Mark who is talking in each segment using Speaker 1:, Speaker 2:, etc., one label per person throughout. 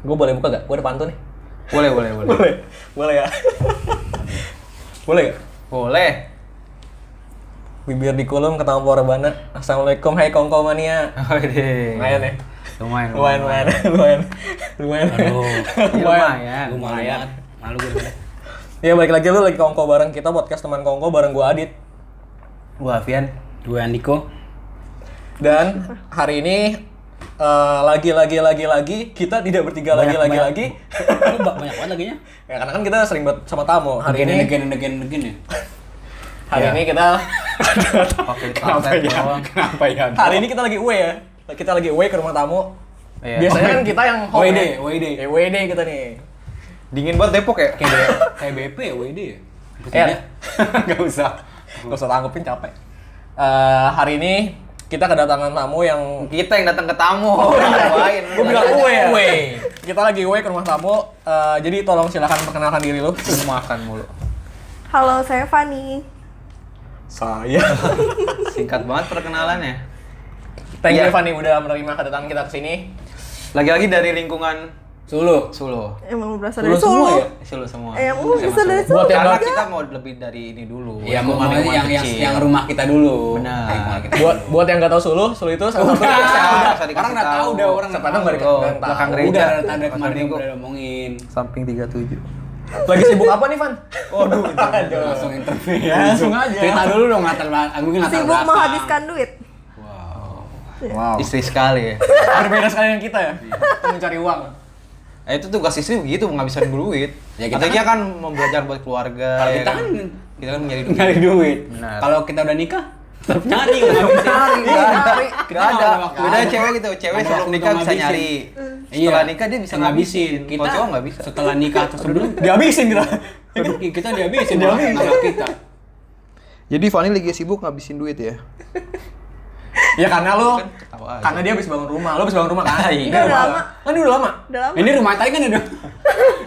Speaker 1: Gue boleh buka gak? Gue ada pantun nih.
Speaker 2: Boleh, boleh, boleh.
Speaker 1: Boleh. Boleh ya. boleh gak?
Speaker 2: Boleh.
Speaker 1: Bibir di kulum ketemu porbana. Assalamualaikum, hai kongko mania.
Speaker 2: Wede.
Speaker 1: Lumayan ya.
Speaker 2: Lumayan.
Speaker 1: Lumayan, lumayan, lumayan, lumayan.
Speaker 2: Aduh. Ya, lumayan.
Speaker 3: Lu malu
Speaker 1: Lumayan.
Speaker 3: banget. Malu gue denger.
Speaker 1: Ya balik lagi lu lagi kongko bareng kita podcast teman kongko bareng gue Adit.
Speaker 2: Gua Avian.
Speaker 3: Gue Andiko.
Speaker 1: Dan hari ini eh, lagi lagi lagi lagi kita tidak bertiga lagi lagi lagi.
Speaker 3: Lu ba- banyak banget laginya.
Speaker 1: Ya karena kan kita sering banget sama tamu. Hari
Speaker 3: Again
Speaker 1: ini ya.
Speaker 3: and again and again and again ya.
Speaker 1: hari ini kita
Speaker 2: Pakai karpet doang.
Speaker 3: Kenapa ya?
Speaker 1: hari ini kita lagi away ya. Kita lagi away ke rumah tamu.
Speaker 2: Iya.
Speaker 1: Biasanya kan kita yang home.
Speaker 3: WD,
Speaker 1: ya.
Speaker 3: WD.
Speaker 1: Ya, WD kita nih.
Speaker 2: Dingin banget Depok ya?
Speaker 3: Kayak B- kayak BP ya WD ya.
Speaker 1: Ya.
Speaker 3: Buktinya.
Speaker 1: Gak usah. Gak usah tanggepin capek. Eh, hari ini kita kedatangan tamu yang
Speaker 2: Kita yang datang ke tamu. Ngapain?
Speaker 1: Gue bilang away ya. Kita lagi away ke rumah tamu. Eh, jadi tolong silahkan perkenalkan diri lu.
Speaker 2: Lu makan mulu.
Speaker 4: Halo, saya Fani.
Speaker 1: Saya.
Speaker 2: Singkat banget perkenalannya.
Speaker 1: Thank you
Speaker 2: Iya.
Speaker 1: Fanny udah menerima kedatangan kita ke sini.
Speaker 2: Lagi-lagi dari lingkungan
Speaker 3: Sulu.
Speaker 2: Solo.
Speaker 4: Emang berasal dari
Speaker 1: Lu semua ya?
Speaker 4: Solo.
Speaker 2: Solo semua.
Speaker 4: Eh, emang berasal dari
Speaker 1: Buat
Speaker 4: Solo.
Speaker 1: yang
Speaker 2: Karena
Speaker 1: Tembak.
Speaker 2: kita mau lebih dari ini dulu.
Speaker 3: Ya
Speaker 2: Lingkungan-
Speaker 3: mau yang yang,
Speaker 2: lingkungan
Speaker 3: yang
Speaker 2: kecil.
Speaker 3: yang rumah kita dulu.
Speaker 2: Benar.
Speaker 3: Yang rumah kita.
Speaker 1: Buat buat yang nggak tahu Sulu, Sulu itu salah satu
Speaker 2: Udah, usah dikasih
Speaker 3: Orang udah tahu, udah orang
Speaker 1: Siapa tahu nggak
Speaker 2: Oh,
Speaker 1: diketahui.
Speaker 2: belakang
Speaker 1: Tahu.
Speaker 2: gereja.
Speaker 3: Udah ada tanda
Speaker 2: Mas
Speaker 3: kemarin yang
Speaker 2: Andiko.
Speaker 3: udah ngomongin.
Speaker 2: Samping 37.
Speaker 1: Lagi sibuk apa nih, Van?
Speaker 2: Waduh, jangan.
Speaker 3: Langsung interview ya.
Speaker 1: Langsung aja.
Speaker 3: Cerita dulu dong latar belakang. Mungkin latar
Speaker 4: Sibuk
Speaker 3: belakang.
Speaker 4: menghabiskan duit.
Speaker 3: Wow.
Speaker 1: Wow.
Speaker 2: Istri sekali ya.
Speaker 1: Berbeda sekali dengan kita ya. Mencari uang.
Speaker 2: Nah, itu tugas istri begitu menghabiskan duit. Ya,
Speaker 3: Ya, kita
Speaker 2: kita
Speaker 3: kan-
Speaker 2: dia kan membelajar buat keluarga. ya
Speaker 3: Kita
Speaker 2: kan?
Speaker 3: kan
Speaker 2: kita kan menjadi duit.
Speaker 3: nyari duit.
Speaker 2: Benar.
Speaker 3: Kalau kita udah nikah, tetap nyari.
Speaker 1: Iya.
Speaker 2: Enggak ada.
Speaker 3: Kita
Speaker 2: Enggak ada.
Speaker 3: nggak ada waktu.
Speaker 2: Bedanya cewek gitu, cewek
Speaker 3: Nggak ada
Speaker 2: sebelum
Speaker 3: waktu
Speaker 2: nikah
Speaker 3: untuk
Speaker 2: bisa
Speaker 3: ngabisin.
Speaker 2: nyari. Setelah nikah dia bisa ngabisin.
Speaker 3: Kita
Speaker 2: Kalau cowok nggak bisa.
Speaker 3: Setelah nikah atau sebelum
Speaker 1: Dihabisin kita.
Speaker 3: kita dihabisin malah anak kita.
Speaker 2: Jadi Fani lagi sibuk ngabisin duit ya.
Speaker 1: Ya karena lu
Speaker 2: ketawa aja.
Speaker 1: karena dia habis bangun rumah. Lu habis bangun rumah kan?
Speaker 4: Ini udah lama.
Speaker 1: Kan ini udah lama.
Speaker 4: Udah lama.
Speaker 3: Ini rumah tadi kan udah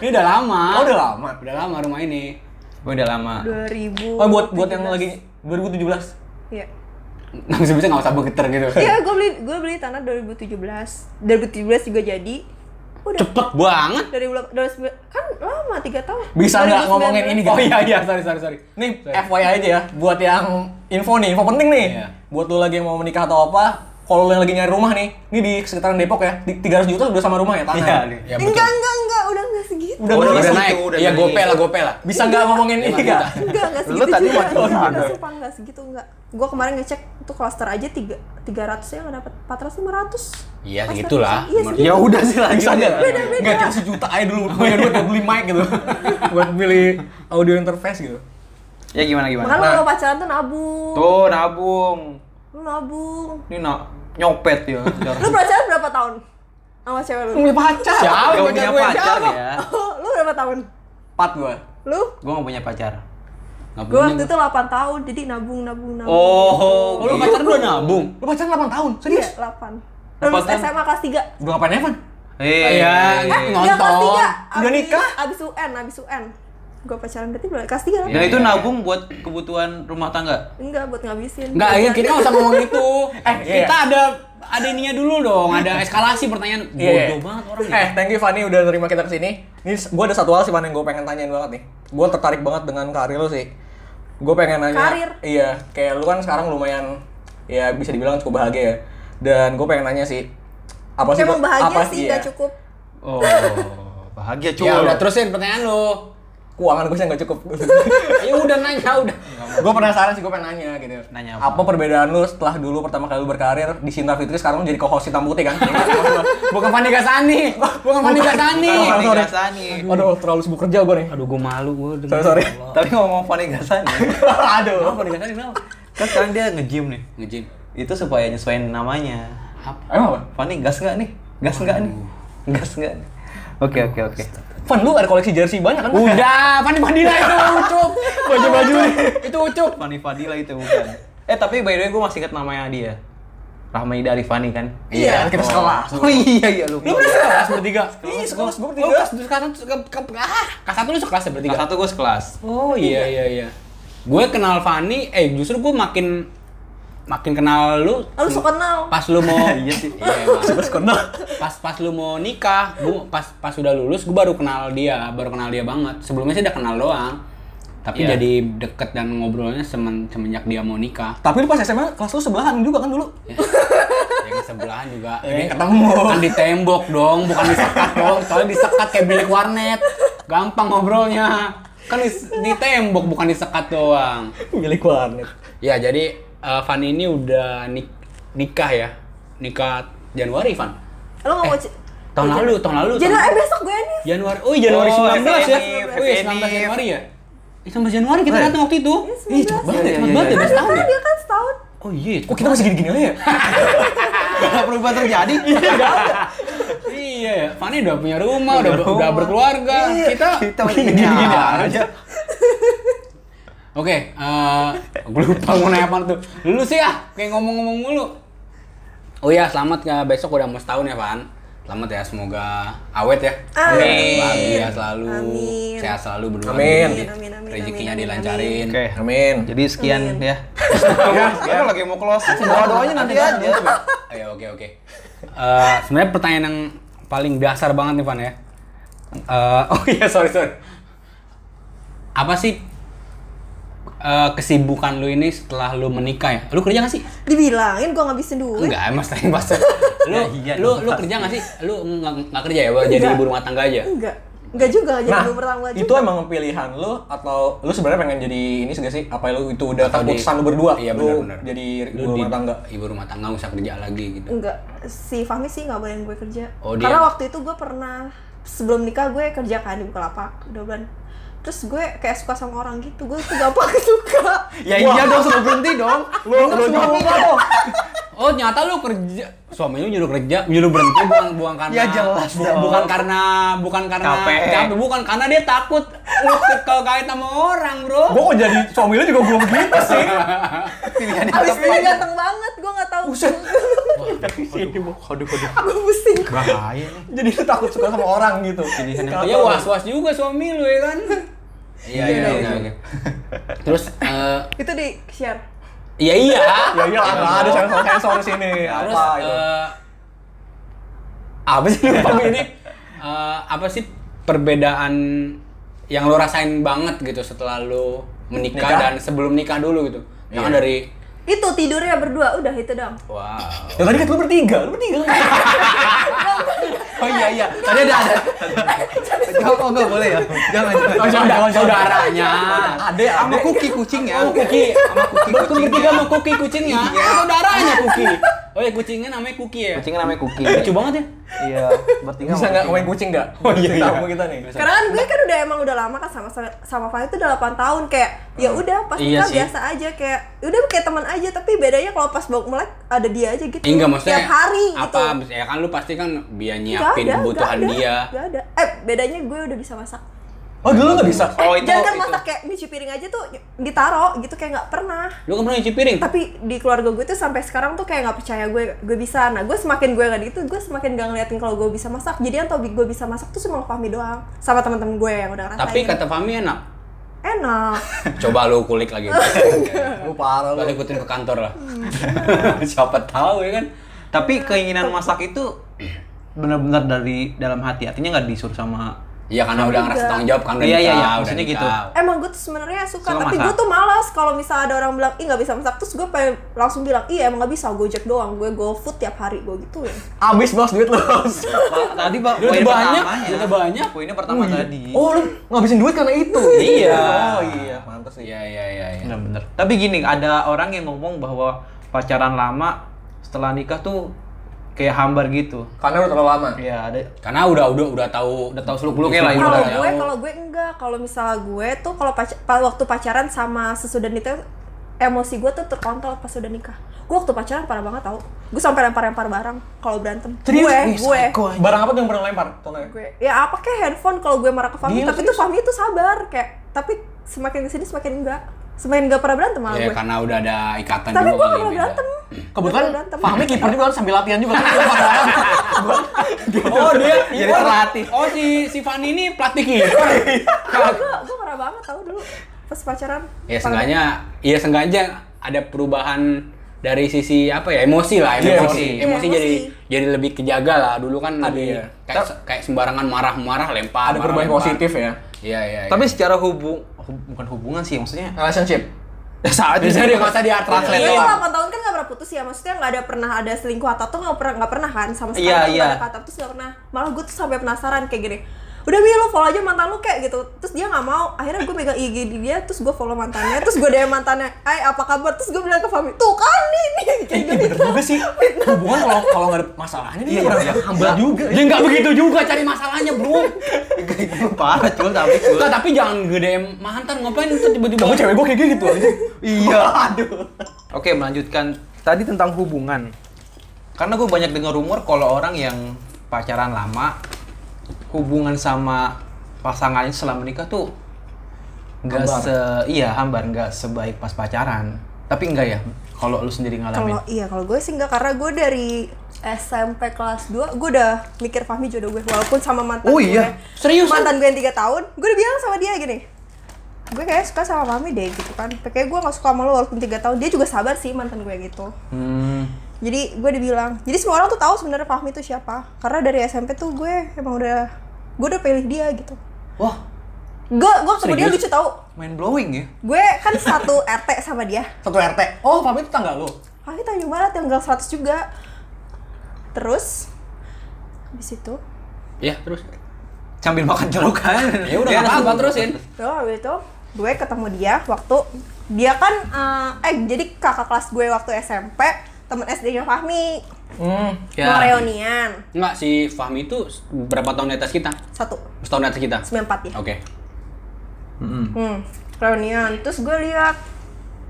Speaker 3: ini udah lama.
Speaker 1: Oh, udah lama.
Speaker 3: Udah lama rumah ini.
Speaker 2: Udah lama.
Speaker 4: 2000.
Speaker 1: Oh, buat buat yang lagi 2017.
Speaker 4: Iya.
Speaker 3: Langsung bisa nggak usah begeter gitu.
Speaker 4: Iya, gue beli gue beli tanah 2017. 2017 juga jadi. Udah.
Speaker 3: Cepet banget.
Speaker 4: Dari bulan dari sembilan- kan lama 3 tahun.
Speaker 1: Bisa nggak ngomongin ini,
Speaker 4: 2019.
Speaker 1: Gak?
Speaker 3: Oh iya iya sorry sorry sorry.
Speaker 1: Nih FYI aja ya, buat yang info nih, info penting nih.
Speaker 3: Iya.
Speaker 1: Buat lu lagi yang mau menikah atau apa, kalau lu yang lagi nyari rumah nih, ini di sekitaran Depok ya, di 300 juta udah sama rumah ya tanah.
Speaker 2: Iya,
Speaker 1: ya?
Speaker 3: Ya
Speaker 4: Enggak, enggak, enggak, udah enggak segitu.
Speaker 1: Udah
Speaker 3: udah,
Speaker 1: mulai
Speaker 3: udah
Speaker 1: segitu,
Speaker 3: naik.
Speaker 2: udah
Speaker 3: Iya
Speaker 2: naik.
Speaker 3: gope lah gope lah.
Speaker 1: Bisa nggak ngomongin ini
Speaker 3: Iya,
Speaker 1: enggak?
Speaker 4: Enggak, enggak
Speaker 2: Lu
Speaker 4: segitu
Speaker 2: tadi
Speaker 4: juga.
Speaker 2: waktu itu ada.
Speaker 4: Enggak, sumpah enggak segitu, enggak. Gue kemarin ngecek tuh klaster aja 3 300 ya enggak dapat 400 500.
Speaker 3: Iya,
Speaker 4: Klaster
Speaker 3: segitulah.
Speaker 4: bisa. Iya, segitu.
Speaker 2: Ya udah sih lagi
Speaker 1: Bisa nggak?
Speaker 2: aja.
Speaker 1: Nggak kita sejuta aja dulu punya duit buat beli mic gitu, buat beli audio interface gitu.
Speaker 2: Ya gimana
Speaker 4: Makanya
Speaker 2: gimana?
Speaker 4: lu kalau pacaran tuh nabung.
Speaker 2: Tuh nabung.
Speaker 4: Lu nabung.
Speaker 2: Ini nak nyopet ya. Jar.
Speaker 4: Lu pacaran berapa tahun? Sama cewek lu?
Speaker 1: Punya pacar.
Speaker 2: Siapa
Speaker 1: Siapa
Speaker 2: yang
Speaker 1: punya
Speaker 2: punya
Speaker 1: pacar?
Speaker 2: pacar ya?
Speaker 4: Oh, lu berapa tahun?
Speaker 1: Empat gua.
Speaker 4: Lu?
Speaker 2: Gua nggak punya pacar.
Speaker 3: Nggak
Speaker 4: Gue
Speaker 3: punya
Speaker 4: waktu itu 8 tahun, jadi nabung, nabung, nabung.
Speaker 2: Oh,
Speaker 3: Oh, lu pacar dua nabung.
Speaker 1: Lu pacaran 8 tahun, serius?
Speaker 4: Iya, 8.
Speaker 2: Delapan
Speaker 4: Lulus
Speaker 2: tahun.
Speaker 4: SMA kelas 3.
Speaker 1: Udah ngapain Evan?
Speaker 2: Eh,
Speaker 3: Iya.
Speaker 2: iya.
Speaker 3: Eh,
Speaker 4: Enggak, kelas
Speaker 3: Nonton.
Speaker 4: 3.
Speaker 1: Udah nikah?
Speaker 4: Abis UN, abis UN. Gue pacaran berarti berapa? Kelas 3 lah.
Speaker 2: Dan
Speaker 3: Iya.
Speaker 2: itu nabung buat kebutuhan rumah tangga.
Speaker 4: Enggak, buat ngabisin.
Speaker 3: Enggak, ya, kita nggak usah ngomong itu. Eh,
Speaker 1: iya.
Speaker 3: kita ada ada ininya dulu dong, ada eskalasi pertanyaan. Bodoh
Speaker 1: Iya.
Speaker 3: banget orang. ya.
Speaker 1: Eh, thank you Fanny udah nerima kita kesini. Ini gue ada satu hal sih Van yang gue pengen tanyain banget nih. Gue tertarik banget dengan karir lu sih. Gue pengen nanya.
Speaker 4: Karir?
Speaker 1: Iya, kayak lu kan sekarang lumayan ya bisa dibilang cukup bahagia ya. Dan gue pengen nanya sih apa sih
Speaker 4: Emang
Speaker 1: gua-
Speaker 4: bahagia
Speaker 1: apa
Speaker 4: sih,
Speaker 1: iya,
Speaker 4: enggak cukup.
Speaker 2: Oh, bahagia cuy.
Speaker 3: Ya udah terusin pertanyaan lu.
Speaker 1: Keuangan gue sih nggak cukup.
Speaker 3: Ya udah nanya udah.
Speaker 1: gue penasaran sih gue pengen nanya gitu.
Speaker 2: Nanya
Speaker 1: apa? perbedaan lu setelah dulu pertama kali lu berkarir di Sinta Fitri sekarang lu jadi co-host hitam putih kan?
Speaker 3: Bukan Fani Gasani, bukan Fani Gasani.
Speaker 2: Bukan Fani
Speaker 1: Sorry.
Speaker 2: Gasani.
Speaker 1: Aduh, terlalu sibuk kerja gue nih.
Speaker 3: Aduh, gue malu gue
Speaker 1: Sorry, sorry.
Speaker 2: Tapi ngomong Fani Gasani,
Speaker 1: Aduh.
Speaker 3: Fani Gasani kenapa?
Speaker 2: kan sekarang dia nge-gym nih.
Speaker 3: Nge-gym.
Speaker 2: Itu supaya nyesuaiin namanya.
Speaker 3: Apa?
Speaker 1: Emang apa?
Speaker 2: Fani gas nggak nih? Gas nggak nih? Gas nggak nih? Oke oke oke.
Speaker 1: Van, lu ada koleksi jersey banyak kan?
Speaker 3: Udah, Fani Fadila itu ucup.
Speaker 1: Baju-baju nih.
Speaker 3: Itu ucup.
Speaker 2: Fani Fadila itu bukan. Eh tapi by the way gue masih ingat namanya dia. Rahma Ida Arifani kan?
Speaker 1: Iya, kita sekolah.
Speaker 2: Oh iya iya lupa.
Speaker 1: Lu pernah sekelas bertiga? Iya, sekelas gue
Speaker 3: Oh, kelas kelas satu ke, ke, ke- ah, kelas satu lu sekelas ya bertiga.
Speaker 2: Iya. Kelas satu gue sekelas.
Speaker 3: Oh iya iya iya. Gue kenal Fani, eh justru gue makin makin kenal lu
Speaker 4: Lalu suka kenal.
Speaker 3: pas lu mau
Speaker 2: Iya sih.
Speaker 3: Iya, emang.
Speaker 1: Terus kenal.
Speaker 3: pas pas lu mau nikah gua pas pas sudah lulus gue baru kenal dia baru kenal dia banget sebelumnya sih udah kenal doang tapi
Speaker 2: Iya.
Speaker 3: jadi deket dan ngobrolnya semen, semenjak dia mau nikah
Speaker 1: Tapi lu pas SMA kelas lu sebelahan juga kan dulu.
Speaker 3: ya, yang sebelahan juga
Speaker 1: Eh,
Speaker 3: Ini
Speaker 1: ketemu.
Speaker 3: kan di tembok dong bukan di sekat dong soalnya di sekat kayak bilik warnet gampang ngobrolnya kan di, di tembok bukan di sekat doang
Speaker 1: Milik warnet.
Speaker 3: ya jadi eh, Van ini udah nik- nikah ya nikah Januari Van
Speaker 4: Lu nggak mau ci-
Speaker 3: tahun lalu tahun lalu
Speaker 4: Jadi
Speaker 3: tahun-
Speaker 4: eh besok gue nih.
Speaker 3: Januari. Oh, iya, Januari
Speaker 2: Oh,
Speaker 3: 19 ya.
Speaker 2: FNIF,
Speaker 3: Oh, iya, 19
Speaker 2: FNIF.
Speaker 3: Januari ya. Eh, 19 Januari kita datang waktu itu.
Speaker 4: Iya,
Speaker 3: Ih, cepet
Speaker 4: 19.
Speaker 3: banget, ya,
Speaker 2: Iya,
Speaker 3: cepet
Speaker 2: iya,
Speaker 3: banget ya,
Speaker 2: iya.
Speaker 3: udah
Speaker 4: Kan
Speaker 3: setahun ya.
Speaker 4: dia kan setahun.
Speaker 3: Oh iya,
Speaker 1: Kok kita masih gini-gini aja ya?
Speaker 2: Gak perubahan terjadi.
Speaker 3: iya ya. Fani udah punya rumah, udah udah berkeluarga. Kita
Speaker 2: Iya. kita Iya.
Speaker 3: masih
Speaker 2: gini gini
Speaker 3: nyaman.
Speaker 2: aja.
Speaker 3: Oke, eh gue lupa mau nanya apa tuh. Lu sih ah, kayak ngomong-ngomong mulu. Oh iya, selamat ya. Besok udah mau setahun ya, Van. Selamat ya, semoga awet ya.
Speaker 4: Amin.
Speaker 3: Bahagia selalu.
Speaker 4: Amin.
Speaker 3: Sehat selalu berdua.
Speaker 1: Amin.
Speaker 4: Amin, amin, amin,
Speaker 3: Rezekinya
Speaker 4: amin, amin,
Speaker 3: dilancarin.
Speaker 2: Oke.
Speaker 1: Amin.
Speaker 2: Jadi sekian
Speaker 4: Amin.
Speaker 2: ya. Kita lagi mau Iya. closing. Doa doanya nanti aja.
Speaker 3: Ayo, oke oke. Eh, Sebenarnya pertanyaan yang paling dasar banget nih Van ya. Eh, oh iya sorry sorry. Apa sih eh, kesibukan lu ini setelah lu menikah ya? Lu kerja nggak sih?
Speaker 4: Dibilangin gue ngabisin duit.
Speaker 3: Enggak, mas tanya mas. Lu
Speaker 2: Ya, iya
Speaker 3: lu
Speaker 2: dong,
Speaker 3: lu
Speaker 2: pasti.
Speaker 3: kerja nggak sih? Lu nggak nggak kerja ya? Baru Jadi
Speaker 1: Enggak.
Speaker 3: ibu rumah tangga aja.
Speaker 4: Enggak. Enggak juga jadi
Speaker 1: Nah,
Speaker 4: belum pertama juga.
Speaker 1: itu emang pilihan lu atau lu sebenarnya pengen jadi ini sih gak sih? Apa lu itu udah
Speaker 3: Atau di-
Speaker 1: keputusan lu berdua?
Speaker 3: Iya
Speaker 1: Lu
Speaker 3: benar benar.
Speaker 1: Jadi
Speaker 3: Lu
Speaker 1: rumah
Speaker 3: di-
Speaker 1: tangga.
Speaker 3: Ibu rumah tangga nggak usah kerja lagi gitu.
Speaker 4: Enggak. Si Fahmi sih nggak bolehin gue kerja.
Speaker 3: Oh, dia-
Speaker 4: Karena waktu itu gue pernah sebelum nikah gue kerja kan di Bukalapak dua bulan. Terus gue kayak suka sama orang gitu, gue tuh gampang suka.
Speaker 2: Ya iya dong, sudah berhenti dong. Lu lu nyuruh dong.
Speaker 3: Oh nyata lu kerja suami lu nyuruh kerja nyuruh berhenti bukan bukan karena
Speaker 2: Ya, jelas
Speaker 3: bu-
Speaker 2: dong.
Speaker 3: bukan karena bukan karena
Speaker 2: Capek.
Speaker 3: capek, bukan karena dia takut lu ke- kalau kait sama orang bro
Speaker 1: Gua kok jadi suami lu juga belum gitu sih.
Speaker 2: Pilihan yang
Speaker 4: Abis dia ganteng banget, gue nggak tahu.
Speaker 2: Waduh, waduh.
Speaker 4: gue pusing.
Speaker 2: Bahaya nih.
Speaker 1: jadi lu takut suka sama orang gitu.
Speaker 3: ya was was juga suami lu ya kan iya iya
Speaker 4: Iya, iya.
Speaker 3: iya iya. terus eh,
Speaker 4: Itu di share.
Speaker 3: ya iya
Speaker 1: Ya iya lah, nggak ada sensor sensor di sini.
Speaker 3: terus
Speaker 1: Apa gitu. itu?
Speaker 3: eh, apa sih lupa gue ini Eh, apa sih perbedaan yang lo rasain banget gitu setelah lo menikah
Speaker 1: Nikah?
Speaker 3: dan sebelum nikah dulu gitu jangan dari
Speaker 4: Itu tidurnya berdua, udah itu dong.
Speaker 3: wow
Speaker 1: Ya tadi kan lu bertiga, lu bertiga.
Speaker 3: Iya,
Speaker 2: Oh iya iya. Tadi ada ada. Jawab oh enggak boleh ya. Jangan
Speaker 3: Oh,
Speaker 2: jangan.
Speaker 3: saudara- saudaranya
Speaker 1: Ade,
Speaker 2: Sama
Speaker 1: ade.
Speaker 2: kuki kucingnya.
Speaker 3: Oh, Kuki.
Speaker 2: Sama kuki
Speaker 3: Baru
Speaker 2: kucing.
Speaker 3: bertiga sama Kuki kucingnya. Saudaranya Kuki. Oh ya kucingnya namanya Kuki ya.
Speaker 2: Kucingnya namanya kuki.
Speaker 3: Lucu banget ya.
Speaker 2: Iya, bertiga.
Speaker 1: Bisa nggak main kucing nggak? Oh
Speaker 3: iya, iya.
Speaker 1: Tamu kita nih.
Speaker 4: Karena kan gue kan udah emang udah lama kan sama sama, sama Fahmi itu udah 8 tahun kayak ya udah pas
Speaker 3: Iya
Speaker 4: nikah
Speaker 3: sih.
Speaker 4: biasa aja kayak ya udah kayak teman aja tapi bedanya kalau pas bau melek ada dia aja gitu.
Speaker 3: Eh, enggak maksudnya
Speaker 4: tiap hari
Speaker 3: apa
Speaker 4: gitu.
Speaker 3: ya kan lu pasti kan dia
Speaker 4: Nggak
Speaker 3: nyiapin
Speaker 4: ada,
Speaker 3: kebutuhan
Speaker 4: nggak ada,
Speaker 3: dia.
Speaker 4: nggak ada. Eh bedanya gue udah bisa masak.
Speaker 1: Oh dulu nggak bisa.
Speaker 2: Oh itu.
Speaker 4: Jangan kan
Speaker 2: itu.
Speaker 4: masak kayak nyuci piring aja tuh ditaro gitu kayak nggak pernah.
Speaker 3: Lu kan pernah nyuci piring?
Speaker 4: Tapi di keluarga gue tuh sampai sekarang tuh kayak nggak percaya gue gue bisa. Nah gue semakin gue nggak gitu gue semakin gak ngeliatin kalau gue bisa masak. Jadi yang tau bi- gue bisa masak tuh cuma Fahmi doang sama teman-teman gue yang udah ngerasain.
Speaker 3: Tapi kan kata Fami enak.
Speaker 4: enak.
Speaker 3: Coba lu kulik lagi.
Speaker 1: Lu parah lu.
Speaker 3: Lu ikutin ke kantor lah. Siapa tahu ya kan.
Speaker 2: Tapi keinginan masak itu benar-benar dari dalam hati. Artinya nggak disuruh sama
Speaker 3: Iya karena udah ngerasa tanggung jawab kan udah
Speaker 2: Iya, iya,
Speaker 3: nikah,
Speaker 2: iya.
Speaker 3: udah
Speaker 2: Maksudnya
Speaker 3: nikah.
Speaker 2: gitu.
Speaker 4: emang gue tuh sebenarnya suka
Speaker 2: Suka
Speaker 4: tapi
Speaker 2: masak.
Speaker 4: gue tuh malas kalau misal ada orang bilang ih nggak bisa masak terus gue pengen langsung bilang iya emang nggak bisa gojek doang gue go food tiap hari gitu ya. gue gituin
Speaker 1: Abis bos duit lu.
Speaker 2: Pak, tadi Pak,
Speaker 3: Duit
Speaker 2: poin
Speaker 3: banyak,
Speaker 2: pertamanya.
Speaker 3: duit banyak.
Speaker 2: Poinnya pertama tadi.
Speaker 1: Oh lu ngabisin duit karena itu.
Speaker 3: Iya.
Speaker 1: Oh iya, mantas sih.
Speaker 3: Iya iya iya iya.
Speaker 2: Bener-bener. Tapi gini, ada orang yang ngomong bahwa pacaran lama setelah nikah tuh kayak hambar gitu.
Speaker 1: Karena udah terlalu lama.
Speaker 2: Ya, ada
Speaker 3: Karena udah udah udah tahu udah tahu seluk beluknya lah
Speaker 1: Eh,
Speaker 2: Iya,
Speaker 4: kalau
Speaker 1: ya?
Speaker 2: iya.
Speaker 4: gue kalau gue enggak kalau misal gue tuh kalau pac- pa- waktu pacaran sama sesudah nikah emosi gue tuh terkontrol pas sudah nikah gue waktu pacaran parah banget tau gue sampai lempar-lempar barang kalau berantem gue
Speaker 1: Ih,
Speaker 4: gue
Speaker 1: psycho aja. Barang apa tuh yang pernah lempar? Contohnya.
Speaker 4: gue ya apa kayak handphone kalau gue marah ke Fahmi
Speaker 1: Gila,
Speaker 4: tapi tuh Fahmi tuh sabar kayak tapi semakin kesini semakin enggak semakin enggak pernah berantem
Speaker 1: Iya,
Speaker 4: malah
Speaker 3: Ya
Speaker 4: gue
Speaker 3: karena udah ada ikatan
Speaker 4: tapi
Speaker 3: juga gitu.
Speaker 4: gue
Speaker 3: kali beda.
Speaker 4: gak pernah berantem
Speaker 1: Kebetulan
Speaker 4: Gua berantem.
Speaker 1: Fahmi kiper juga kan sambil latihan juga Iya. kan. Lempar barang. Gua-
Speaker 3: Oh dia
Speaker 2: Jadi
Speaker 3: oh,
Speaker 2: terlatih.
Speaker 3: Oh si si Fanny ini pelatih gitu. kiper.
Speaker 4: Gue gue parah banget tau dulu pas
Speaker 3: ya
Speaker 4: pacaran. Parah.
Speaker 3: sengganya, ya sengaja ada perubahan dari sisi apa ya emosi lah emosi
Speaker 1: Iya,
Speaker 3: emosi,
Speaker 2: emosi.
Speaker 4: Iya,
Speaker 3: jadi
Speaker 4: emosi.
Speaker 3: jadi lebih kejaga lah dulu kan
Speaker 1: Ada,
Speaker 3: lebih
Speaker 1: iya.
Speaker 3: kayak, kayak sembarangan marah-marah lempar
Speaker 1: ada
Speaker 3: marah,
Speaker 1: perubahan
Speaker 3: lempar.
Speaker 1: positif ya
Speaker 3: iya iya iya.
Speaker 2: Tapi secara hubung hub- bukan hubungan sih maksudnya.
Speaker 1: relationship
Speaker 2: Saat
Speaker 3: bisa dia nggak usah dia translate
Speaker 4: Iya,
Speaker 3: doang.
Speaker 4: 8 tahun kan gak pernah putus ya. Maksudnya gak ada pernah ada selingkuh atau tuh gak pernah, gak pernah kan sama sekali.
Speaker 2: Iya,
Speaker 4: tuh
Speaker 2: iya.
Speaker 4: nggak ada kata putus gak pernah. Malah gue tuh sampai penasaran kayak gini. Udah Mi, lu follow aja mantan lu kayak gitu. Terus dia gak mau. Akhirnya gue megang IG dia, terus gue follow mantannya. Terus gue DM mantannya, Ay, apa kabar? Terus gue bilang ke Fami, tuh kan nih, nih. Kayak
Speaker 1: Ih,
Speaker 4: gitu.
Speaker 1: bener juga sih Iya, hubungan kalau kalau nggak ada masalahnya dia kurang hamba juga
Speaker 3: dia Ya, nggak begitu juga cari masalahnya bro
Speaker 2: Parah cul tapi cul.
Speaker 3: Nggak, tapi jangan gede mantan ngapain itu tiba-tiba
Speaker 1: Tapi cewek gue kayak gitu aja
Speaker 2: Iya, aduh. Oke, melanjutkan tadi tentang hubungan. Karena gue banyak dengar rumor kalau orang yang pacaran lama hubungan sama pasangannya selama menikah tuh nggak
Speaker 1: Hambar.
Speaker 2: se iya hambar nggak sebaik pas pacaran. Tapi enggak ya kalau lu sendiri ngalamin.
Speaker 4: Kalau iya, kalau gue sih enggak karena gue dari SMP kelas 2 gue udah mikir Fahmi jodoh gue walaupun sama mantan
Speaker 2: Oh
Speaker 4: gue.
Speaker 2: iya,
Speaker 3: serius?
Speaker 4: Mantan gue yang 3 tahun, gue udah bilang sama dia gini. Gue kayaknya suka sama Fahmi deh gitu kan. Kayaknya gue gak suka sama lo walaupun 3 tahun. Dia juga sabar sih mantan gue gitu.
Speaker 2: Hmm.
Speaker 4: Jadi gue dibilang, jadi semua orang tuh tahu sebenarnya Fahmi itu siapa. Karena dari SMP tuh gue emang udah gue udah pilih dia gitu.
Speaker 2: Wah,
Speaker 4: Gue gue kemudian lucu tau
Speaker 2: mind blowing ya.
Speaker 4: gue kan satu RT sama dia.
Speaker 1: satu RT oh Fahmi itu tangga lu
Speaker 4: Fahmi Tanjung Barat yang gang 100 juga. Terus habis itu,
Speaker 3: ya terus
Speaker 2: Sambil makan jeruk kan.
Speaker 3: ya udah nggak apa-apa terusin
Speaker 4: ya habis itu gue ketemu dia waktu dia kan eh, eh jadi kakak kelas gue waktu SMP temen SD-nya Fahmi
Speaker 1: hmm
Speaker 4: ya. mau reunian
Speaker 3: Enggak, si Fahmi itu berapa tahun di atas kita?
Speaker 4: satu
Speaker 3: Setahun di atas kita?
Speaker 4: 94 ya
Speaker 3: Oke.
Speaker 4: hmm, reunian terus gue lihat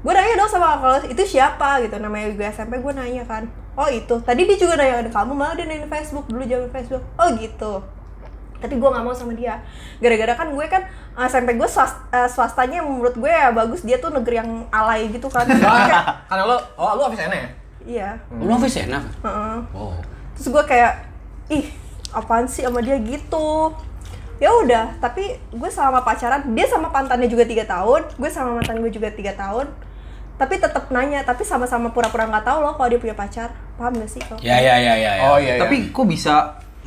Speaker 4: gue nanya dong sama kakak kelas itu siapa gitu namanya gue SMP gue nanya kan oh itu tadi dia juga nanya ke kamu malah dia nanya di Facebook dulu jawaban Facebook oh gitu tapi gue nggak mau sama dia gara-gara kan gue kan eh, SMP gue swas- eh, swastanya menurut gue ya bagus dia tuh negeri yang alay gitu kan Kayak-
Speaker 1: karena lu oh lu habis enak ya
Speaker 4: iya
Speaker 2: Hmm.
Speaker 3: Lu office ya, Naf?
Speaker 4: Heeh.
Speaker 3: Oh.
Speaker 4: terus gue kayak ih apaan sih sama dia gitu ya udah tapi gue selama pacaran dia sama pantannya juga tiga tahun gue sama mantan gue juga tiga tahun tapi tetap nanya tapi sama-sama pura-pura nggak tahu loh kalau dia punya pacar paham gak sih kalau
Speaker 3: Ya, ya, ya, ya. ya.
Speaker 1: oh iya tapi
Speaker 2: Tapi kok bisa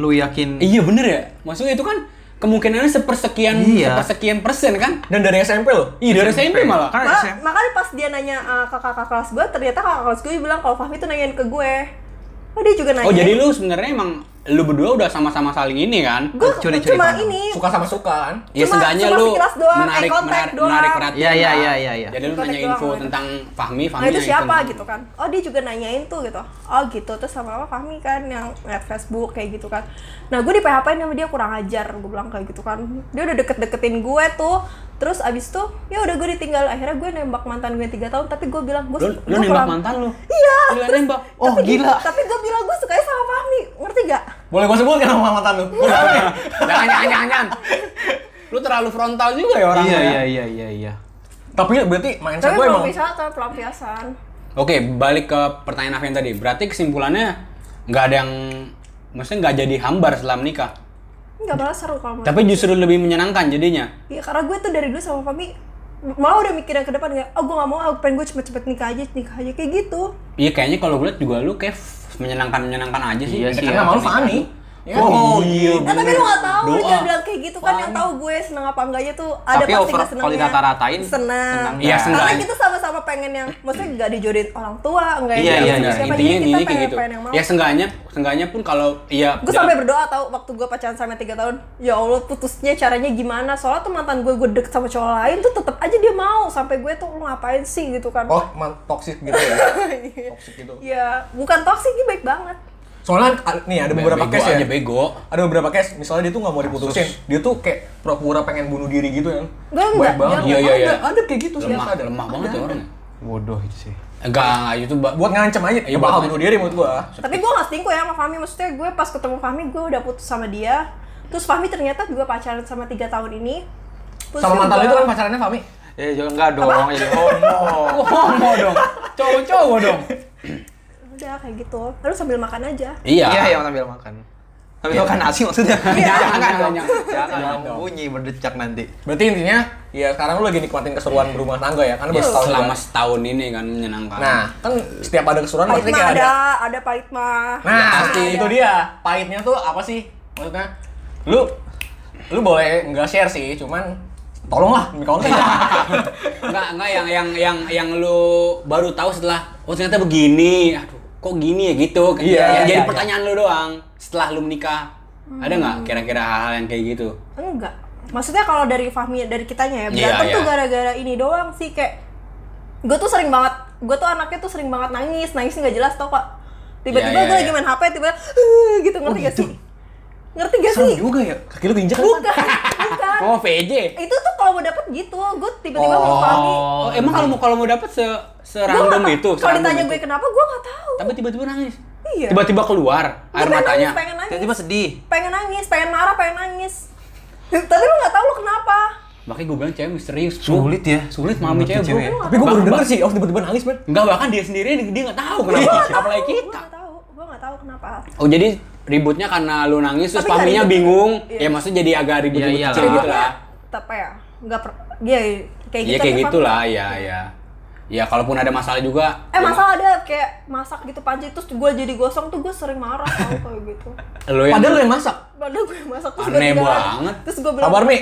Speaker 2: lu yakin
Speaker 3: Iya bener ya? Maksudnya itu kan kemungkinannya sepersekian
Speaker 2: Iya.
Speaker 3: sepersekian persen kan?
Speaker 1: dan dari SMP lo
Speaker 3: Iya dari SMP malah.
Speaker 2: Kan
Speaker 4: Malah-
Speaker 2: SMP.
Speaker 4: makanya pas dia nanya eh, ke kakak kelas gue ternyata kakak kelas gue bilang kalau Fahmi tuh nanyain ke gue oh dia juga nanya
Speaker 3: Oh jadi lu sebenarnya emang lu berdua udah sama-sama saling ini kan?
Speaker 4: gue
Speaker 2: Curi-curi
Speaker 4: cuma
Speaker 2: pandang.
Speaker 4: ini
Speaker 1: suka sama suka kan
Speaker 3: Ya
Speaker 4: Cuma-
Speaker 3: seenggaknya
Speaker 4: cuma
Speaker 3: lu
Speaker 4: sekilas doang, eye
Speaker 3: menarik,
Speaker 4: contact
Speaker 3: menarik,
Speaker 4: doang.
Speaker 3: menarik perhatian.
Speaker 2: Iya, iya,
Speaker 3: lah.
Speaker 2: iya, iya, iya.
Speaker 3: Jadi lu
Speaker 4: Eye contact
Speaker 3: nanya
Speaker 4: doang,
Speaker 3: info
Speaker 4: gitu.
Speaker 3: tentang Fahmi, Fahmi
Speaker 4: nah itu
Speaker 3: nanya
Speaker 4: siapa
Speaker 3: info
Speaker 4: gitu kan oh dia juga nanyain tuh gitu oh gitu terus sama apa Fahmi kan yang liat Facebook kayak gitu kan nah gue di PHP sama dia kurang ajar gue bilang kayak gitu kan dia udah deket-deketin gue tuh terus abis tuh ya udah gue ditinggal akhirnya gue nembak mantan gue tiga tahun tapi gue bilang gue
Speaker 3: Lu, lu
Speaker 4: gue
Speaker 3: nembak
Speaker 4: kurang-
Speaker 3: mantan lu?
Speaker 4: iya
Speaker 3: Gila,
Speaker 4: terus-
Speaker 3: nembak.
Speaker 4: tapi
Speaker 2: Oh,
Speaker 4: dia-
Speaker 2: gila.
Speaker 4: tapi gue bilang gue sukanya sama Fahmi ngerti gak
Speaker 1: boleh gue sebut kan sama mantan lu Gua tahu nih.
Speaker 3: jangan, jangan, jangan, jangan. Lu terlalu frontal juga ya orangnya.
Speaker 2: Iya, iya, iya, iya, iya.
Speaker 1: tapi berarti mindset
Speaker 4: tapi
Speaker 1: gue emang
Speaker 4: pelampiasan tapi pelampiasan
Speaker 3: Oke, balik ke pertanyaan Avian tadi. Berarti kesimpulannya nggak ada yang, maksudnya nggak jadi hambar setelah menikah.
Speaker 4: nggak malah seru kalau menurut
Speaker 3: Tapi justru lebih menyenangkan jadinya.
Speaker 4: Iya karena gue tuh dari dulu sama Fami malah udah mikirnya ke depan kayak oh gue gak mau aku pengen gue cepet-cepet nikah aja nikah aja kayak gitu
Speaker 3: Iya, kayaknya kalau gue liat juga lu kayak menyenangkan menyenangkan aja sih.
Speaker 2: Iya sih,
Speaker 1: karena malu Fani Ya kan?
Speaker 3: Oh iya.
Speaker 4: nah, tapi lu gak tau lu
Speaker 3: Doa.
Speaker 4: jangan bilang kayak gitu kan yang tahu gue seneng apa enggaknya tuh ada
Speaker 2: Tapi
Speaker 4: pasti
Speaker 2: over-
Speaker 4: gak senengnya
Speaker 2: kalau dirata-ratain,
Speaker 4: seneng
Speaker 2: seneng
Speaker 3: Iya, seneng.
Speaker 4: karena kita sama-sama pengen yang maksudnya gak dijodohin orang tua enggak
Speaker 3: Iya iya
Speaker 4: yang gitu.
Speaker 3: iya.
Speaker 4: siapa
Speaker 3: Intinya
Speaker 4: aja,
Speaker 3: intinya
Speaker 4: kita
Speaker 3: kayak
Speaker 4: pengen,
Speaker 3: gitu.
Speaker 4: pengen yang mau
Speaker 3: Ya seenggaknya seenggaknya pun kalau iya.
Speaker 4: gue
Speaker 3: jangan-
Speaker 4: sampai berdoa tau waktu gue pacaran sama tiga tahun ya allah putusnya caranya gimana soalnya tuh mantan gue gue deket sama cowok lain tuh tetep aja dia mau sampai gue tuh lu ngapain sih gitu kan
Speaker 1: oh man toksik gitu ya toksik gitu
Speaker 4: ya Iya. bukan toksik ini baik banget
Speaker 1: soalnya a- nih ada beberapa
Speaker 3: bego
Speaker 1: case ya
Speaker 3: aja bego.
Speaker 1: ada beberapa case misalnya dia tuh nggak mau diputusin dia tuh kayak pura-pura pengen bunuh diri gitu ya
Speaker 4: Gue
Speaker 1: Banyak
Speaker 4: enggak,
Speaker 1: banget
Speaker 4: dia
Speaker 3: Iya iya iya.
Speaker 1: Ada- ada kayak gitu sih
Speaker 3: lemah
Speaker 1: ada
Speaker 3: lemah banget ya orangnya.
Speaker 2: Bodoh itu sih.
Speaker 3: Enggak enggak itu ba-
Speaker 1: buat ngancem aja
Speaker 3: Iya,
Speaker 1: ya bakal
Speaker 3: buat
Speaker 1: bunuh diri menurut gua
Speaker 4: tapi gue gak selingkuh ya sama Fahmi maksudnya gue pas ketemu Fahmi gue udah putus sama dia terus Fahmi ternyata juga pacaran sama tiga tahun ini Putus
Speaker 1: sama mantan lu
Speaker 4: juga.
Speaker 1: itu kan pacarannya Fami
Speaker 2: Eh, jangan enggak dong, ya
Speaker 3: Oh, homo dong. Cowok-cowok dong.
Speaker 4: udah kayak gitu terus sambil makan aja
Speaker 3: Iya.
Speaker 2: Iya, yang sambil makan. Tapi makan nasi maksudnya. jangan,
Speaker 3: jangan,
Speaker 2: dong.
Speaker 3: jangan.
Speaker 2: jangan,
Speaker 1: Jangan dong.
Speaker 2: bunyi berdecak nanti.
Speaker 1: Berarti intinya ya sekarang lu lagi nikmatin keseruan berumah tangga ya kan
Speaker 3: Ya,
Speaker 4: Iya.
Speaker 1: baru setahun
Speaker 3: selama
Speaker 1: juga.
Speaker 3: setahun ini kan menyenangkan.
Speaker 1: Nah, kan setiap ada keseruan
Speaker 4: Pahit
Speaker 1: pasti
Speaker 4: mah
Speaker 1: kayak
Speaker 4: ada,
Speaker 1: ada.
Speaker 4: ada pahit mah.
Speaker 1: kan? Nah,
Speaker 3: pasti.
Speaker 1: itu dia. Pahitnya tuh apa sih? Maksudnya lu lu boleh nggak share sih, cuman tolonglah demi konten. Iya.
Speaker 3: Enggak, enggak yang yang yang yang lu baru tahu setelah oh ternyata begini. Aduh, kok gini ya gitu.
Speaker 1: Iya,
Speaker 3: Yang
Speaker 1: iya,
Speaker 3: jadi
Speaker 1: iya.
Speaker 3: pertanyaan lu doang setelah lu menikah. Ada nggak
Speaker 4: Hmm.
Speaker 3: kira-kira hal-hal yang kayak gitu?
Speaker 4: Enggak. Maksudnya kalau dari Fahmi dari kitanya ya,
Speaker 3: Iya,
Speaker 4: berantem tuh
Speaker 3: iya.
Speaker 4: gara-gara ini doang sih kayak gue tuh sering banget, gue tuh anaknya tuh sering banget nangis, nangis nggak jelas tau kok.
Speaker 3: Iya,
Speaker 4: Tiba-tiba
Speaker 3: iya,
Speaker 4: gue
Speaker 3: iya. Oh,
Speaker 4: lagi main HP, tiba "Huh," gitu ngerti gak sih? Ngerti gak sih?
Speaker 1: juga ya. Kaki lu injek
Speaker 4: Bukan, bukan.
Speaker 3: Oh, VJ.
Speaker 4: Itu tuh kalau mau dapet gitu, gue tiba-tiba mau Fahmi.
Speaker 3: Oh, emang kalau mau kalau mau dapat se
Speaker 4: Gua
Speaker 3: serandom
Speaker 4: nggak-
Speaker 3: itu,
Speaker 4: Kalau
Speaker 3: serandom
Speaker 4: ditanya
Speaker 3: itu.
Speaker 4: gue kenapa, gue nggak tahu.
Speaker 3: tapi tiba-tiba nangis.
Speaker 4: Iya.
Speaker 3: Tiba-tiba keluar
Speaker 4: Gue
Speaker 3: air
Speaker 4: pengen
Speaker 3: matanya.
Speaker 4: Nangis, pengen nangis,
Speaker 2: Tiba-tiba sedih.
Speaker 4: pengen nangis, pengen marah, pengen nangis. Tapi lu nggak tahu lu kenapa?
Speaker 3: Makanya gue bilang cewek misterius.
Speaker 2: Sulit ya.
Speaker 3: Sulit mami
Speaker 2: Ngerti
Speaker 3: cewek,
Speaker 2: cewek ya.
Speaker 3: bro.
Speaker 1: Tapi gua baru
Speaker 3: Bah-
Speaker 1: denger sih, oh tiba-tiba nangis, men.
Speaker 3: Enggak bahkan dia sendiri dia nggak tahu
Speaker 4: Iya.
Speaker 3: kenapa. Apalagi
Speaker 4: Gue
Speaker 3: kita.
Speaker 4: nggak tahu, gue nggak tahu kenapa.
Speaker 3: Oh jadi ributnya karena lu nangis terus
Speaker 4: Tapi nggak
Speaker 3: paminya
Speaker 4: ribut.
Speaker 3: bingung.
Speaker 4: Iya.
Speaker 3: Ya maksudnya jadi agak ribut-ribut
Speaker 2: Iya, iyalah.
Speaker 3: kecil gitu lah.
Speaker 4: Tapi ya, nggak per, dia kayak
Speaker 3: Iya
Speaker 4: gitu.
Speaker 3: kayak
Speaker 4: tapi
Speaker 3: gitulah
Speaker 4: Fahmi-
Speaker 3: ya ya. Ya kalaupun ada masalah juga. ya
Speaker 4: Eh masalah ada kayak masak gitu panci terus gue jadi gosong tuh gue sering marah tau kayak gitu.
Speaker 3: Lu
Speaker 1: Iya.
Speaker 3: yang
Speaker 1: Padahal lu yang masak.
Speaker 4: Padahal gue masak terus
Speaker 3: Aneh
Speaker 4: gua tinggal-
Speaker 3: banget.
Speaker 4: Terus gue bilang
Speaker 1: Kabar Mi.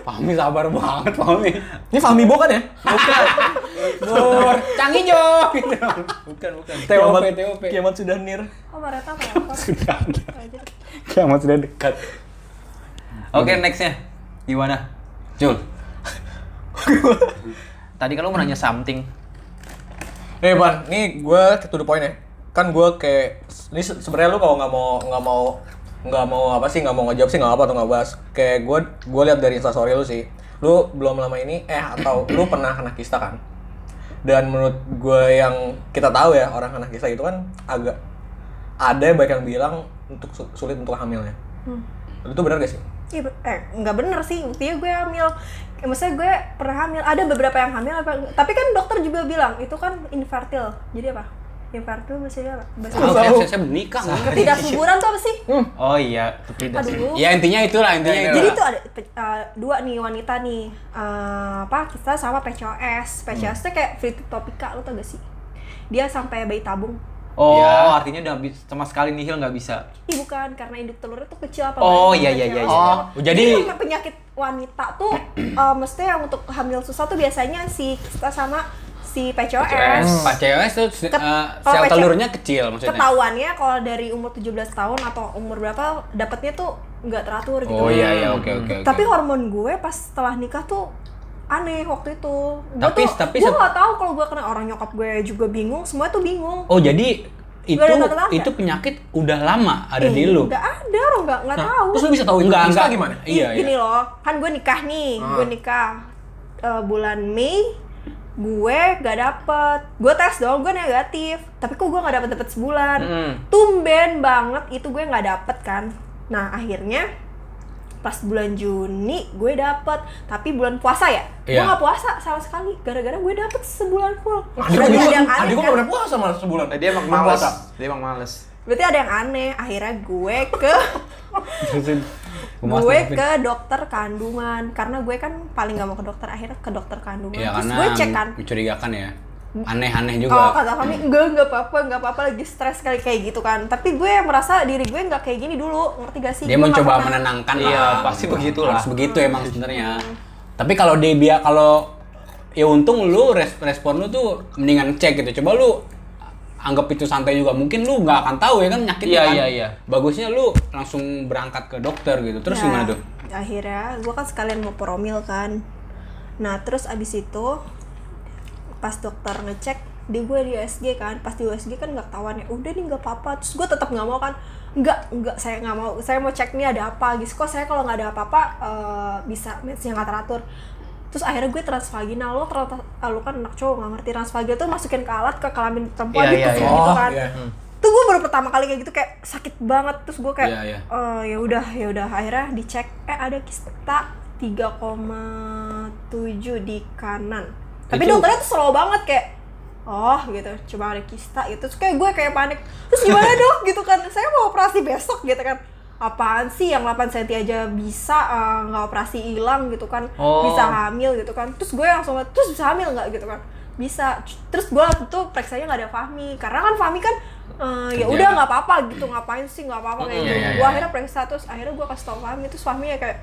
Speaker 3: Pami sabar banget Pami.
Speaker 1: Ini Fahmi Bo kan ya?
Speaker 3: Bur, cang hijau gitu.
Speaker 2: Bukan, bukan.
Speaker 3: TOP
Speaker 1: Kiamat-
Speaker 3: TOP.
Speaker 1: Kiamat sudah nir.
Speaker 4: Oh Mareta Nah, kenapa?
Speaker 3: Sudah ada. Kiamat sudah dekat.
Speaker 2: Oke, nextnya. Gimana?
Speaker 3: Jul.
Speaker 2: Tadi kan lu mau nanya something.
Speaker 1: Eh Ban, ini gue to the point ya. Kan gue kayak ini se- sebenarnya lu kalau nggak mau nggak mau nggak mau apa sih nggak mau ngejawab sih nggak apa atau nggak bahas. Kayak gue gue lihat dari instastory lu sih. Lu belum lama ini eh atau lu pernah kena kista kan? Dan menurut gue yang kita tahu ya orang kena kista itu kan agak ada yang banyak yang bilang untuk su- sulit untuk hamilnya. Itu benar gak sih?
Speaker 4: Iya, be- eh nggak bener sih buktinya gue hamil Eh, maksudnya gue pernah hamil ada beberapa yang hamil apa tapi kan dokter juga bilang itu kan infertil jadi apa infertil maksudnya apa Bahasa-
Speaker 3: Oh, saya, saya, saya menikah. nggak?
Speaker 4: ketidaksuburan tuh apa sih
Speaker 2: Oh iya, tidak sih.
Speaker 4: aduh
Speaker 3: Ya intinya itulah intinya.
Speaker 1: Ya,
Speaker 4: jadi
Speaker 3: itulah.
Speaker 4: tuh ada pe- eh, dua nih wanita nih Eh, apa kita sama PCOS PCOS
Speaker 3: Hmm.
Speaker 4: tuh kayak frigid topika lo tau gak sih dia sampai bayi tabung
Speaker 2: Oh,
Speaker 3: Ya.
Speaker 2: artinya udah bi- sama sekali nihil nggak bisa.
Speaker 4: Ih bukan, karena induk telurnya tuh kecil apa
Speaker 2: Oh,
Speaker 4: bayi
Speaker 2: iya,
Speaker 4: kecil.
Speaker 2: iya, iya, iya.
Speaker 3: Oh, jadi-
Speaker 4: emang penyakit wanita tuh eh, mestinya yang untuk hamil susah tuh biasanya si kita sama si PCOS.
Speaker 3: PCOS, PCOS tuh eh, sel
Speaker 4: Ket- kalau PCOS
Speaker 3: telurnya kecil maksudnya.
Speaker 4: Ketahuannya kalau dari umur 17 tahun atau umur berapa dapatnya tuh nggak teratur gitu.
Speaker 3: Oh iya iya oke oke oke.
Speaker 4: Tapi hormon gue pas setelah nikah tuh aneh waktu itu. Gue
Speaker 3: Tapi-
Speaker 4: tuh,
Speaker 3: tapi
Speaker 4: gue
Speaker 3: se-
Speaker 4: nggak tahu kalau gue kena orang nyokap gue juga bingung, semua tuh bingung.
Speaker 3: Oh jadi itu
Speaker 4: Gak ada tanda-tanda.
Speaker 3: itu penyakit udah lama ada di lu.
Speaker 4: Nggak ada, orang nggak nggak tahu.
Speaker 1: Terus lu bisa tahu
Speaker 3: Enggak,
Speaker 1: kista
Speaker 3: enggak.
Speaker 1: gimana? Ah.
Speaker 3: Iya,
Speaker 4: gini
Speaker 3: iya.
Speaker 4: loh kan gue nikah nih gue nikah Eh, bulan Mei gue gak dapet gue tes dong gue negatif tapi kok gue gak dapet dapet sebulan tumben banget itu gue gak dapet kan nah akhirnya pas bulan Juni gue dapet tapi bulan puasa ya gue
Speaker 3: Iya.
Speaker 4: gak puasa sama sekali gara-gara gue dapet sebulan full
Speaker 1: Adik
Speaker 4: Berarti
Speaker 1: gue
Speaker 4: ada yang
Speaker 1: juga,
Speaker 4: aneh
Speaker 1: adik gue
Speaker 4: kan?
Speaker 1: nggak pernah puasa malah sebulan.
Speaker 2: Eh, Dia emang
Speaker 1: Belum
Speaker 2: males. Iya.
Speaker 1: puasa.
Speaker 2: Dia emang males.
Speaker 4: berarti ada yang aneh akhirnya gue ke
Speaker 3: Terusin. Gua
Speaker 4: gue
Speaker 3: masukin.
Speaker 4: ke dokter kandungan karena gue kan paling gak mau ke dokter akhirnya ke dokter kandungan
Speaker 3: Iya
Speaker 4: terus
Speaker 3: karena
Speaker 4: gue cek kan
Speaker 3: mencurigakan ya. Aneh-aneh
Speaker 4: kalau
Speaker 3: juga.
Speaker 4: kata kami enggak enggak apa-apa enggak apa-apa lagi stres kali kayak gitu kan tapi gue merasa diri gue nggak kayak gini dulu ngerti gak sih
Speaker 3: Dia
Speaker 4: Gue
Speaker 3: mencoba
Speaker 4: nggak pernah-
Speaker 3: menenangkan
Speaker 2: Iya,
Speaker 3: lah.
Speaker 2: pasti begitulah.
Speaker 3: Harus begitu
Speaker 4: Hmm.
Speaker 3: emang sebenarnya. Tapi kalau dia biar kalau ya untung lu res- respon lu tuh mendingan cek gitu. Coba lu anggap itu santai juga mungkin lu nggak akan tahu ya kan penyakitnya
Speaker 2: Iya,
Speaker 3: kan.
Speaker 2: iya, iya.
Speaker 3: Bagusnya lu langsung berangkat ke dokter gitu. Terus
Speaker 4: Ya,
Speaker 3: gimana tuh?
Speaker 4: akhirnya gue kan sekalian mau promil kan nah terus abis itu pas dokter ngecek di gue di USG kan pas di USG kan nggak ketahuan ya udah nih nggak apa-apa terus gue tetap nggak mau kan nggak nggak saya nggak mau saya mau cek nih ada apa gitu kok saya kalau nggak ada apa-apa eh, bisa mensnya nggak teratur terus akhirnya gue transvaginal lo ternyata ah, lo kan anak cowok nggak ngerti transvaginal tuh masukin ke alat ke kelamin perempuan
Speaker 2: Iya,
Speaker 4: gitu
Speaker 2: iya, iya.
Speaker 4: gitu
Speaker 1: Oh,
Speaker 4: kan
Speaker 1: iya.
Speaker 4: tuh gue baru pertama kali kayak gitu kayak sakit banget terus gue kayak
Speaker 3: Iya, iya.
Speaker 4: "Eh, ya udah ya udah akhirnya dicek eh ada kista 3,7 di kanan tapi
Speaker 3: Itu-
Speaker 4: dokternya tuh slow banget kayak oh gitu cuma ada kista gitu terus kayak gue kayak panik terus gimana dok gitu kan saya mau operasi besok gitu kan apaan sih yang 8 cm aja bisa eh, nggak operasi hilang gitu kan
Speaker 2: Oh.
Speaker 4: bisa hamil gitu kan terus gue langsung terus bisa hamil nggak gitu kan bisa terus gue waktu itu periksanya nggak ada Fahmi karena kan Fahmi kan eh, ya
Speaker 2: Kerja.
Speaker 4: udah nggak apa-apa gitu ngapain sih nggak apa-apa kayak
Speaker 2: Mm,
Speaker 4: gitu
Speaker 2: iya, iya,
Speaker 4: gue
Speaker 2: iya.
Speaker 4: akhirnya periksa terus akhirnya gue kasih tau Fahmi terus Fahmi ya kayak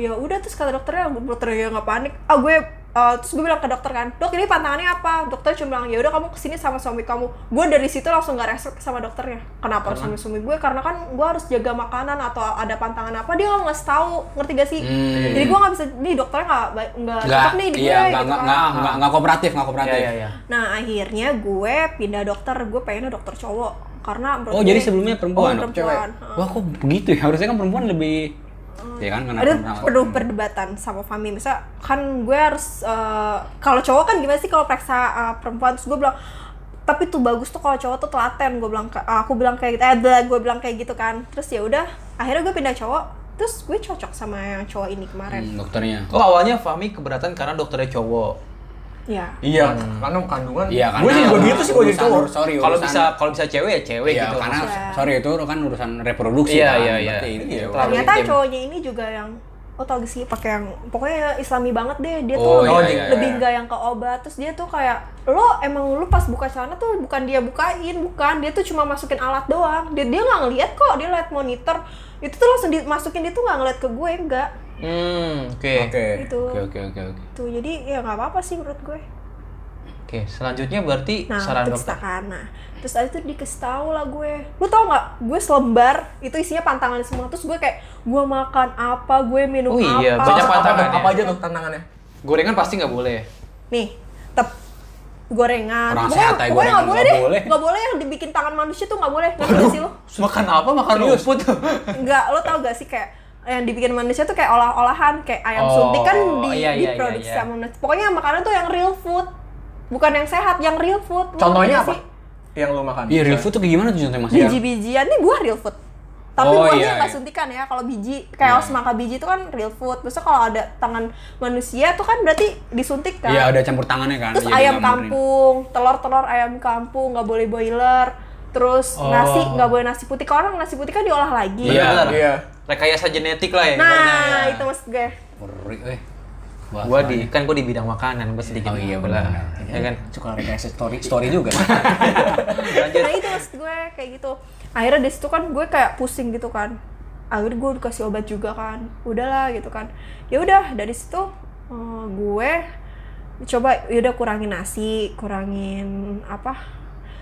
Speaker 4: ya udah terus kata dokternya dokternya nggak panik ah gue eh, terus gue bilang ke dokter kan dok ini pantangannya apa dokter cuma bilang ya udah kamu kesini sama suami kamu gue dari situ langsung nggak respect sama dokternya kenapa harus sama suami gue karena kan gue harus jaga makanan atau ada pantangan apa dia nggak mau ngasih tahu ngerti gak sih
Speaker 3: Hmm.
Speaker 4: jadi gue nggak bisa nih dokternya nggak ba- nggak
Speaker 3: Nggak,
Speaker 4: cocok nih di
Speaker 3: iya,
Speaker 4: gue
Speaker 3: nggak,
Speaker 4: gitu
Speaker 3: nggak,
Speaker 4: kan.
Speaker 3: nggak, nggak, nggak kooperatif, nggak kooperatif.
Speaker 2: Iya, iya, iya.
Speaker 4: Nah akhirnya gue pindah dokter, gue pengennya dokter cowok karena menurut
Speaker 3: Oh,
Speaker 4: gue-
Speaker 3: jadi sebelumnya perempuan?
Speaker 4: Oh, perempuan. Oh. Heeh.
Speaker 3: Wah, kok begitu ya? Harusnya kan perempuan lebih... Ya kan, karena
Speaker 4: Ada
Speaker 3: pernah-
Speaker 4: perlu perdebatan sama Fami. Misal kan gue harus eh, kalau cowok kan gimana sih kalau periksa eh, perempuan terus gue bilang tapi tuh bagus tuh kalau cowok tuh telaten gue bilang ke- aku bilang kayak gitu eh blah, gue bilang kayak gitu kan terus ya udah akhirnya gue pindah cowok terus gue cocok sama yang cowok ini kemarin
Speaker 3: Hmm, dokternya.
Speaker 2: Oh awalnya Fahmi keberatan karena dokternya cowok.
Speaker 4: ya
Speaker 1: Iya, karena kandungan.
Speaker 3: Iya,
Speaker 1: Gue sih gue gitu sih gue jadi
Speaker 3: urusan-
Speaker 1: cowok.
Speaker 3: Sorry,
Speaker 2: Kalau
Speaker 3: urusan-
Speaker 2: bisa kalau bisa cewek ya cewek
Speaker 3: Iya,
Speaker 2: gitu.
Speaker 3: karena
Speaker 4: Iya.
Speaker 3: sorry itu kan urusan reproduksi
Speaker 2: Iya,
Speaker 3: kan.
Speaker 2: iya, iya.
Speaker 3: Berarti itu
Speaker 2: Iya.
Speaker 3: ya.
Speaker 2: Terlalu
Speaker 4: ternyata
Speaker 2: intim.
Speaker 4: cowoknya ini juga yang oh tau gak sih pakai yang pokoknya islami banget deh dia
Speaker 3: Oh,
Speaker 4: tuh
Speaker 1: iya,
Speaker 4: lebih-
Speaker 1: iya,
Speaker 4: lebih
Speaker 3: iya.
Speaker 4: nggak yang ke obat terus dia tuh kayak lo emang lu pas buka celana tuh bukan dia bukain bukan dia tuh cuma masukin alat doang dia dia nggak ngeliat kok dia liat monitor itu tuh langsung dimasukin dia tuh nggak ngeliat ke gue enggak
Speaker 2: Hmm, oke.
Speaker 1: Oke.
Speaker 4: gitu
Speaker 3: Oke, oke, oke, oke.
Speaker 4: tuh jadi ya nggak apa apa sih menurut gue
Speaker 2: Oke, selanjutnya berarti
Speaker 4: nah
Speaker 2: saran
Speaker 4: terus
Speaker 2: dokter.
Speaker 4: kan nah terus abis itu dikasih tau lah gue lu tau nggak gue selembar itu isinya pantangan semua terus gue kayak gue makan apa gue minum
Speaker 2: Oh iya,
Speaker 4: apa
Speaker 2: banyak
Speaker 1: Apa-
Speaker 2: pantangannya.
Speaker 4: ya.
Speaker 1: Apa aja tuh tantangannya?
Speaker 2: Gorengan pasti nggak boleh.
Speaker 4: nih tep gorengan
Speaker 3: Orang
Speaker 4: pokoknya
Speaker 3: sehat aja
Speaker 4: pokoknya
Speaker 3: gorengan,
Speaker 4: nggak boleh
Speaker 3: nggak
Speaker 4: deh
Speaker 3: boleh.
Speaker 4: nggak boleh yang dibikin tangan manusia tuh nggak boleh ngerti nggak sih lo
Speaker 2: Makan apa? Makan rumput.
Speaker 4: nggak lo tau gak sih kayak yang dibikin manusia tuh kayak olah-olahan kayak ayam
Speaker 2: Oh,
Speaker 4: suntik kan di
Speaker 2: iya, iya, iya,
Speaker 4: diproduksi
Speaker 2: iya.
Speaker 4: sama manusia pokoknya makanan tuh yang real food bukan yang sehat yang real food Lo
Speaker 1: Contohnya
Speaker 4: ngerti
Speaker 1: apa?
Speaker 4: nggak
Speaker 1: Yang lo makan.
Speaker 3: Iya, real food tuh kayak gimana tuh contohnya Mas? Iya.
Speaker 4: sih? biji-bijian ini buah real food tapi
Speaker 3: Oh,
Speaker 4: buahnya
Speaker 3: iya,
Speaker 4: nggak
Speaker 3: iya.
Speaker 4: suntikan ya kalau biji kayak semangka biji itu kan real food terus kalau ada tangan manusia tuh kan berarti disuntik kan
Speaker 3: Iya, ada campur tangannya kan.
Speaker 4: Terus
Speaker 3: jadi nggak
Speaker 4: ayam
Speaker 3: murni.
Speaker 4: kampung, telur-telur ayam kampung nggak boleh boiler. Terus
Speaker 2: Oh.
Speaker 4: nasi nggak boleh nasi putih. Kalau orang nasi putih kan diolah lagi.
Speaker 3: Iya.
Speaker 2: Benar.
Speaker 1: Iya.
Speaker 2: Rekayasa genetik lah ya. ibaratnya ya.
Speaker 4: Nah, itu maksud gue.
Speaker 3: Ngeri, eh. Wah,
Speaker 2: Gua di kan gua di bidang makanan, gua sedikit.
Speaker 3: Oh iya,
Speaker 2: tahu lah.
Speaker 3: benar.
Speaker 2: Ya kan.
Speaker 3: suka kayak story story juga.
Speaker 2: Lanjut.
Speaker 4: Nah, itu maksud gue kayak gitu. Akhirnya dari situ kan gue kayak pusing gitu kan. Akhirnya gue dikasih obat juga kan. Udahlah gitu kan. Ya udah dari situ eh, gue coba ya udah kurangin nasi, kurangin apa?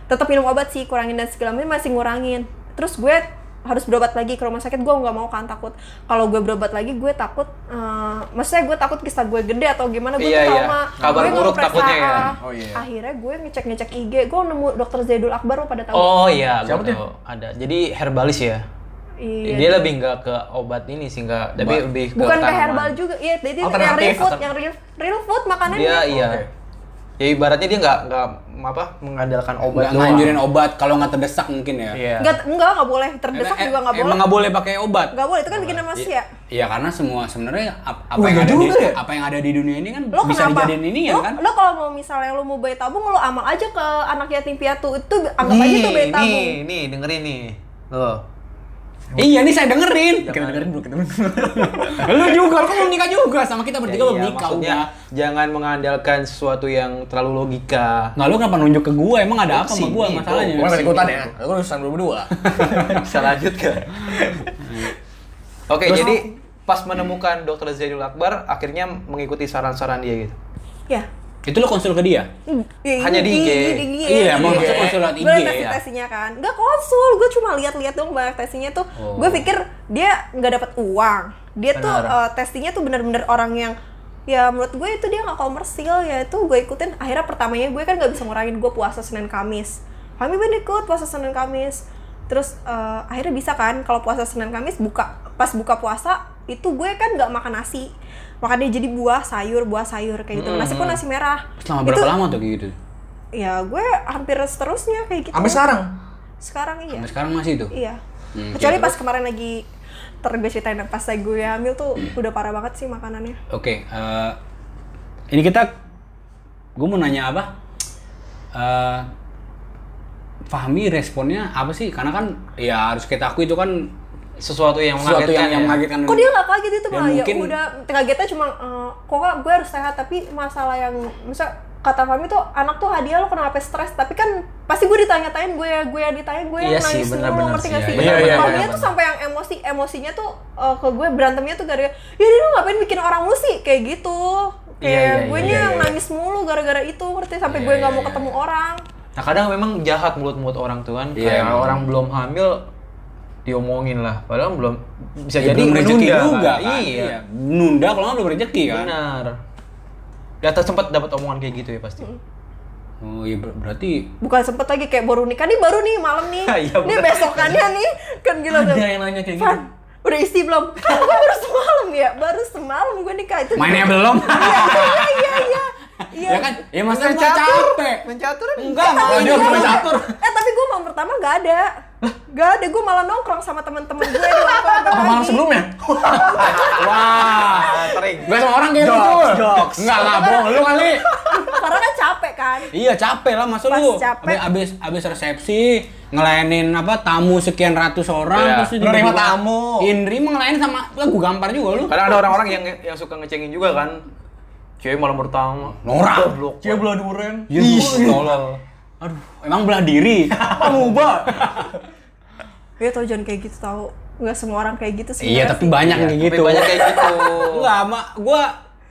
Speaker 4: Tetap minum obat sih, kurangin dan segala macam masih ngurangin. Terus gue harus berobat lagi ke rumah sakit gue nggak mau kan takut kalau gue berobat lagi gue takut eh, maksudnya gue takut kisah gue gede atau gimana gue
Speaker 2: Iya, iya.
Speaker 4: tuh trauma
Speaker 2: Kabar
Speaker 4: Gue nggak
Speaker 2: buruk
Speaker 4: mau periksa,
Speaker 2: takutnya ya.
Speaker 4: ah.
Speaker 1: Oh, iya.
Speaker 4: akhirnya gue ngecek ngecek IG gue nemu dokter Zaidul Akbar lo pada tahu
Speaker 2: Oh iya,
Speaker 1: Siapa
Speaker 2: gua
Speaker 1: tuh?
Speaker 2: tahu. Ada. Jadi herbalis ya.
Speaker 4: iya
Speaker 2: Dia lebih nggak ke obat ini sih nggak, tapi
Speaker 1: Obat.
Speaker 2: lebih ke
Speaker 4: bukan ke
Speaker 2: tanaman.
Speaker 4: herbal juga iya jadi yang
Speaker 1: Alternatif.
Speaker 4: real food yang real real food makanan
Speaker 2: Dia
Speaker 4: dia
Speaker 2: iya.
Speaker 1: Oke.
Speaker 2: Ya ibaratnya dia nggak nggak apa mengandalkan obat
Speaker 3: Nggak
Speaker 2: doang.
Speaker 3: nganjurin obat kalau nggak terdesak mungkin ya.
Speaker 2: Iya.
Speaker 4: nggak enggak nggak boleh
Speaker 3: Emang-
Speaker 4: terdesak
Speaker 3: eh,
Speaker 4: juga nggak
Speaker 3: Emang
Speaker 4: boleh
Speaker 3: nggak boleh pakai obat.
Speaker 4: nggak boleh itu kan bikin manusia
Speaker 3: Iya karena semua sebenarnya ap- apa
Speaker 1: Wih,
Speaker 3: yang
Speaker 1: nggak
Speaker 3: ada di
Speaker 1: juga ya?
Speaker 3: apa yang ada di dunia ini kan
Speaker 4: lo
Speaker 3: bisa
Speaker 4: kenapa
Speaker 3: dijadiin ini ya
Speaker 4: lo,
Speaker 3: kan?
Speaker 4: lo kalau mau misalnya lo mau bayi tabung lo amal aja ke anak yatim piatu itu anggap aja itu bayi
Speaker 2: nih,
Speaker 4: tabung
Speaker 2: nih, dengerin nih. Tuh.
Speaker 3: Iya nih saya dengerin.
Speaker 1: Kita dengerin dulu, kita dengerin.
Speaker 3: lu juga, lu kan belum nikah juga sama kita
Speaker 2: Ya,
Speaker 3: bertiga belum
Speaker 2: iya,
Speaker 3: nikah
Speaker 2: maksudnya
Speaker 3: udah.
Speaker 2: jangan mengandalkan sesuatu yang terlalu logika.
Speaker 3: Nggak lu kenapa nunjuk ke gua? Emang ada apa sama
Speaker 2: Sini,
Speaker 3: gua
Speaker 2: tuh.
Speaker 3: masalahnya?
Speaker 1: Gue nggak ikutan ya. Gue urusan berdua.
Speaker 2: Bisa lanjut gak? Oke,
Speaker 3: Terus-
Speaker 2: jadi pas menemukan Dokter Zainul Akbar akhirnya mengikuti saran-saran dia gitu.
Speaker 4: ya
Speaker 3: Itu lu konsul ke dia?
Speaker 4: Hmm, iya,
Speaker 2: Hanya di
Speaker 4: iya,
Speaker 2: IG.
Speaker 4: iya, di IG.
Speaker 3: Iya, mau
Speaker 4: Iya.
Speaker 3: masuk konsul lewat
Speaker 4: Gue
Speaker 3: IG,
Speaker 4: liat
Speaker 3: ya.
Speaker 4: tesi-tesinya kan. Enggak konsul, gue cuma lihat-lihat dong banyak tesinya tuh.
Speaker 3: Oh.
Speaker 4: Gue pikir dia nggak dapat uang. Dia tuh
Speaker 2: Benar.
Speaker 4: eh, testinya tuh bener-bener orang yang ya menurut gue itu dia nggak komersil ya itu gue ikutin akhirnya pertamanya gue kan nggak bisa ngurangin gue puasa Senin Kamis kami pun ikut puasa Senin Kamis terus eh, akhirnya bisa kan kalau puasa Senin Kamis buka pas buka puasa itu gue kan nggak makan nasi makannya jadi buah sayur buah sayur kayak gitu
Speaker 3: Hmm.
Speaker 4: nasi pun nasi merah
Speaker 3: Selama berapa lama tuh kayak gitu?
Speaker 4: ya gue hampir seterusnya kayak gitu
Speaker 1: Sampai sekarang.
Speaker 4: sekarang iya
Speaker 3: Sampai sekarang masih itu?
Speaker 4: iya
Speaker 3: Hmm,
Speaker 4: kecuali pas kemarin lagi ntar gue ceritain yang pas gue hamil tuh udah parah banget sih makanannya
Speaker 3: Oke, eh, ini kita, gue mau nanya apa? Eh, Fahmi responnya apa sih? Karena kan ya harus kita akui itu kan
Speaker 2: sesuatu yang
Speaker 3: sesuatu yang,
Speaker 2: mengagetkan. ya.
Speaker 3: yang mengagetkan
Speaker 4: Kok dia nggak kaget itu
Speaker 3: Ya,
Speaker 4: malah ya
Speaker 3: mungkin-
Speaker 4: udah kagetnya cuma eh, kok nggak, gue harus sehat tapi masalah yang misal kata Fami tuh anak tuh hadiah lo kenapa stres tapi kan pasti gue ditanya-tanyain gue ya gue yang ditanya gue yang
Speaker 2: Iya sih,
Speaker 4: nangis mulu
Speaker 2: benar-benar
Speaker 4: ngerti
Speaker 2: sih,
Speaker 4: gak
Speaker 2: iya,
Speaker 4: sih?
Speaker 1: iya, iya,
Speaker 4: Kalau
Speaker 1: iya,
Speaker 4: dia tuh sampai yang emosi emosinya tuh eh, ke gue berantemnya tuh gara-gara ya dia lu ngapain bikin orang musik kayak gitu kayak
Speaker 2: Iya, iya,
Speaker 4: gue
Speaker 2: iya,
Speaker 4: nya
Speaker 2: iya,
Speaker 4: yang
Speaker 2: iya.
Speaker 4: nangis mulu gara-gara itu ngerti sampai
Speaker 3: Iya,
Speaker 4: gue nggak
Speaker 3: iya,
Speaker 4: mau
Speaker 3: iya.
Speaker 4: ketemu orang
Speaker 2: Nah kadang memang jahat mulut-mulut orang tuh kan.
Speaker 3: Iya,
Speaker 2: Kayak
Speaker 3: emang.
Speaker 2: orang belum hamil diomongin lah. Padahal belum bisa
Speaker 3: Ya,
Speaker 2: jadi
Speaker 3: belum rezeki
Speaker 2: menunda
Speaker 3: juga
Speaker 2: kan.
Speaker 3: kan.
Speaker 2: Iya.
Speaker 3: Nunda kalau nggak belum rezeki kan.
Speaker 2: Benar. Data sempat dapat omongan kayak gitu ya pasti.
Speaker 3: Oh iya ber- berarti
Speaker 4: bukan sempet lagi kayak baru nikah nih baru nih malam nih
Speaker 2: Iya,
Speaker 4: nih
Speaker 2: bener.
Speaker 4: besokannya nih kan gila tuh.
Speaker 1: Ada yang nanya kayak gitu.
Speaker 4: Van, udah isi belum? Kan gue baru semalam ya, baru semalam gue nikah itu.
Speaker 3: mainnya belum.
Speaker 4: Iya iya iya. Iya.
Speaker 3: ya kan? Ya maksudnya gua capek.
Speaker 2: Mencatur
Speaker 3: Enggak, malah
Speaker 4: Tapi
Speaker 3: dia
Speaker 4: gua-
Speaker 3: mau catur.
Speaker 4: Eh tapi gue malam pertama gak ada. Gak ada, gue malah nongkrong sama teman-teman gue di waktu
Speaker 3: Oh,
Speaker 4: sampai
Speaker 3: malam
Speaker 4: pagi.
Speaker 3: sebelumnya. Wah. Gak semua orang kayak gitu.
Speaker 1: Jokes, jokes.
Speaker 3: Enggak lah, bohong lu kali.
Speaker 4: Karena kan capek kan.
Speaker 3: Iya capek lah masa
Speaker 4: Pas
Speaker 3: lu
Speaker 4: capek.
Speaker 3: abis, abis, abis resepsi ngelayanin apa tamu sekian ratus orang
Speaker 2: Iya.
Speaker 3: terus
Speaker 1: Lu nerima
Speaker 3: tiba-tiba-
Speaker 1: tamu.
Speaker 3: Iya, nerima ngelayanin sama lah gua gampar juga lu.
Speaker 2: Kadang ada orang-orang yang yang suka ngecengin juga kan. Cewek malam pertama.
Speaker 3: Norak.
Speaker 2: Goblok.
Speaker 1: Dia belah duren.
Speaker 3: Ih,
Speaker 2: tolol.
Speaker 3: Aduh, emang belah diri.
Speaker 1: Pamubak.
Speaker 4: Iya tau jangan kayak gitu tau. Gak semua orang kayak gitu sih.
Speaker 3: iya, tapi banyak yang kayak
Speaker 2: Tapi
Speaker 3: gitu.
Speaker 2: banyak kayak gitu.
Speaker 3: Enggak, mak gua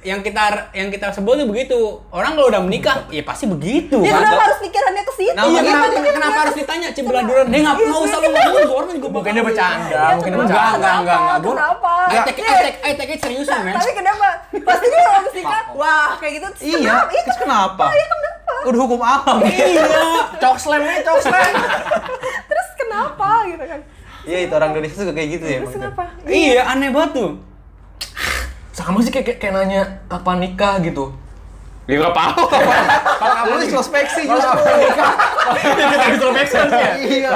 Speaker 3: yang kita yang kita sebut tuh begitu. Orang kalau udah menikah, ya pasti begitu.
Speaker 4: Ya
Speaker 3: kan?
Speaker 4: kenapa harus pikirannya ke situ?
Speaker 3: Nah, iya, kenapa,
Speaker 4: Gitu,
Speaker 3: kenapa,
Speaker 4: gitu.
Speaker 3: harus ditanya cebelah durian? Dia "Eh, nggak nggak usah lu ngomong keluar juga
Speaker 1: Mungkin dia bercanda,
Speaker 4: Iya,
Speaker 1: mungkin dia
Speaker 4: kenapa?
Speaker 1: bercanda.
Speaker 3: Enggak, enggak, enggak, enggak. Gua-
Speaker 4: Kenapa?
Speaker 3: I take it, I take, I take it seriusan, men.
Speaker 4: Tapi kenapa? Pastinya kalau habis nikah, wah kayak gitu. terus
Speaker 2: Iya,
Speaker 4: kenapa? Iya,
Speaker 2: terus kenapa? Udah hukum alam.
Speaker 3: Iya, cok slam aja, cok slam.
Speaker 4: Terus kenapa gitu kan?
Speaker 2: Iya, itu orang Indonesia suka kayak gitu ya.
Speaker 4: Terus
Speaker 2: Bang.
Speaker 4: kenapa?
Speaker 3: Iya, aneh banget tuh.
Speaker 1: Sama sih kayak, kayak, kayak nanya kapan nikah gitu.
Speaker 2: Ya enggak apa-apa. Lu introspeksi justru.
Speaker 1: Kita introspeksi ya.
Speaker 2: Iya.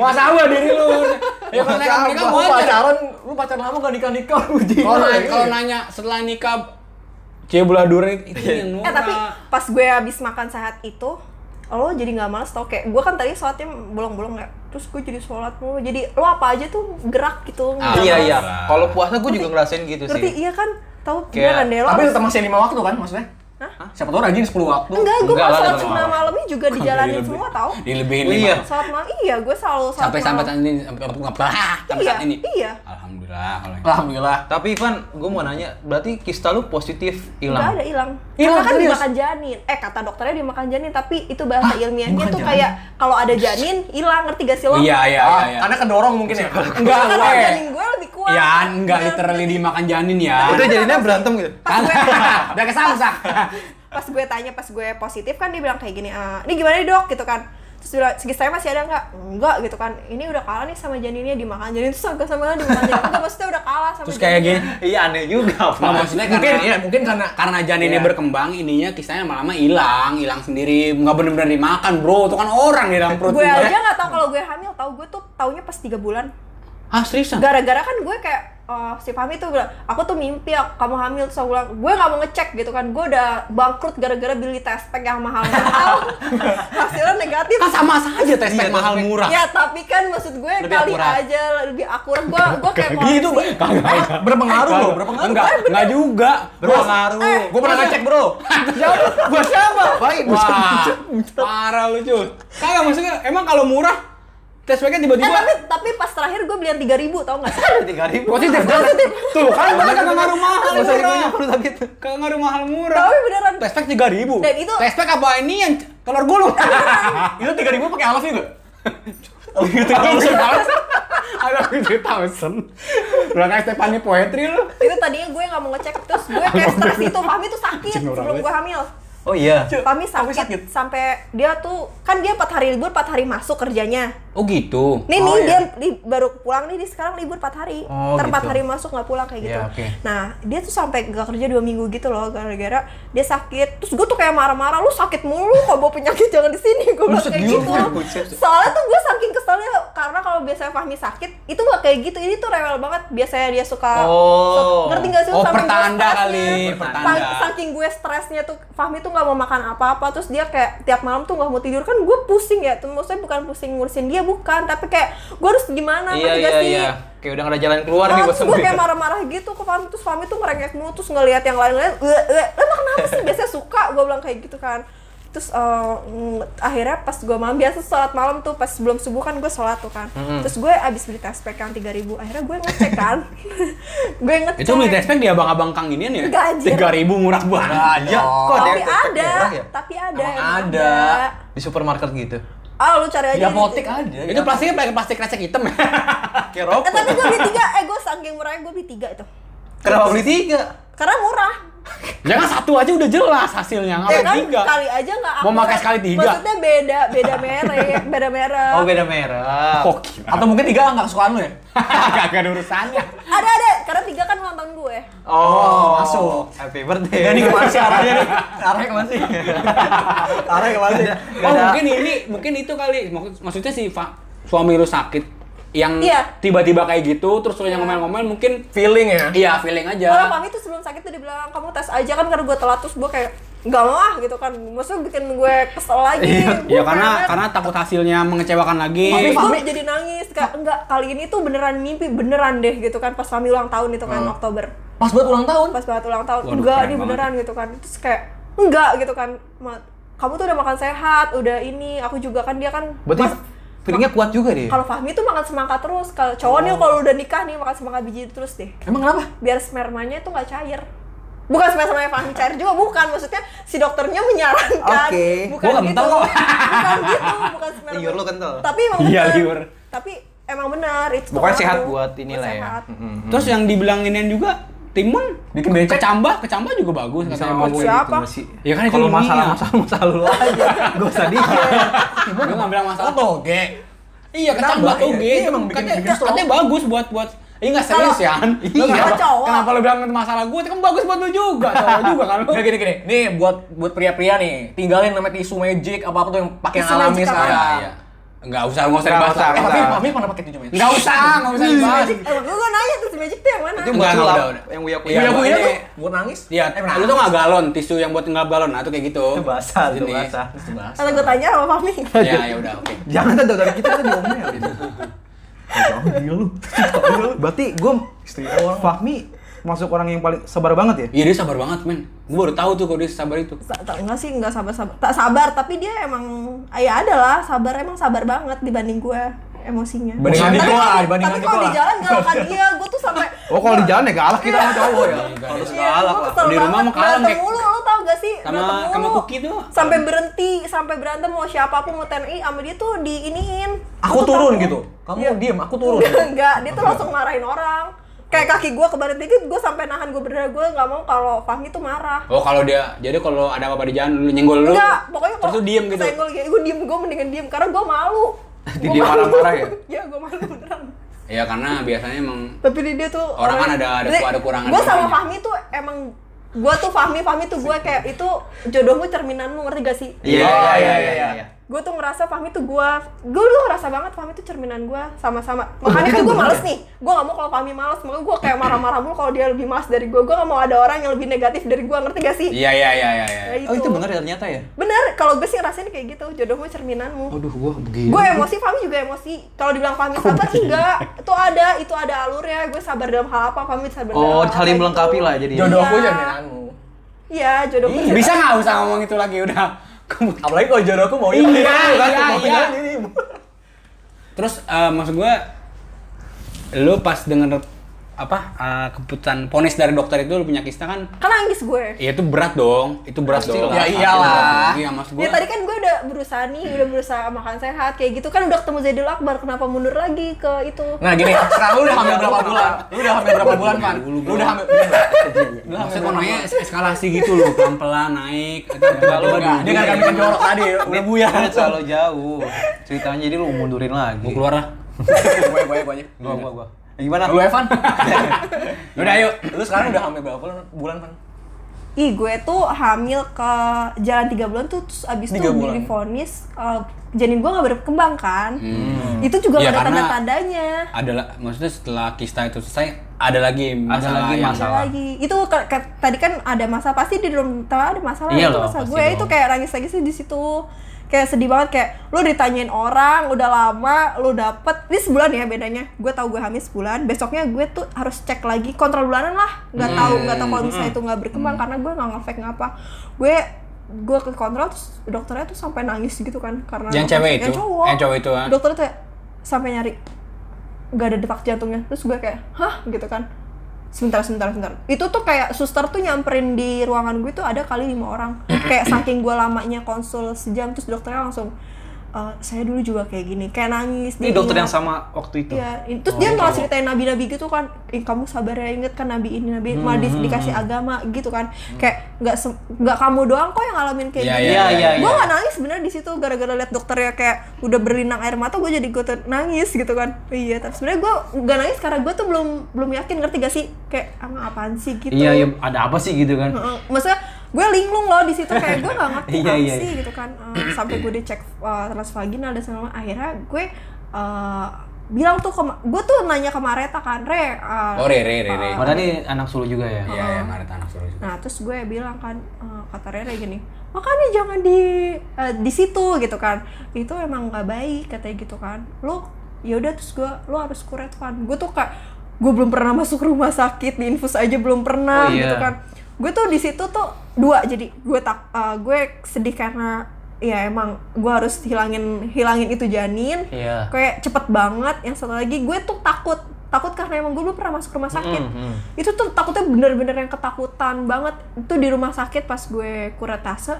Speaker 3: Muasabah diri lu. Ya kalau mereka mereka
Speaker 1: Lu
Speaker 3: wajar.
Speaker 1: pacaran, lu pacaran lama gak nikah nikah lu jadi.
Speaker 3: Kalau nanya, kalau nanya setelah nikah cebelah durian itu yang norak.
Speaker 4: Eh tapi pas gue habis makan sehat itu, lo jadi nggak males tau kayak gue kan tadi sholatnya bolong-bolong ya, terus gue jadi sholat mulu, jadi lo apa aja tuh gerak gitu. nggak
Speaker 2: Iya, iya.
Speaker 4: males.
Speaker 2: Kalau puasa gue juga ngerasain gitu
Speaker 4: Ngerti?
Speaker 2: sih.
Speaker 4: Iya kan? Tahu
Speaker 2: Kayak-
Speaker 4: beneran deh lo.
Speaker 1: Tapi
Speaker 4: harus-
Speaker 1: tetap masih lima waktu kan maksudnya? Hah? Siapa tau rajin 10 waktu.
Speaker 4: enggak, gue
Speaker 2: Enggak
Speaker 4: pas
Speaker 2: lah,
Speaker 4: sholat
Speaker 2: tetap
Speaker 4: sunnah
Speaker 2: malam.
Speaker 4: malamnya juga dijalanin
Speaker 3: Dilebihin.
Speaker 4: semua tau.
Speaker 3: dilebihin
Speaker 2: Oh,
Speaker 3: lima.
Speaker 2: iya.
Speaker 4: Sholat malam, iya gue selalu sholat
Speaker 3: Sampai sampai
Speaker 4: malam.
Speaker 3: saat ini sampai sampai
Speaker 4: Iya,
Speaker 3: saat ini.
Speaker 4: iya.
Speaker 3: Alhamdulillah kalau yang-
Speaker 1: Alhamdulillah.
Speaker 2: Tapi Ivan, gue mau nanya, berarti kista lu positif
Speaker 4: Enggak
Speaker 2: hilang?
Speaker 4: ada hilang.
Speaker 1: Hilang,
Speaker 4: Karena kan
Speaker 1: serius?
Speaker 4: dimakan janin. Eh kata dokternya dimakan janin, tapi itu bahasa
Speaker 3: Ah,
Speaker 4: ilmiahnya
Speaker 1: dimakan
Speaker 4: tuh
Speaker 1: janin?
Speaker 4: kayak kalau ada janin hilang, ngerti gak sih lo?
Speaker 3: Iya, iya, iya,
Speaker 1: Ah,
Speaker 3: iya.
Speaker 1: Karena kedorong mungkin ya.
Speaker 3: Enggak,
Speaker 4: Karena
Speaker 3: gue.
Speaker 4: janin gue lebih kuat.
Speaker 3: Ya, enggak
Speaker 4: Nah,
Speaker 3: literally dimakan janin ya. Kan?
Speaker 2: Itu jadinya berantem gitu.
Speaker 4: Iya, Pas gue
Speaker 3: Udah kesangsak.
Speaker 4: pas gue tanya pas gue positif kan dia bilang kayak gini "Ah, ini gimana nih dok gitu kan terus dia bilang segi saya masih ada nggak enggak gitu kan ini udah kalah nih sama janinnya dimakan janin terus agak sama dimakan janin enggak maksudnya udah kalah sama
Speaker 3: Terus kayak gini.
Speaker 4: janinnya.
Speaker 2: Iya aneh juga,
Speaker 3: Nah,
Speaker 2: Pak.
Speaker 3: maksudnya
Speaker 1: Mungkin
Speaker 3: karena
Speaker 1: ya, mungkin karena
Speaker 3: karena janinnya
Speaker 2: Iya.
Speaker 3: berkembang, ininya kisahnya lama-lama hilang, hilang sendiri, nggak bener-bener dimakan, bro. Itu kan orang di dalam perut. lu.
Speaker 4: gue
Speaker 3: ya?
Speaker 4: aja nggak tahu kalau gue hamil tahu gue tuh taunya pas tiga bulan
Speaker 3: Ah, seriusan?
Speaker 4: gara-gara kan gue kayak eh, si Fahmi tuh bilang aku tuh mimpi aku- kamu hamil terus aku bilang gue nggak mau ngecek gitu kan gue udah bangkrut gara-gara beli test pack yang mahal-mahal hasilnya negatif
Speaker 3: Kan sama saja tes
Speaker 2: Iya,
Speaker 3: pack mahal
Speaker 2: tes pack.
Speaker 3: murah.
Speaker 4: Ya tapi kan maksud gue
Speaker 2: Lebih
Speaker 4: kali
Speaker 2: akurat.
Speaker 4: aja lebih akurat. Gue gue kayak
Speaker 3: Gitu,
Speaker 4: koleksi.
Speaker 1: berpengaruh loh, berpengaruh.
Speaker 3: Enggak, enggak juga.
Speaker 2: Berpengaruh.
Speaker 4: Eh,
Speaker 1: Gue pernah ngecek bro.
Speaker 2: Buat Ya, siapa? Baik,
Speaker 3: Wah, parah lu, cuy. Kagak maksudnya emang kalau murah tes packnya
Speaker 4: Eh
Speaker 3: tiba-tiba
Speaker 4: tapi tapi pas terakhir gue belian tiga ribu tau nggak sih?
Speaker 2: Tiga ribu.
Speaker 3: positif.
Speaker 4: Positif.
Speaker 3: Tuh, kan bener kagak ngaruh mahal
Speaker 2: Masa
Speaker 3: murah.
Speaker 2: ribunya perlu tapi itu.
Speaker 3: Kagak ngaruh mahal murah.
Speaker 4: Tapi beneran.
Speaker 3: Tes pack 3000.
Speaker 4: Dan itu-
Speaker 3: tes pack apa ini yang telur gulung?
Speaker 1: Itu 3000 pakai alaf juga.
Speaker 4: Oh, gitu.
Speaker 3: Ada gitu thousand. Udah kayak Stephanie Poetry lu.
Speaker 4: Itu tadinya gue nggak mau ngecek terus gue kayak stres itu. Fahmi tuh sakit
Speaker 3: Cing, orang
Speaker 4: sebelum
Speaker 3: banget.
Speaker 4: gue hamil.
Speaker 2: Oh iya.
Speaker 4: Fahmi sakit, sampai dia tuh kan dia empat hari libur empat hari masuk kerjanya.
Speaker 3: Oh gitu.
Speaker 4: Nih
Speaker 2: Oh,
Speaker 4: nih
Speaker 2: iya.
Speaker 4: dia li- baru pulang nih dia sekarang libur 4 hari.
Speaker 2: Oh,
Speaker 4: Ntar empat
Speaker 2: gitu.
Speaker 4: hari masuk nggak pulang kayak gitu.
Speaker 2: Iya, oke.
Speaker 4: Nah, dia tuh sampai gak kerja dua minggu gitu loh gara-gara dia sakit. Terus gue tuh kayak marah-marah, lu sakit mulu kok bawa penyakit jangan di sini. Gue bilang
Speaker 2: Buset,
Speaker 4: kayak
Speaker 2: gila,
Speaker 4: gitu.
Speaker 2: gue- ya, buset.
Speaker 4: Soalnya tuh gue saking keselnya karena kalau biasanya Fahmi sakit itu gak kayak gitu. Ini tuh rewel banget. Biasanya dia suka,
Speaker 2: Oh.
Speaker 4: suka- ngerti gak sih lu
Speaker 3: Oh,
Speaker 4: sampai gue-
Speaker 3: pertanda
Speaker 4: stresnya.
Speaker 3: kali,
Speaker 4: Sa-
Speaker 3: pertanda.
Speaker 4: saking gue stresnya tuh Fahmi tuh nggak mau makan apa-apa terus dia kayak tiap malam tuh nggak mau tidur kan gue pusing ya tuh maksudnya bukan pusing ngurusin dia bukan tapi kayak gue harus gimana
Speaker 2: iya
Speaker 4: ngerti
Speaker 2: iya
Speaker 4: gak sih
Speaker 2: iya kayak udah gak ada jalan keluar
Speaker 4: Nah,
Speaker 2: nih buat
Speaker 4: terus gue
Speaker 2: sembuh
Speaker 4: kayak marah-marah gitu ke Fahmi terus Fahmi tuh ngerengek mulu terus ngelihat yang lain-lain eh eh lu emang kenapa sih biasanya suka gue bilang kayak gitu kan terus eh, mm, akhirnya pas gue malam biasa sholat malam tuh pas sebelum subuh kan gue sholat tuh kan
Speaker 2: Mm-hmm.
Speaker 4: terus gue abis beli tespek yang 3000 akhirnya gue ngecek kan gue ngecek
Speaker 3: Itu beli tespek di abang-abang Kang ini ya?
Speaker 4: Enggak, anjir.
Speaker 3: 3000 murah banget.
Speaker 1: Iya.
Speaker 2: aja Ya, kok
Speaker 4: tapi
Speaker 2: ada efek
Speaker 4: ada,
Speaker 2: murah ya?
Speaker 4: tapi ada,
Speaker 2: Emang
Speaker 4: emang
Speaker 2: ada di supermarket gitu
Speaker 4: ada. Ah, lu cari aja.
Speaker 3: Ya,
Speaker 1: Di Iya, apotek
Speaker 4: gitu.
Speaker 1: ada.
Speaker 3: Itu plastiknya pakai plastik kresek hitam ya.
Speaker 2: kayak
Speaker 4: Eh,
Speaker 2: rokok
Speaker 4: tapi gue beli tiga, eh gue saking murahnya gue beli tiga itu.
Speaker 2: kenapa beli tiga
Speaker 4: Karena murah.
Speaker 3: Jangan Ya kan satu aja udah jelas hasilnya,
Speaker 4: Ya
Speaker 3: ngapain
Speaker 4: kan
Speaker 3: tiga.
Speaker 4: kali aja nggak
Speaker 3: Mau
Speaker 4: akurat.
Speaker 3: pakai sekali tiga.
Speaker 4: Maksudnya beda, beda merek, beda merek.
Speaker 2: oh beda merah
Speaker 3: Kok gila.
Speaker 1: Atau mungkin tiga nggak kesukaan lu ya?
Speaker 3: Gak ada urusannya.
Speaker 4: Ada ada, karena tiga kan ulang tahun gue.
Speaker 2: oh
Speaker 1: masuk.
Speaker 2: happy birthday
Speaker 1: Enggak nih kemana sih arahnya nih?
Speaker 2: ya, arahnya kemana sih
Speaker 1: Arahnya kemana sih?
Speaker 2: Gak
Speaker 3: Oh
Speaker 2: ada-
Speaker 3: mungkin ini, mungkin itu kali. Maksud- Maksudnya si Fa- suami lu sakit yang
Speaker 4: Iya.
Speaker 3: tiba-tiba kayak gitu terus lu yang ngomel-ngomel mungkin
Speaker 1: Feeling ya?
Speaker 3: iya feeling aja
Speaker 4: Kalau Fahmi tuh sebelum sakit tuh dibilang kamu tes aja kan karena gue telat terus gue kayak nggak mau ah gitu kan. Maksudnya bikin gue kesel lagi. Gue
Speaker 3: ya karena
Speaker 4: pengen-
Speaker 3: karena takut hasilnya mengecewakan
Speaker 4: Tapi
Speaker 3: lagi
Speaker 4: gue jadi nangis, Kak. Enggak, kali ini tuh beneran mimpi, beneran deh gitu kan pas Fahmi ulang tahun itu
Speaker 3: Hmm.
Speaker 4: kan Oktober.
Speaker 1: Pas buat ulang tahun.
Speaker 4: pas banget ulang tahun
Speaker 3: Waduh,
Speaker 4: enggak
Speaker 3: keren
Speaker 4: ini
Speaker 3: banget.
Speaker 4: beneran gitu kan terus kayak enggak gitu kan Ma- kamu tuh udah makan sehat udah ini aku juga kan dia kan
Speaker 2: berarti
Speaker 4: mas-
Speaker 2: feelingnya kuat juga dia
Speaker 4: kalau Fahmi tuh makan semangka terus kalau cowok
Speaker 2: Oh.
Speaker 4: nih kalau udah nikah nih makan semangka biji terus deh
Speaker 1: Emang kenapa?
Speaker 4: biar spermanya tuh nggak cair bukan spermanya Fahmi cair juga bukan maksudnya si dokternya menyarankan
Speaker 2: Oke.
Speaker 4: bukan
Speaker 3: Gua
Speaker 4: gitu
Speaker 3: kental kok.
Speaker 4: bukan gitu bukan sperma
Speaker 2: Liur lu kental.
Speaker 4: tapi emang
Speaker 3: Iya,
Speaker 4: benar
Speaker 3: liur.
Speaker 4: tapi emang benar itu tuh
Speaker 2: Pokoknya sehat
Speaker 4: aku.
Speaker 2: buat inilah ya.
Speaker 4: Sehat.
Speaker 3: terus yang dibilanginin juga timun
Speaker 1: Bikin becek.
Speaker 3: kecambah kecambah juga bagus katanya
Speaker 4: ngomong.
Speaker 3: bagus.
Speaker 4: siapa?
Speaker 3: Ya kan itu
Speaker 2: kalau
Speaker 3: ilmiah.
Speaker 2: masalah masalah masalah lu aja gak usah di
Speaker 3: Gue nggak bilang masalah.
Speaker 1: Oh toge.
Speaker 3: Iya kecambah
Speaker 1: Kenapa?
Speaker 3: tuh
Speaker 1: Iya,
Speaker 3: gitu.
Speaker 1: iya, emang bikin-
Speaker 3: katanya,
Speaker 1: bikin stroke.
Speaker 3: katanya bagus buat buat Iya nggak serius ya?
Speaker 4: Kalau cowok.
Speaker 3: Kenapa lu bilang masalah gue? Itu kan bagus buat lu juga, cowok juga kan lu.
Speaker 1: Nah gini gini, nih buat buat pria-pria nih, tinggalin namanya tisu magic apa apa tuh yang pakai yang
Speaker 4: Tisu
Speaker 1: alami
Speaker 4: magic apa?
Speaker 1: sekarang.
Speaker 3: Iya. Enggak usah, enggak usah
Speaker 2: Nggak
Speaker 3: dibahas.
Speaker 1: Eh,
Speaker 2: usah,
Speaker 3: lah.
Speaker 1: tapi
Speaker 2: Nggak.
Speaker 1: Mami pernah pakai tisu magic?
Speaker 3: Nggak usah, enggak usah dibahas.
Speaker 4: Eh, gue gue nanya tuh si magic tuh yang mana
Speaker 2: itu buat
Speaker 3: Enggak,
Speaker 2: sulap
Speaker 3: udah, udah.
Speaker 2: yang uya kuya
Speaker 3: Iya,
Speaker 1: Iya, gue
Speaker 3: buat
Speaker 1: ini Eh,
Speaker 3: ini.
Speaker 1: tuh, gue nangis.
Speaker 3: Iya,
Speaker 1: pernah.
Speaker 3: lu tuh nggak galon, tisu yang buat ngelap galon, nah itu kayak gitu.
Speaker 2: Itu basah, itu
Speaker 3: Sini.
Speaker 2: basah.
Speaker 4: Kalau gue tanya sama Fahmi.
Speaker 3: Ya, ya udah, oke.
Speaker 2: jangan ada dari kita tuh diomel gitu Jangan dia lu. Berarti gue Fahmi masuk orang yang paling sabar banget ya?
Speaker 3: Iya dia sabar banget men, gue baru tahu tuh kalau dia sabar itu.
Speaker 4: Sa- tak- Enggak sih, enggak sabar-sabar. Tak sabar, tapi dia emang ya ada lah, sabar emang sabar banget dibanding gue emosinya.
Speaker 1: Dibanding
Speaker 4: Tapi
Speaker 1: adik
Speaker 4: kalau-
Speaker 1: gua, dibanding
Speaker 4: Tapi
Speaker 1: adik
Speaker 4: kalau di
Speaker 1: gua.
Speaker 4: jalan enggak kan dia, gue tuh sampai
Speaker 2: Oh kalau di jalan ya galak kita sama cowok ya.
Speaker 3: Iya,
Speaker 2: Harus
Speaker 4: Iya,
Speaker 2: galak
Speaker 4: gua
Speaker 2: lah.
Speaker 4: kesel
Speaker 3: Di rumah
Speaker 4: banget.
Speaker 3: mah kalem,
Speaker 4: Berantem
Speaker 3: kayak-
Speaker 4: mulu, lu tau gak sih?
Speaker 3: Sama-
Speaker 4: Berantem mulu.
Speaker 3: sama Kuki tuh.
Speaker 4: Sampai berhenti, sampai berantem mau siapapun mau TNI sama dia tuh diiniin.
Speaker 1: Aku
Speaker 4: Gua tuh
Speaker 1: turun
Speaker 4: takut.
Speaker 1: gitu. Kamu diem, aku turun.
Speaker 4: Enggak, enggak, dia tuh langsung marahin orang. Kayak kaki gue kebalik dikit, gue sampai nahan gue berdarah gue nggak mau kalau Fahmi tuh marah.
Speaker 3: Oh kalau dia, jadi kalau ada apa-apa di jalan, lu nyenggol lu.
Speaker 4: Enggak, pokoknya
Speaker 3: Terus lu diem gitu.
Speaker 4: Senggol gitu. Gue diem, gue mendingan diem karena gue malu.
Speaker 2: Di
Speaker 4: Gua
Speaker 2: dia
Speaker 4: malu.
Speaker 2: marah-marah ya?
Speaker 4: Iya, gue malu beneran.
Speaker 3: Iya karena biasanya emang
Speaker 4: Tapi di dia tuh
Speaker 3: Orang kan ada- ada- ada kurangan
Speaker 4: Gue sama
Speaker 3: namanya.
Speaker 4: Fahmi tuh emang gue tuh Fahmi, Fahmi tuh gue kayak itu jodohmu cerminanmu ngerti gak sih?
Speaker 2: Iya
Speaker 1: Oh,
Speaker 2: iya
Speaker 1: iya,
Speaker 2: iya
Speaker 1: iya,
Speaker 2: iya.
Speaker 1: iya.
Speaker 4: Gue tuh ngerasa Fahmi tuh gue, gue tuh ngerasa banget Fahmi tuh cerminan gue sama-sama. Makanya
Speaker 2: berarti
Speaker 4: kan
Speaker 2: itu
Speaker 4: gue
Speaker 2: bener
Speaker 4: males
Speaker 2: ya?
Speaker 4: nih, gue gak mau kalau Fahmi males, makanya gue kayak marah-marah mulu kalau dia lebih males dari gue. Gue gak mau ada orang yang lebih negatif dari gue ngerti gak sih?
Speaker 3: Iya iya iya iya. iya.
Speaker 4: Ya,
Speaker 2: Oh itu benar ya ternyata ya?
Speaker 4: Bener, kalau gue sih ngerasain kayak gitu, jodohmu cerminanmu.
Speaker 2: Aduh gua begini.
Speaker 4: Gue emosi, Fahmi juga emosi. Kalau dibilang Fahmi sabar, enggak. Itu ada, itu ada alurnya. Gue sabar dalam hal apa, Fahmi sabar dalam
Speaker 2: Oh
Speaker 4: hal apa
Speaker 2: saling
Speaker 4: itu.
Speaker 2: melengkapi lah jadi.
Speaker 1: Jodohku
Speaker 4: Iya.
Speaker 1: cerminanmu.
Speaker 4: Iya, jodoh gue
Speaker 3: Bisa nggak usah ngomong itu lagi udah. Kamu-
Speaker 1: Apalagi kalau jodohku mau
Speaker 3: Iya,
Speaker 1: ibu. Kan,
Speaker 3: iya,
Speaker 1: mau
Speaker 3: iya.
Speaker 1: tinggalin ibu.
Speaker 3: Terus eh, maksud gua lu pas denger apa eh, keputusan ponis dari dokter itu lu punya kista kan
Speaker 4: Kan nangis gue.
Speaker 3: ya itu berat dong itu berat
Speaker 2: Pasti
Speaker 3: dong
Speaker 2: lah.
Speaker 3: Sakit
Speaker 1: Ya iyalah.
Speaker 3: dong. iya maksud gua
Speaker 4: Ya tadi kan gue udah berusaha nih, udah berusaha makan sehat kayak gitu kan udah ketemu Zaidul Akbar, kenapa mundur lagi ke itu?
Speaker 1: Nah gini, sekarang lu udah hamil berapa bulan? Lu udah hamil berapa bulan, Pan? Lu udah hamil. Lu hamil
Speaker 3: maksudnya kok
Speaker 1: berapa
Speaker 3: naiknya es- eskalasi gitu loh pelan-pelan naik tiba-tiba gitu.
Speaker 1: bulan? Dia kan kami kan jorok tadi, udah
Speaker 2: Iya.
Speaker 1: buyar.
Speaker 2: Terlalu jauh. Ceritanya jadi lu mundurin lagi.
Speaker 3: mau keluar lah
Speaker 1: Gue gue gue aja.
Speaker 2: Gua gua gua. Ya, Gimana?
Speaker 1: Lu Evan.
Speaker 3: udah ayo
Speaker 1: Nah, Lu sekarang udah hamil berapa bulan, bulan Pan?
Speaker 4: Ih, gue tuh hamil ke jalan tiga bulan tuh terus abis
Speaker 1: Tiga
Speaker 4: tuh
Speaker 1: bulan.
Speaker 4: divonis eh, janin gue nggak berkembang kan. Itu juga
Speaker 3: Iya,
Speaker 4: nggak ada
Speaker 3: karena-
Speaker 4: tanda-tandanya.
Speaker 3: Adalah maksudnya setelah kista itu selesai ada lagi masalah
Speaker 2: lagi
Speaker 3: yang-
Speaker 4: Ada lagi. Itu ke- ke- tadi kan ada masalah pasti di dalam tawa ada masalah
Speaker 3: Iya
Speaker 4: itu
Speaker 3: loh,
Speaker 4: masalah
Speaker 3: pasti
Speaker 4: gue
Speaker 3: dong.
Speaker 4: itu kayak nangis lagi sih di situ. Kayak sedih banget kayak lu ditanyain orang udah lama lu dapet ini sebulan ya bedanya gue tahu gue hamil sebulan besoknya gue tuh harus cek lagi kontrol bulanan lah
Speaker 3: Hmm.
Speaker 4: nggak tahu nggak tahu kalau misalnya itu nggak berkembang karena gue nggak ngefake ngapa gue gue ke kontrol terus dokternya tuh sampai nangis gitu kan karena
Speaker 3: Yang cewek itu?
Speaker 4: yang cowok,
Speaker 3: Yang cowok itu, ah.
Speaker 4: dokternya tuh kayak sampai nyari nggak ada detak jantungnya terus gue kayak hah gitu kan sebentar sebentar sebentar itu tuh kayak suster tuh nyamperin di ruangan gue tuh ada kali lima orang kayak saking gue lamanya konsul sejam terus dokternya langsung "Eh, saya dulu juga kayak gini kayak nangis
Speaker 2: Ini
Speaker 4: dia
Speaker 2: dokter yang
Speaker 4: ingat.
Speaker 2: sama waktu itu. Oh,
Speaker 4: Iya, in- terus dia malah ceritain nabi-nabi gitu kan, "Ih, kamu sabar ya inget kan nabi ini nabi, malah di-
Speaker 2: Hmm,
Speaker 4: dikasih agama gitu kan, kayak nggak sem- nggak kamu doang kok yang ngalamin kayak
Speaker 3: Iya,
Speaker 4: gitu.
Speaker 3: iya,
Speaker 2: iya,
Speaker 4: Gue
Speaker 2: iya.
Speaker 4: nggak nangis bener di situ gara-gara liat dokternya kayak udah berlinang air mata, gue jadi gue nangis gitu kan. Iya, tapi sebenarnya gue nggak nangis karena gue tuh belum belum yakin ngerti gak sih kayak ama apaan sih gitu.
Speaker 2: Iya, iya, ada apa sih gitu kan?
Speaker 4: Heeh. Maksudnya gue linglung loh di situ kayak gue gak ngerti
Speaker 2: Iya,
Speaker 4: apa
Speaker 2: iya,
Speaker 4: sih gitu kan Eh, sampai gue dicek eh, transvaginal dan segala macam. akhirnya gue eh, bilang tuh ke gue tuh nanya ke Mareta kan re eh,
Speaker 3: Oh, Rere, Rere.
Speaker 2: Padahal ini anak sulung juga ya.
Speaker 3: Iya, iya, Maret anak suruh juga.
Speaker 4: Nah, terus gue bilang kan eh, kata Rere gini, makanya jangan di eh, di situ gitu kan. Itu emang nggak baik katanya gitu kan. Lo ya udah terus gue lo harus kuret kan. Gue tuh kayak gue belum pernah masuk rumah sakit di infus aja belum pernah
Speaker 2: Oh, iya.
Speaker 4: gitu kan. Gue tuh di situ tuh dua jadi gue tak eh, gue sedih karena ya emang gue harus hilangin hilangin itu janin
Speaker 2: Iya.
Speaker 4: kayak cepet banget yang satu lagi gue tuh takut takut karena emang gue belum pernah masuk rumah sakit
Speaker 3: Mm,
Speaker 4: itu tuh takutnya bener-bener yang ketakutan banget itu di rumah sakit pas gue kuretase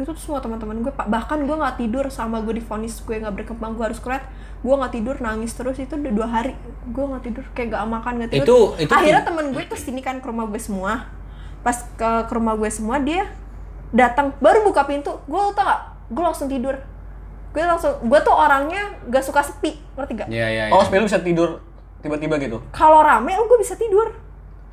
Speaker 4: itu tuh semua teman-teman gue Pak, bahkan gue nggak tidur sama gue difonis gue nggak berkembang gue harus kuret gue nggak tidur nangis terus itu udah dua hari gue nggak tidur kayak nggak makan nggak tidur
Speaker 3: Itu- itu-
Speaker 4: akhirnya temen gue kesini kan ke rumah gue semua pas ke, ke rumah gue semua dia datang baru buka pintu gue tau gak gue langsung tidur gue langsung gue tuh orangnya gak suka sepi ngerti gak
Speaker 3: Iya, iya, iya.
Speaker 1: Oh, sebelum bisa tidur tiba-tiba gitu.
Speaker 4: kalau rame lu gue bisa tidur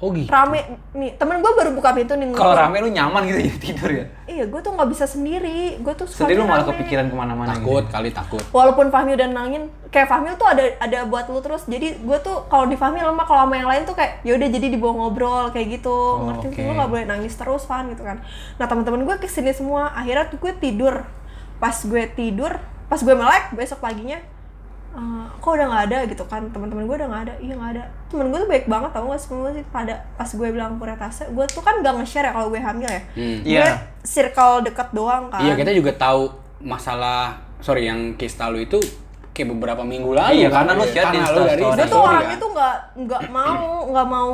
Speaker 3: Oh, gitu.
Speaker 4: rame nih temen gue baru buka pintu nih
Speaker 2: Kalau rame lu nyaman gitu ya tidur ya.
Speaker 4: iya gue tuh nggak bisa sendiri gue tuh suka
Speaker 2: Sendiri lu malah
Speaker 4: rame.
Speaker 2: kepikiran kemana-mana. gitu.
Speaker 3: Takut kali takut.
Speaker 4: walaupun Fahmi udah nangin kayak Fahmi tuh ada ada buat lu terus jadi gue tuh kalau di Fahmi lemah kalau sama yang lain tuh kayak ya udah jadi dibawa ngobrol kayak gitu
Speaker 3: Oh,
Speaker 4: ngerti
Speaker 2: oke.
Speaker 4: lu nggak boleh nangis terus Fan gitu kan nah teman-teman gue kesini semua akhirnya tuh gue tidur pas gue tidur pas gue melek besok paginya eh, kok udah nggak ada gitu kan teman-teman gue udah nggak ada iya nggak ada temen gue tuh baik banget tau gak semua sih pada pas gue bilang kuretase gue tuh kan gak nge-share ya kalau gue hamil ya
Speaker 3: Hmm.
Speaker 4: gue
Speaker 2: Iya.
Speaker 4: circle deket doang kan
Speaker 3: Iya, kita juga tahu masalah sorry yang kista lu itu kayak beberapa minggu lalu. kan?
Speaker 2: Iya, karena lu share di
Speaker 3: Karena lu
Speaker 2: Instastory.
Speaker 3: dari
Speaker 2: Gue
Speaker 4: gue
Speaker 3: Instastory
Speaker 4: tuh
Speaker 2: Sorry,
Speaker 4: orangnya
Speaker 3: kan.
Speaker 4: tuh nggak nggak mau nggak mau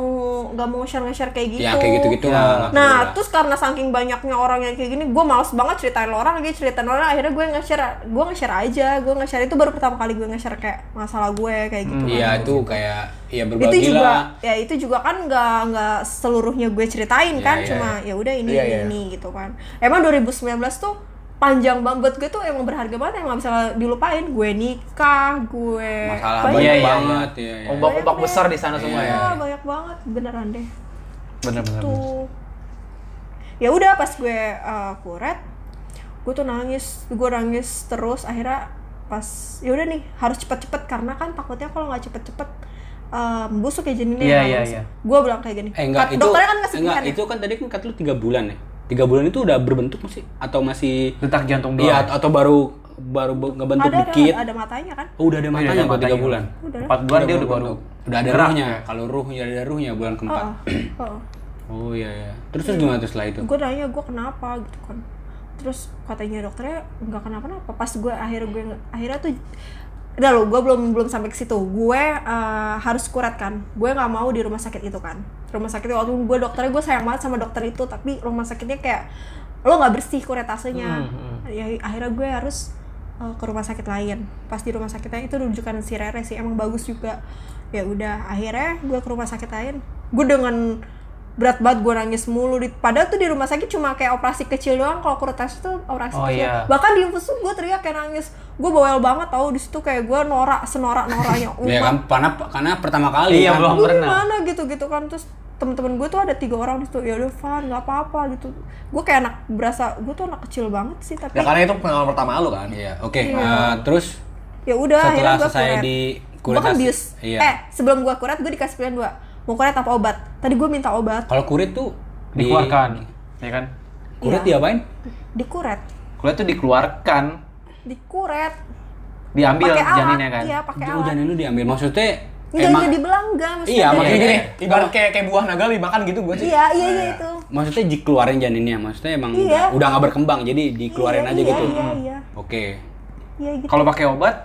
Speaker 4: nggak mau share share kayak gitu
Speaker 3: Ya kayak gitu-gitu
Speaker 2: Ya.
Speaker 3: lah. Iya. nggak perlu
Speaker 4: nah
Speaker 3: lah.
Speaker 4: terus karena saking banyaknya orang yang kayak gini gue males banget ceritain orang lagi ceritain orang akhirnya gue nge-share gue nge-share aja gue nge-share itu baru pertama kali gue nge-share kayak masalah gue kayak gitu kan.
Speaker 2: Nah,
Speaker 3: Iya itu kayak ya
Speaker 4: itu
Speaker 3: berbagi
Speaker 4: juga
Speaker 3: lah.
Speaker 4: ya itu juga kan nggak nggak seluruhnya gue ceritain
Speaker 3: Iya,
Speaker 4: kan
Speaker 3: iya,
Speaker 4: cuma ya udah ini
Speaker 1: Iya,
Speaker 4: ini,
Speaker 1: iya.
Speaker 4: ini gitu kan emang 2019 tuh panjang banget Buat gue tuh emang berharga banget emang nggak bisa dilupain gue nikah gue
Speaker 3: Masalah
Speaker 4: banyak
Speaker 3: banyak
Speaker 2: Iya, iya,
Speaker 3: banget. Iya, iya.
Speaker 2: Ombak-ombak
Speaker 4: Banyak
Speaker 2: besar
Speaker 4: deh.
Speaker 2: di sana semua ya.
Speaker 4: Iya, banyak banget beneran deh.
Speaker 2: Bener-bener.
Speaker 4: Tuh. Ya udah pas gue uh, kuret, gue tuh nangis, gue nangis terus akhirnya pas ya udah nih harus cepet-cepet karena kan takutnya kalau nggak cepet-cepet um, busuk ya janinnya.
Speaker 2: Iya,
Speaker 4: ya,
Speaker 2: iya,
Speaker 4: busuk.
Speaker 2: iya.
Speaker 4: Gue bilang kayak gini.
Speaker 3: Eh enggak
Speaker 4: Kat-
Speaker 3: itu
Speaker 4: dokternya kan ngasih
Speaker 3: enggak
Speaker 4: pilihan ya.
Speaker 3: itu kan tadi kan kata lu 3 bulan ya. 3 bulan itu udah berbentuk masih atau masih
Speaker 2: Detak jantung doang.
Speaker 3: Iya atau baru baru be- ngebentuk
Speaker 4: ada, ada
Speaker 3: dikit.
Speaker 4: ada matanya kan.
Speaker 3: Oh, udah ada matanya kok 3 bulan.
Speaker 4: Udah.
Speaker 2: Empat Iya, bulan dia udah baru.
Speaker 3: udah ada
Speaker 2: gerak
Speaker 3: ruhnya. Kalau ruhnya ada ruhnya bulan keempat.
Speaker 4: Oh, oh.
Speaker 3: Oh iya iya. Terus terus gimana tuh setelah itu?
Speaker 4: gue nanya gue kenapa gitu kan terus katanya dokternya nggak kenapa-napa pas gue akhirnya gue nge- akhirnya tuh udah lo gue belum belum sampai ke situ gue eh, harus kurat kan gue nggak mau di rumah sakit itu kan rumah sakit itu waktu gue dokternya gue sayang banget sama dokter itu tapi rumah sakitnya kayak lo nggak bersih kuretasenya ya akhirnya gue harus eh, ke rumah sakit lain pas di rumah sakitnya itu rujukan si Rere sih emang bagus juga ya udah akhirnya gue ke rumah sakit lain gue dengan berat banget gue nangis mulu di, padahal tuh di rumah sakit cuma kayak operasi kecil doang kalau kuretase tuh operasi
Speaker 2: Oh,
Speaker 4: kecil
Speaker 2: iya.
Speaker 4: bahkan di infus tuh gue teriak kayak nangis gue bawel banget tau di situ kayak gue norak senorak noranya
Speaker 3: Iya, Ya kan karena karena pertama kali
Speaker 2: Iya,
Speaker 3: kan.
Speaker 2: belum.
Speaker 4: gue
Speaker 2: pernah.
Speaker 4: gimana gitu gitu kan terus temen-temen gue tuh ada tiga orang di situ ya udah Van nggak apa-apa gitu gue kayak anak berasa gue tuh anak kecil banget sih tapi
Speaker 1: Ya karena itu pengalaman pertama lu kan.
Speaker 3: Iya, oke. eh, terus
Speaker 4: ya udah
Speaker 3: setelah
Speaker 4: akhirnya gue
Speaker 3: selesai
Speaker 4: kuret
Speaker 3: di
Speaker 4: gue
Speaker 3: kuret
Speaker 4: kan
Speaker 3: as-
Speaker 4: bius
Speaker 3: Iya.
Speaker 4: eh sebelum gue kuret gue dikasih pilihan dua mau kuret apa obat tadi gue minta obat
Speaker 3: Kalau kurit tuh di-
Speaker 2: dikeluarkan ya kan
Speaker 3: Kurit
Speaker 4: Iya.
Speaker 3: diapain?
Speaker 4: dikuret
Speaker 2: kulit tuh dikeluarkan
Speaker 4: dikuret
Speaker 2: diambil
Speaker 4: pakai alat
Speaker 2: janinnya kan
Speaker 4: iya pakai
Speaker 3: Udah
Speaker 4: alat
Speaker 3: janin lu diambil. Maksudnya
Speaker 4: enggak
Speaker 3: emang
Speaker 4: enggak dibelang enggak maksudnya
Speaker 3: Iya,
Speaker 4: ada-
Speaker 1: Makanya
Speaker 3: makanya
Speaker 1: gini,
Speaker 3: gini,
Speaker 1: ibarat kayak kayak buah naga dimakan gitu gue sih.
Speaker 4: iya iya iya itu
Speaker 3: maksudnya dikeluarin janinnya, maksudnya emang
Speaker 4: Iya.
Speaker 3: udah, udah nggak berkembang jadi dikeluarin
Speaker 4: Iya,
Speaker 3: aja
Speaker 4: iya,
Speaker 3: gitu.
Speaker 4: iya iya
Speaker 3: Oke.
Speaker 4: iya gitu
Speaker 2: kalau pakai obat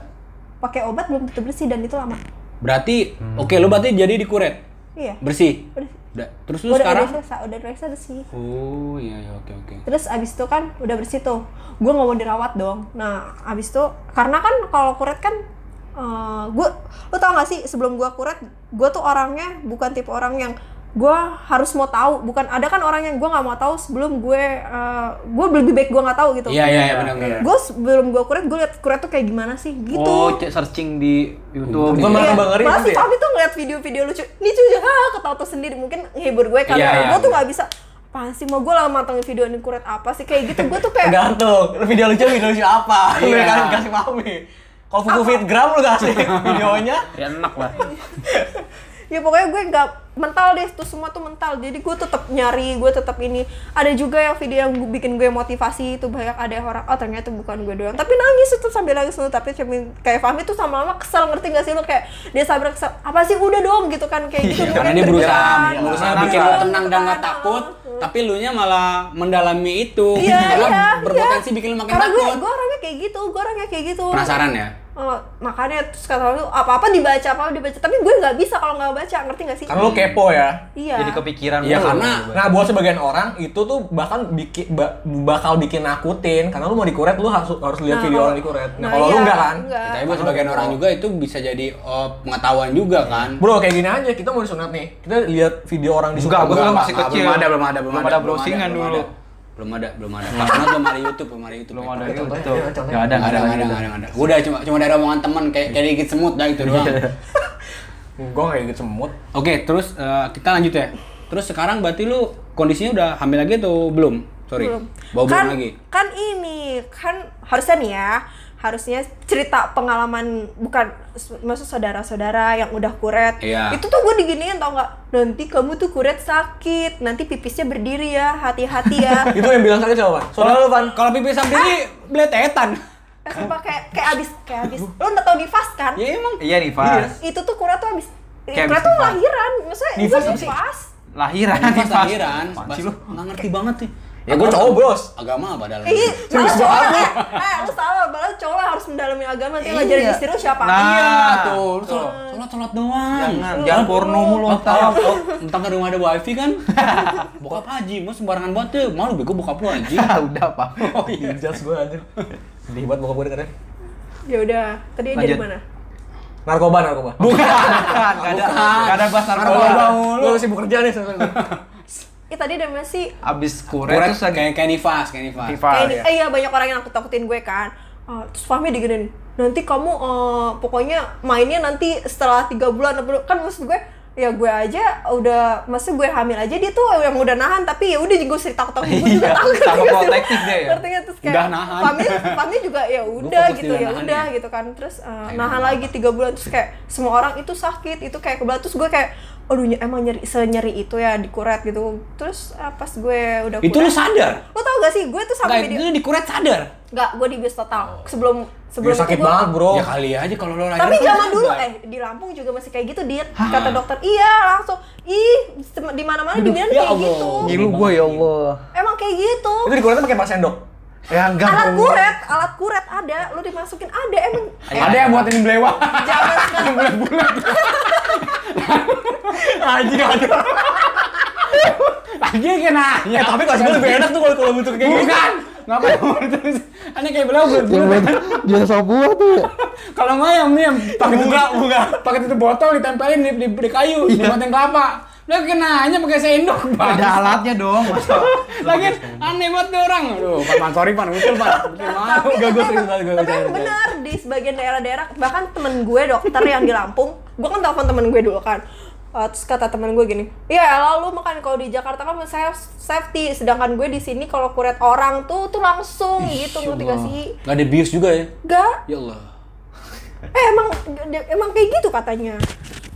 Speaker 4: pakai obat belum tentu bersih dan itu lama
Speaker 3: Berarti oke lu berarti jadi dikuret.
Speaker 4: iya
Speaker 3: Bersih.
Speaker 4: Udah.
Speaker 3: Udah. Terus lu
Speaker 4: udah
Speaker 3: sekarang
Speaker 4: udah selesai udah selesai bersih
Speaker 3: Oh, iya iya oke oke.
Speaker 4: Terus abis itu kan udah bersih tuh, gue nggak mau dirawat dong. Nah abis itu karena kan kalau kuret kan, gue, lu tau gak sih sebelum gue kuret, gue tuh orangnya bukan tipe orang yang gue harus mau tahu. Bukan ada kan orang yang gue nggak mau tahu sebelum gue, gue lebih baik gue nggak tahu gitu.
Speaker 3: Iya iya iya benar benar.
Speaker 4: Gue sebelum gue kuret, gue liat kuret tuh kayak gimana sih gitu.
Speaker 2: oh cek searching di YouTube gitu
Speaker 1: Bukan malah
Speaker 4: Iya,
Speaker 1: tambah ngeri
Speaker 4: malah
Speaker 1: nanti
Speaker 4: si
Speaker 1: ya?
Speaker 4: Fabi tuh ngeliat video-video lucu Ini cuy, ah, ketawa tuh sendiri Mungkin ngehibur gue karena
Speaker 3: Iya, iya.
Speaker 4: gue tuh gak bisa Apaan sih, mau gue lama matangin video ini kuret apa sih Kayak gitu, gue tuh kayak
Speaker 1: Tergantung, lu video lucu video lucu apa? Lu
Speaker 3: Iya.
Speaker 1: kan kasih mami. Kalau Fuku Fitgram lu kasih videonya.
Speaker 2: ya enak lah
Speaker 4: Ya pokoknya gue gak mental deh tuh semua tuh mental jadi gue tetap nyari gue tetap ini ada juga yang video yang gue bikin gue motivasi itu banyak ada yang orang oh ternyata bukan gue doang tapi nangis itu sambil nangis dulu tapi cermin kayak Fahmi tuh sama lama kesel ngerti gak sih lo kayak dia sabar kesel apa sih udah dong gitu kan kayak gitu
Speaker 3: Iya, Karena
Speaker 4: mungkin
Speaker 3: dia berusaha,
Speaker 4: berjalan,
Speaker 3: berusaha
Speaker 4: gitu
Speaker 3: bikin
Speaker 4: kan.
Speaker 3: lu tenang dan nggak takut, tapi lu nya malah mendalami itu.
Speaker 4: Iya,
Speaker 3: Malah
Speaker 4: iya,
Speaker 3: berpotensi
Speaker 4: iya.
Speaker 3: bikin lu makin
Speaker 4: Karena gue,
Speaker 3: takut.
Speaker 4: gue orangnya kayak gitu, gue orangnya kayak gitu.
Speaker 3: Penasaran ya?
Speaker 4: Oh, makanya terus kata lu apa-apa dibaca, apa-apa dibaca. Tapi gue nggak bisa kalau nggak baca, ngerti nggak sih?
Speaker 1: Karena lu kepo ya.
Speaker 4: Iya.
Speaker 2: jadi kepikiran
Speaker 3: Iya
Speaker 2: mulu.
Speaker 3: karena
Speaker 1: Nah, buat sebagian orang itu tuh bahkan bikin ba- bakal bikin nakutin karena lu mau dikuret lu harus harus lihat
Speaker 4: Nah,
Speaker 1: video
Speaker 4: kalau-
Speaker 1: orang dikuret. Nah,
Speaker 4: nah,
Speaker 1: kalau lu
Speaker 4: iya,
Speaker 1: enggak kan?
Speaker 4: enggak.
Speaker 3: tapi ya, buat sebagian orang juga itu bisa jadi oh, pengetahuan juga kan.
Speaker 1: Bro, kayak gini aja kita mau disunat nih. Kita lihat video orang disunat.
Speaker 2: Enggak, gua
Speaker 1: Enggak,
Speaker 2: kan
Speaker 1: enggak.
Speaker 2: masih
Speaker 3: Nggak,
Speaker 2: kecil.
Speaker 3: Belum ada, Eh, belum ada, belum,
Speaker 2: Belum
Speaker 3: ada,
Speaker 2: ada browsingan
Speaker 3: belum
Speaker 2: dulu.
Speaker 3: ada. Belum ada, belum ada. Karena belum ada YouTube, belum ada YouTube.
Speaker 2: belum
Speaker 3: ya.
Speaker 2: ada
Speaker 1: Pakai
Speaker 2: YouTube
Speaker 1: contohnya, contohnya.
Speaker 2: nggak ada
Speaker 3: Nggak ada, Iya, nggak ada, nggak ada, nggak ada. Gua udah cuma cuma dari omongan teman kayak kayak dikit semut dah itu doang.
Speaker 1: Gua kayak gitu semut.
Speaker 3: Oke, terus eh, kita lanjut ya. Terus sekarang berarti lu kondisinya udah hamil lagi atau belum? Sorry,
Speaker 4: Belum.
Speaker 3: bawa
Speaker 4: kan,
Speaker 3: belum lagi.
Speaker 4: Kan ini, kan harusnya nih ya, harusnya cerita pengalaman bukan s- maksud saudara-saudara yang udah kuret.
Speaker 3: Iya.
Speaker 4: Itu tuh gue diginiin tau nggak? Nanti kamu tuh kuret sakit, nanti pipisnya berdiri ya, hati-hati ya.
Speaker 1: Itu yang bilang sakit siapa? Pan? Soalnya lu Pan.
Speaker 3: Kalau pipi sendiri beletetan.
Speaker 4: Eh, sumpah, kayak kayak abis kayak abis. Lo udah tau divas kan?
Speaker 3: Ya emang.
Speaker 2: iya nih Fas
Speaker 4: itu tuh Kura tuh abis
Speaker 2: Kayak
Speaker 4: Kura
Speaker 2: abis
Speaker 4: tuh
Speaker 2: nifas.
Speaker 4: lahiran maksudnya
Speaker 1: Nifas
Speaker 4: gue
Speaker 1: apa sih?
Speaker 4: nifas
Speaker 2: lahiran
Speaker 3: Pas
Speaker 2: Fas.
Speaker 3: Iya, lahiran,
Speaker 2: Apaan
Speaker 3: pas
Speaker 2: sih lu?
Speaker 3: nggak ngerti banget sih.
Speaker 1: Ya gua cowok, Bros.
Speaker 3: Agama apa dalam?
Speaker 4: Ih, malah
Speaker 1: Serius
Speaker 4: cowok
Speaker 1: banget.
Speaker 4: eh, eh, lu salah, malah cowok lah harus mendalami agama
Speaker 1: Iya.
Speaker 4: Nanti ngajarin istri lu siapa Iya. Ah.
Speaker 2: Nah,
Speaker 3: tuh, lu sholat, sholat, sholat doang.
Speaker 2: jangan jangan porno mulu Oh,
Speaker 3: Lo
Speaker 2: ntar.
Speaker 3: Oh, tau, entah ke rumah ada wifi kan? Bokap haji, mau sembarangan banget tuh. Malu bego bokap lu haji.
Speaker 2: Ah, udah pak
Speaker 1: Oh iya, judge gua anjir. Sedih banget bokap gua dengerin.
Speaker 4: ya udah tadi dari
Speaker 2: Lanjut.
Speaker 4: mana
Speaker 1: Narkoba, narkoba.
Speaker 2: Bukan, nggak ada nggak ada bahas narkoba
Speaker 1: Narkoba mulu. Lu sibuk kerja nih sekarang.
Speaker 4: Ih Eh, tadi dari mana sih
Speaker 2: abis kuret
Speaker 3: Kuret
Speaker 2: terus lagi
Speaker 3: kayak kayak nifas, kayak nifas.
Speaker 2: festival
Speaker 4: kayak ini
Speaker 2: ya
Speaker 4: eh, iya banyak orang yang aku takutin gue kan Eh, terus Fahmi diginin nanti kamu eh, pokoknya mainnya nanti setelah tiga bulan enam bulan." kan maksud gue ya gue aja udah maksud gue hamil aja dia tuh yang udah nahan tapi ya udah gue sering takut takut gue juga
Speaker 2: Iya,
Speaker 4: takut
Speaker 2: sama
Speaker 4: ngerti gak sih?
Speaker 2: protektif dia ya.
Speaker 4: ngerti gak? terus kayak
Speaker 3: Udah nahan.
Speaker 4: Fahmi Fahmi juga ya udah
Speaker 3: fokus di
Speaker 4: gitu ya
Speaker 3: nahan
Speaker 4: udah
Speaker 3: ya.
Speaker 4: gitu kan terus eh, nahan lagi tiga bulan terus kayak semua orang itu sakit itu kayak kebelat terus gue kayak aduh ny- emang nyeri senyeri itu ya dikuret gitu terus eh, pas gue udah
Speaker 3: Itu lu
Speaker 4: kuret-
Speaker 3: sadar?
Speaker 4: lo tau gak sih gue tuh
Speaker 3: Nggak,
Speaker 4: sampai
Speaker 3: itu
Speaker 4: video
Speaker 3: lu dikuret sadar.
Speaker 4: nggak gue dibius total sebelum sebelum
Speaker 1: Dia Iya, sakit
Speaker 4: itu gua-
Speaker 1: banget, Iya, Bro.
Speaker 2: kan.
Speaker 3: Ya kali aja kalau lo
Speaker 4: tapi zaman dulu eh di Lampung juga masih kayak gitu dit kata dokter iya langsung ih di mana mana dibilang
Speaker 3: ya
Speaker 4: kayak
Speaker 3: Allah.
Speaker 4: gitu
Speaker 2: ngilu gue ya Allah
Speaker 4: emang kayak gitu
Speaker 1: Iya. Itu dikuretnya pakai pak sendok.
Speaker 2: ya enggak
Speaker 4: alat kuret alat kuret ada lo dimasukin ada emang
Speaker 1: Ada yang buatin belewa.
Speaker 4: zaman sekarang
Speaker 1: Anjing ada.
Speaker 3: lagi kayak nanya.
Speaker 1: Eh, tapi kalau gue lebih enak tuh kalau kalau bentuk kayak gitu.
Speaker 3: Iya, Bukan. Ngapain mau terus? Aneh kayak beliau bulat-bulat.
Speaker 2: dia sobuah tuh
Speaker 3: Kalau nggak yang yang pakai
Speaker 1: Bunga,
Speaker 3: tutup-
Speaker 1: bunga.
Speaker 3: pakai tutup botol ditempelin di, di, di kayu, di batang kelapa. Lo kena hanya pakai sendok, Bang.
Speaker 2: ada alatnya dong masa
Speaker 3: Lagi aneh banget tuh orang. Aduh, Pan, Pan, sorry Pan, betul Pan. Betul banget.
Speaker 4: tapi
Speaker 1: Enggak, gue
Speaker 4: tapi
Speaker 1: serius
Speaker 4: emang-
Speaker 1: banget, gue
Speaker 4: tapi emang
Speaker 1: bercanda.
Speaker 4: bener di sebagian daerah-daerah bahkan temen gue dokter yang di Lampung gue kan telepon temen gue dulu kan Eh, terus kata teman gue gini, ya lalu makan kalau di Jakarta kan saya safety, sedangkan gue di sini kalau kuret orang tuh tuh langsung gitu
Speaker 1: ya
Speaker 4: ngerti gak sih?
Speaker 3: Gak ada bius juga ya?
Speaker 4: Gak,
Speaker 3: Ya Allah.
Speaker 4: eh emang emang kayak gitu katanya.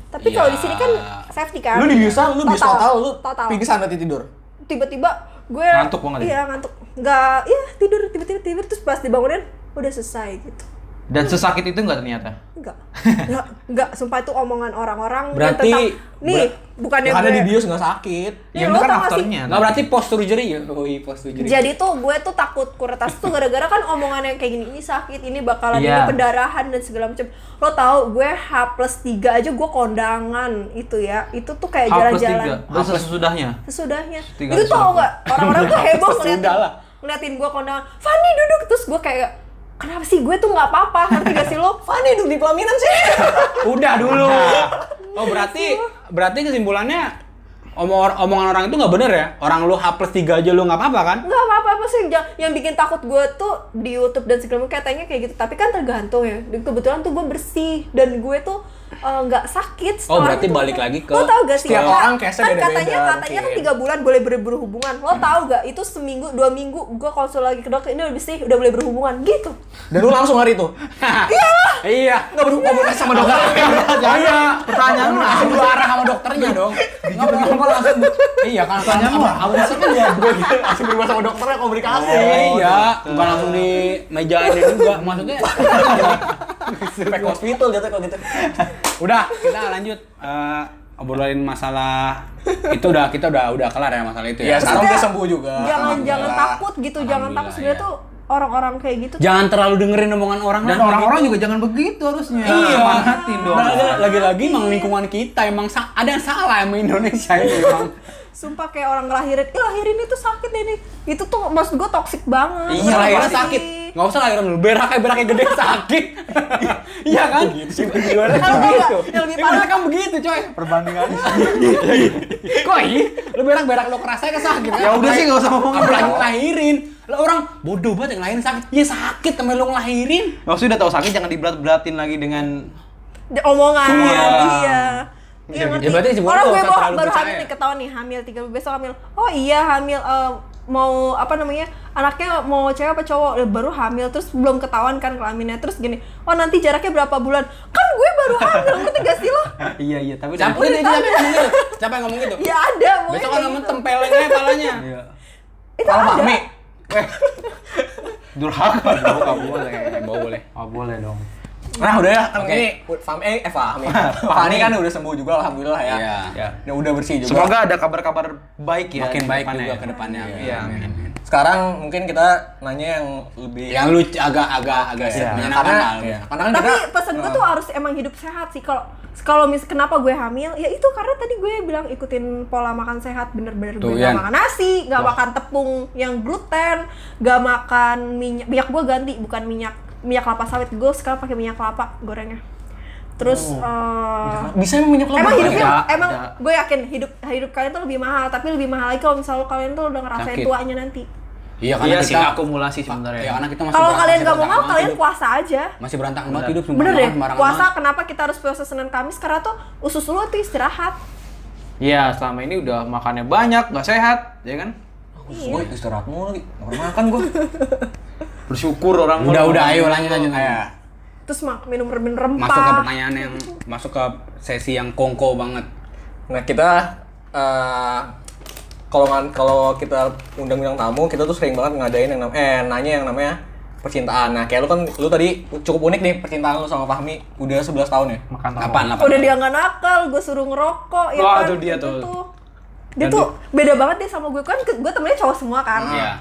Speaker 4: Tapi kalau di sini kan safety kan.
Speaker 1: Ya. Lu dibiusan, lu bius total, lu
Speaker 4: total.
Speaker 1: pingsan nanti tidur.
Speaker 4: Tiba-tiba gue
Speaker 2: Ngantuk banget ya?
Speaker 4: Iya ngantuk. Gak, iya tidur tiba-tiba tidur terus pas dibangunin udah selesai gitu.
Speaker 2: Dan sesakit itu nggak ternyata.
Speaker 4: Enggak. Enggak, enggak. Sumpah itu omongan orang-orang yang
Speaker 3: Berarti-
Speaker 4: tentang nih,
Speaker 3: ber-
Speaker 4: bukannya
Speaker 1: Yang ada
Speaker 4: gue.
Speaker 1: di bius nggak sakit.
Speaker 4: Nih,
Speaker 2: Ya,
Speaker 4: Iya, lo
Speaker 2: itu kan
Speaker 4: tau gak sih?
Speaker 2: aktornya.
Speaker 3: Gak berarti post surgery ya? Oh iya post surgery.
Speaker 4: Jadi tuh gue tuh takut kuretas tuh gara-gara kan omongan yang kayak gini ini sakit, ini bakalan
Speaker 2: Iya.
Speaker 4: ini pendarahan dan segala macam. Lo tahu gue H plus 3 aja gue kondangan itu ya. Itu tuh kayak
Speaker 2: H plus tiga.
Speaker 4: jalan-jalan
Speaker 2: Dan sesudahnya.
Speaker 4: sesudahnya.
Speaker 2: Tiga
Speaker 4: itu
Speaker 2: ratus
Speaker 4: tau
Speaker 2: delapan.
Speaker 4: gak? Orang-orang tuh heboh
Speaker 1: Sesudah
Speaker 4: ngeliatin,
Speaker 1: lah.
Speaker 4: ngeliatin gue kondangan. Fanny duduk terus gue kayak kenapa sih gue tuh nggak apa-apa ngerti gak sih lo?
Speaker 1: Fanny duduk di pelaminan sih.
Speaker 3: Udah dulu. Oh berarti berarti kesimpulannya omor- omongan orang itu nggak bener ya? Orang lu H plus 3 aja lu nggak apa-apa kan?
Speaker 4: nggak apa-apa apa sih yang, yang bikin takut gue tuh di YouTube dan segala macam katanya kayak gitu tapi kan tergantung ya Dan kebetulan tuh gue bersih dan gue tuh eh, nggak sakit setelah
Speaker 3: Oh, berarti
Speaker 4: itu.
Speaker 3: balik lagi ke
Speaker 4: lo tau gak sih
Speaker 1: setiap
Speaker 4: Kak?
Speaker 1: orang case-nya
Speaker 4: kan
Speaker 1: beda-beda Hmm.
Speaker 4: katanya katanya kan
Speaker 1: mungkin.
Speaker 4: tiga bulan boleh ber- berhubungan lo tau gak itu seminggu dua minggu gue konsul lagi ke dokter ini udah bersih udah boleh berhubungan gitu
Speaker 1: Dan lu langsung hari itu.
Speaker 3: iya.
Speaker 1: Nggak berkomunikasi sama dokter.
Speaker 3: Iya. Pertanyaan lu langsung lu arah sama dokternya dong. Nggak apa-apa langsung. Iya kan pertanyaan lu. Apa sih kan
Speaker 2: Iya,
Speaker 3: ya?
Speaker 1: Gue gitu, langsung berubah sama dokternya komunikasi.
Speaker 2: Oh.
Speaker 3: Iya. Bukan langsung di meja ini juga. Maksudnya.
Speaker 1: Sampai ke hospital jatuh kalau gitu.
Speaker 3: udah kita lanjut. Eh, obrolin masalah itu udah kita udah udah kelar ya masalah itu
Speaker 1: Ya
Speaker 3: ya.
Speaker 1: sekarang
Speaker 4: Maksudnya,
Speaker 1: udah sembuh juga.
Speaker 4: jangan jangan
Speaker 1: Alhamdulillah.
Speaker 4: takut gitu jangan takut
Speaker 3: Alhamdulillah,
Speaker 4: sebenarnya
Speaker 3: ya.
Speaker 4: tuh orang-orang kayak gitu tuh
Speaker 3: Jangan terlalu dengerin omongan orang
Speaker 2: Dan
Speaker 3: lah.
Speaker 2: orang-orang juga jangan begitu harusnya.
Speaker 3: Iya.
Speaker 2: Manfaatin dong.
Speaker 3: Lagi- Lagi-lagi emang lingkungan kita emang sa- ada yang salah sama Indonesia ini emang.
Speaker 4: sumpah kayak orang ngelahirin ih lahirin itu sakit ini itu tuh maksud gue toksik banget
Speaker 3: Iya lahirnya
Speaker 4: Pasti.
Speaker 3: sakit. Nggak usah lahiran dulu. Beraknya beraknya gede sakit. Iya kan? Gitu.
Speaker 4: Kalau nggak,
Speaker 3: Begitu.
Speaker 4: yang lebih
Speaker 3: Ini
Speaker 4: parah.
Speaker 3: mereka kan begitu coy.
Speaker 2: Perbandingannya.
Speaker 3: Kok iya? Lu berak-berak lu kerasa ke sakit. kan?
Speaker 2: Ya udah sih, nggak usah ngomong.
Speaker 3: Apalagi lahirin. Lah orang bodoh banget yang lahirin sakit. Ya sakit temen lu ngelahirin.
Speaker 2: Maksudnya udah tahu sakit jangan diberat-beratin lagi dengan
Speaker 4: Di- omongan
Speaker 3: Iya.
Speaker 4: iya Iya
Speaker 3: Ya,
Speaker 4: ngerti.
Speaker 3: berarti sebenarnya
Speaker 4: Orang
Speaker 3: nggak
Speaker 4: gue
Speaker 3: usah
Speaker 4: baru,
Speaker 3: terlalu
Speaker 4: baru hamil
Speaker 3: percaya.
Speaker 4: tiga tahun nih, hamil tiga bulan besok hamil. Oh iya hamil eh, mau apa namanya anaknya mau cewek apa cowok Eh, baru hamil terus belum ketahuan kan kelaminnya terus gini oh nanti jaraknya berapa bulan kan gue baru hamil ngerti gak sih lo
Speaker 2: Iya iya, tapi
Speaker 3: Siapa
Speaker 2: dari-
Speaker 3: ini siapa yang ngomong gitu? Siapa yang ngomong gitu?
Speaker 4: ya ada mungkin
Speaker 3: Besok
Speaker 4: kayak
Speaker 3: orang
Speaker 4: gitu.
Speaker 3: tempeleng aja palanya.
Speaker 2: Iya.
Speaker 4: itu ada
Speaker 2: Eh. Durhaka dong, nggak boleh.
Speaker 3: Bawa boleh.
Speaker 2: Nggak boleh dong.
Speaker 1: Nah udah ya, kan
Speaker 3: Oke.
Speaker 1: ini Fahmi, eh Fahmi Fahmi kan udah sembuh juga Alhamdulillah ya
Speaker 3: Iya.
Speaker 1: Ya. Dan udah bersih juga
Speaker 2: Semoga ada kabar-kabar baik ya.
Speaker 3: Makin
Speaker 2: di
Speaker 3: baik
Speaker 2: depannya
Speaker 3: juga
Speaker 2: ya.
Speaker 3: ke depannya.
Speaker 2: Iya, amin.
Speaker 1: Sekarang mungkin kita nanya yang lebih
Speaker 3: Yang lu agak-agak agak
Speaker 2: Iya.
Speaker 3: menyenangkan
Speaker 1: karena,
Speaker 3: lah.
Speaker 1: iya.
Speaker 3: Iya.
Speaker 1: karena kan
Speaker 4: tapi
Speaker 1: kita
Speaker 4: pesan gue tuh harus emang hidup sehat sih kalau kalau mis kenapa gue hamil ya itu karena tadi gue bilang ikutin pola makan sehat bener-bener
Speaker 3: Tuh,
Speaker 4: gue nggak
Speaker 3: Yan.
Speaker 4: makan nasi nggak makan tepung yang gluten nggak makan minyak minyak gue ganti bukan minyak minyak kelapa sawit gue sekarang pakai minyak kelapa gorengnya terus
Speaker 3: Oh.
Speaker 4: eh,
Speaker 1: bisa emang minyak
Speaker 4: emang
Speaker 1: lobang?
Speaker 4: hidupnya
Speaker 3: ya?
Speaker 2: Ada,
Speaker 4: emang
Speaker 2: ada.
Speaker 4: gue yakin hidup hidup kalian tuh lebih mahal tapi lebih mahal lagi kalau misalnya kalian tuh udah ngerasain
Speaker 3: Sakit.
Speaker 4: tuanya nanti
Speaker 3: Iya karena
Speaker 2: Iya
Speaker 3: kita
Speaker 2: sih akumulasi sebenarnya.
Speaker 3: Ya karena kita masih
Speaker 4: kalau
Speaker 3: berantakan-
Speaker 4: kalian
Speaker 3: masih berantakan
Speaker 4: nggak mau mau
Speaker 3: banget
Speaker 4: kalian
Speaker 3: hidup.
Speaker 4: puasa aja
Speaker 3: masih berantakan banget hidup sumpah
Speaker 4: Bener deh,
Speaker 3: makan sembarangan
Speaker 4: puasa
Speaker 3: banget.
Speaker 4: kenapa kita harus puasa Senin Kamis karena tuh usus lu tuh istirahat.
Speaker 2: Iya, selama ini udah makannya banyak, nggak sehat, ya kan?
Speaker 4: Iya.
Speaker 1: Gue istirahat mulu lagi, nggak pernah makan gue
Speaker 2: Bersyukur orang.
Speaker 3: Udah udah ayo lanjut lanjut. Ayo.
Speaker 4: Terus mak minum remin rempah.
Speaker 3: Masuk ke pertanyaan yang masuk ke sesi yang kongko banget.
Speaker 1: Nah kita eh, kalau ngan- kalau kita undang-undang tamu kita tuh sering banget ngadain yang namanya eh nanya yang namanya percintaan. Nah kayak lu kan lu tadi cukup unik nih percintaan lu sama Fahmi udah 11 tahun ya.
Speaker 2: Makan tau.
Speaker 3: Kapan kapan?
Speaker 4: Udah dia nggak nakal, gue suruh ngerokok ya
Speaker 3: Oh,
Speaker 2: Wah,
Speaker 4: kan.
Speaker 2: itu dia
Speaker 4: Itu
Speaker 2: tuh.
Speaker 4: Dia
Speaker 2: Dan
Speaker 4: tuh beda banget deh sama gue kan gue temennya cowok semua kan.
Speaker 3: Iya.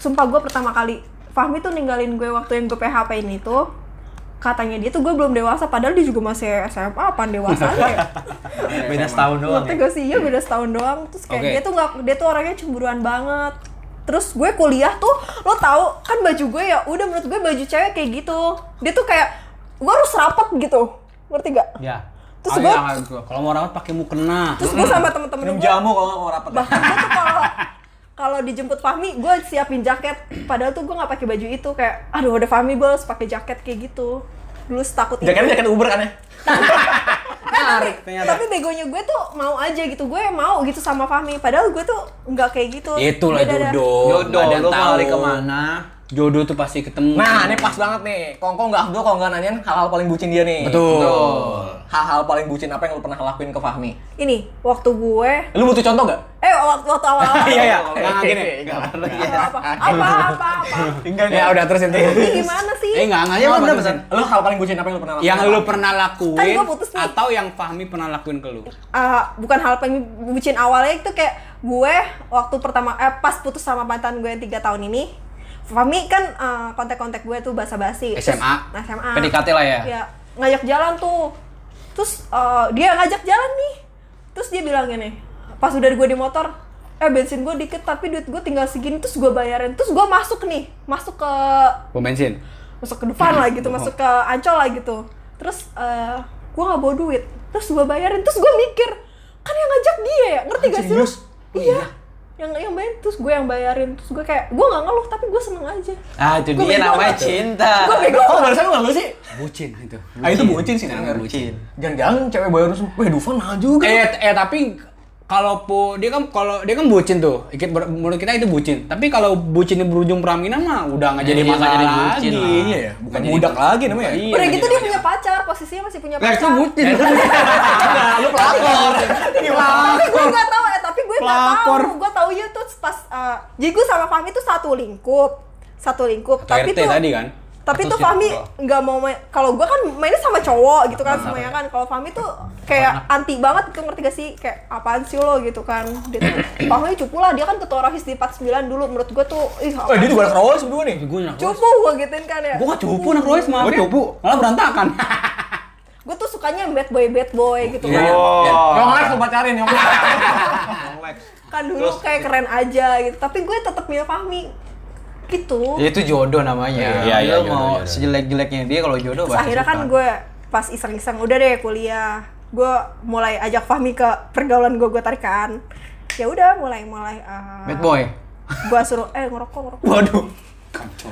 Speaker 4: Sumpah gue pertama kali Fahmi tuh ninggalin gue waktu yang gue PHP ini tuh katanya dia tuh gue belum dewasa padahal dia juga masih SMA apaan dewasanya ya
Speaker 2: Beda setahun doang. ya?
Speaker 4: Ngerti gak sih? Iya beda setahun doang. Terus kayak
Speaker 3: Oke.
Speaker 4: dia tuh nggak, dia tuh orangnya cemburuan banget. Terus gue kuliah tuh, lo tahu kan baju gue ya, udah menurut gue baju cewek kayak gitu. Dia tuh kayak gue harus rapat gitu, ngerti gak?
Speaker 2: Ya.
Speaker 4: Terus
Speaker 2: Ayo,
Speaker 4: gua-
Speaker 2: ayo, gua.
Speaker 3: Kalau mau rawat pakai mukena.
Speaker 4: Terus gue sama
Speaker 1: Minum
Speaker 4: temen-temen gue,
Speaker 1: jamu kalau nggak mau rapet.
Speaker 4: bahkan gue tuh kalau kalau dijemput Fahmi, gue siapin jaket. Padahal tuh gue nggak pakai baju itu, kayak aduh ada Fahmi gue harus pakai jaket kayak gitu. Dulu takut
Speaker 1: Jaketnya jaket Uber kan ya?
Speaker 4: Eh,
Speaker 2: menarik ternyata.
Speaker 4: tapi begonya gue tuh mau aja gitu gue mau gitu sama Fahmi padahal gue tuh nggak kayak gitu
Speaker 3: Itulah
Speaker 4: Beda-beda.
Speaker 3: jodoh.
Speaker 2: Jodoh,
Speaker 3: Nggak ada yang
Speaker 2: lo mau lari
Speaker 3: tahu.
Speaker 2: kemana?
Speaker 3: Jodoh tuh pasti ketemu.
Speaker 1: Nah, ini pas banget nih. Kongkong nggak Abdul kalau nggak nanyain hal-hal paling bucin dia nih.
Speaker 3: Betul.
Speaker 1: Hal-hal paling bucin apa yang lu pernah lakuin ke Fahmi?
Speaker 4: ini waktu gue
Speaker 1: Lu butuh contoh nggak?
Speaker 4: eh waktu waktu awal
Speaker 3: Iya, iya.
Speaker 1: Oh,
Speaker 2: Nggak,
Speaker 3: Nah, gini.
Speaker 2: nggak ada.
Speaker 4: apa apa apa apa
Speaker 1: Ya udah terusin
Speaker 4: ini
Speaker 1: terus.
Speaker 4: gimana sih
Speaker 3: Eh, enggak, enggak.
Speaker 2: Iya,
Speaker 3: Ya,
Speaker 2: bener,
Speaker 3: bener,
Speaker 2: bener.
Speaker 1: Lu hal paling bucin apa yang lu pernah lakuin?
Speaker 3: Yang lu pernah
Speaker 4: Kan
Speaker 3: lakuin
Speaker 4: gua putus nih.
Speaker 3: atau yang Fahmi pernah lakuin ke lu?
Speaker 4: Ah, bukan hal paling bucin awalnya itu kayak gue waktu pertama eh pas putus sama mantan gue yang tiga tahun ini Fami kan eh, kontak-kontak gue tuh basa-basi Terus-
Speaker 3: SMA.
Speaker 4: Nah, SMA
Speaker 2: PDKT lah ya?
Speaker 4: Iya, ngajak jalan tuh terus eh, dia ngajak jalan nih terus dia bilang gini pas udah gue di motor eh bensin gue dikit tapi duit gue tinggal segini terus gue bayarin terus gue masuk nih masuk ke
Speaker 3: Bom bensin.
Speaker 4: masuk ke depan lah gitu, masuk ke ancol lah gitu. Terus eh gue nggak bawa duit, terus gue bayarin, terus gue mikir kan yang ngajak dia ya, ngerti gak sih lu? Iya. Yang yang bayarin, terus gue yang bayarin, terus gue kayak gue nggak ngeluh tapi gue seneng aja.
Speaker 2: Ah, itu
Speaker 4: Gua
Speaker 2: dia
Speaker 4: bego
Speaker 2: namanya
Speaker 4: banget tuh.
Speaker 2: cinta.
Speaker 4: Gue bego.
Speaker 1: Oh, barusan lu nggak lu sih?
Speaker 3: Bucin itu.
Speaker 1: Ah, itu bucin sih,
Speaker 2: Jangan
Speaker 1: Nanggar.
Speaker 2: bucin.
Speaker 1: Jangan-jangan cewek baru terus, weh Dufan mahal juga.
Speaker 3: Eh, eh tapi kalau pu- dia kan kalau dia kan bucin tuh. Ikit ber- menurut kita itu bucin. Tapi kalau bucinnya berujung peraminan mah udah nggak jadi
Speaker 2: Iya, nggak
Speaker 3: masalah
Speaker 2: jadi
Speaker 3: lagi.
Speaker 2: bucin lah.
Speaker 1: Iya ya, bukan budak lagi namanya. ya?
Speaker 3: Iya,
Speaker 4: Udah
Speaker 3: nggak
Speaker 4: gitu
Speaker 3: jadi
Speaker 4: dia punya pacar, posisinya masih punya
Speaker 3: Nah,
Speaker 4: pacar.
Speaker 3: itu bucin.
Speaker 1: Nah, lu pelakor.
Speaker 4: tapi gue gak tahu eh tapi gue gak tahu
Speaker 3: Pelakor.
Speaker 4: gue taunya tuh pas eh, jadi gue sama Fahmi tuh satu lingkup satu lingkup
Speaker 3: Atau
Speaker 4: tapi
Speaker 3: RT
Speaker 4: tuh
Speaker 3: tadi kan?
Speaker 4: tapi
Speaker 2: Atau
Speaker 4: tuh
Speaker 2: siapa?
Speaker 4: Fahmi nggak mau main kalau gue kan mainnya sama cowok gitu kan semuanya kan kalau Fahmi tuh kayak anti banget gitu ngerti gak sih kayak apaan sih lo gitu kan dia tuh Fahmi cupu lah dia kan ketua rohis di 49 dulu menurut gue tuh
Speaker 1: Eh,
Speaker 4: ih
Speaker 1: dia
Speaker 4: apaan
Speaker 1: juga anak rawol sebelum nih.
Speaker 3: Gue nak
Speaker 4: cupu gue gituin kan ya
Speaker 3: Gue gak cupu nak Royce maaf.
Speaker 1: Gua
Speaker 3: ya.
Speaker 1: cupu.
Speaker 3: Malah berantakan.
Speaker 4: gue tuh sukanya yang bad boy bad boy gitu
Speaker 1: Iya,
Speaker 4: kan
Speaker 1: iya.
Speaker 2: Oh.
Speaker 1: Yang lain lu pacarin, yang lain.
Speaker 2: Iya.
Speaker 4: kan dulu kayak keren aja gitu tapi gue tetap milih Fahmi gitu
Speaker 2: Ya itu jodoh namanya.
Speaker 3: Iya, iya,
Speaker 2: Lo
Speaker 3: jodoh,
Speaker 2: mau
Speaker 3: jodoh.
Speaker 2: sejelek-jeleknya dia kalau jodoh
Speaker 4: Terus
Speaker 2: pasti
Speaker 4: akhirnya kan
Speaker 2: suka.
Speaker 4: gue pas iseng-iseng udah deh kuliah gue mulai ajak Fahmi ke pergaulan gue gue tarikan ya udah mulai mulai eh,
Speaker 2: bad boy. Iya.
Speaker 4: gue suruh eh ngerokok ngerokok
Speaker 1: Waduh.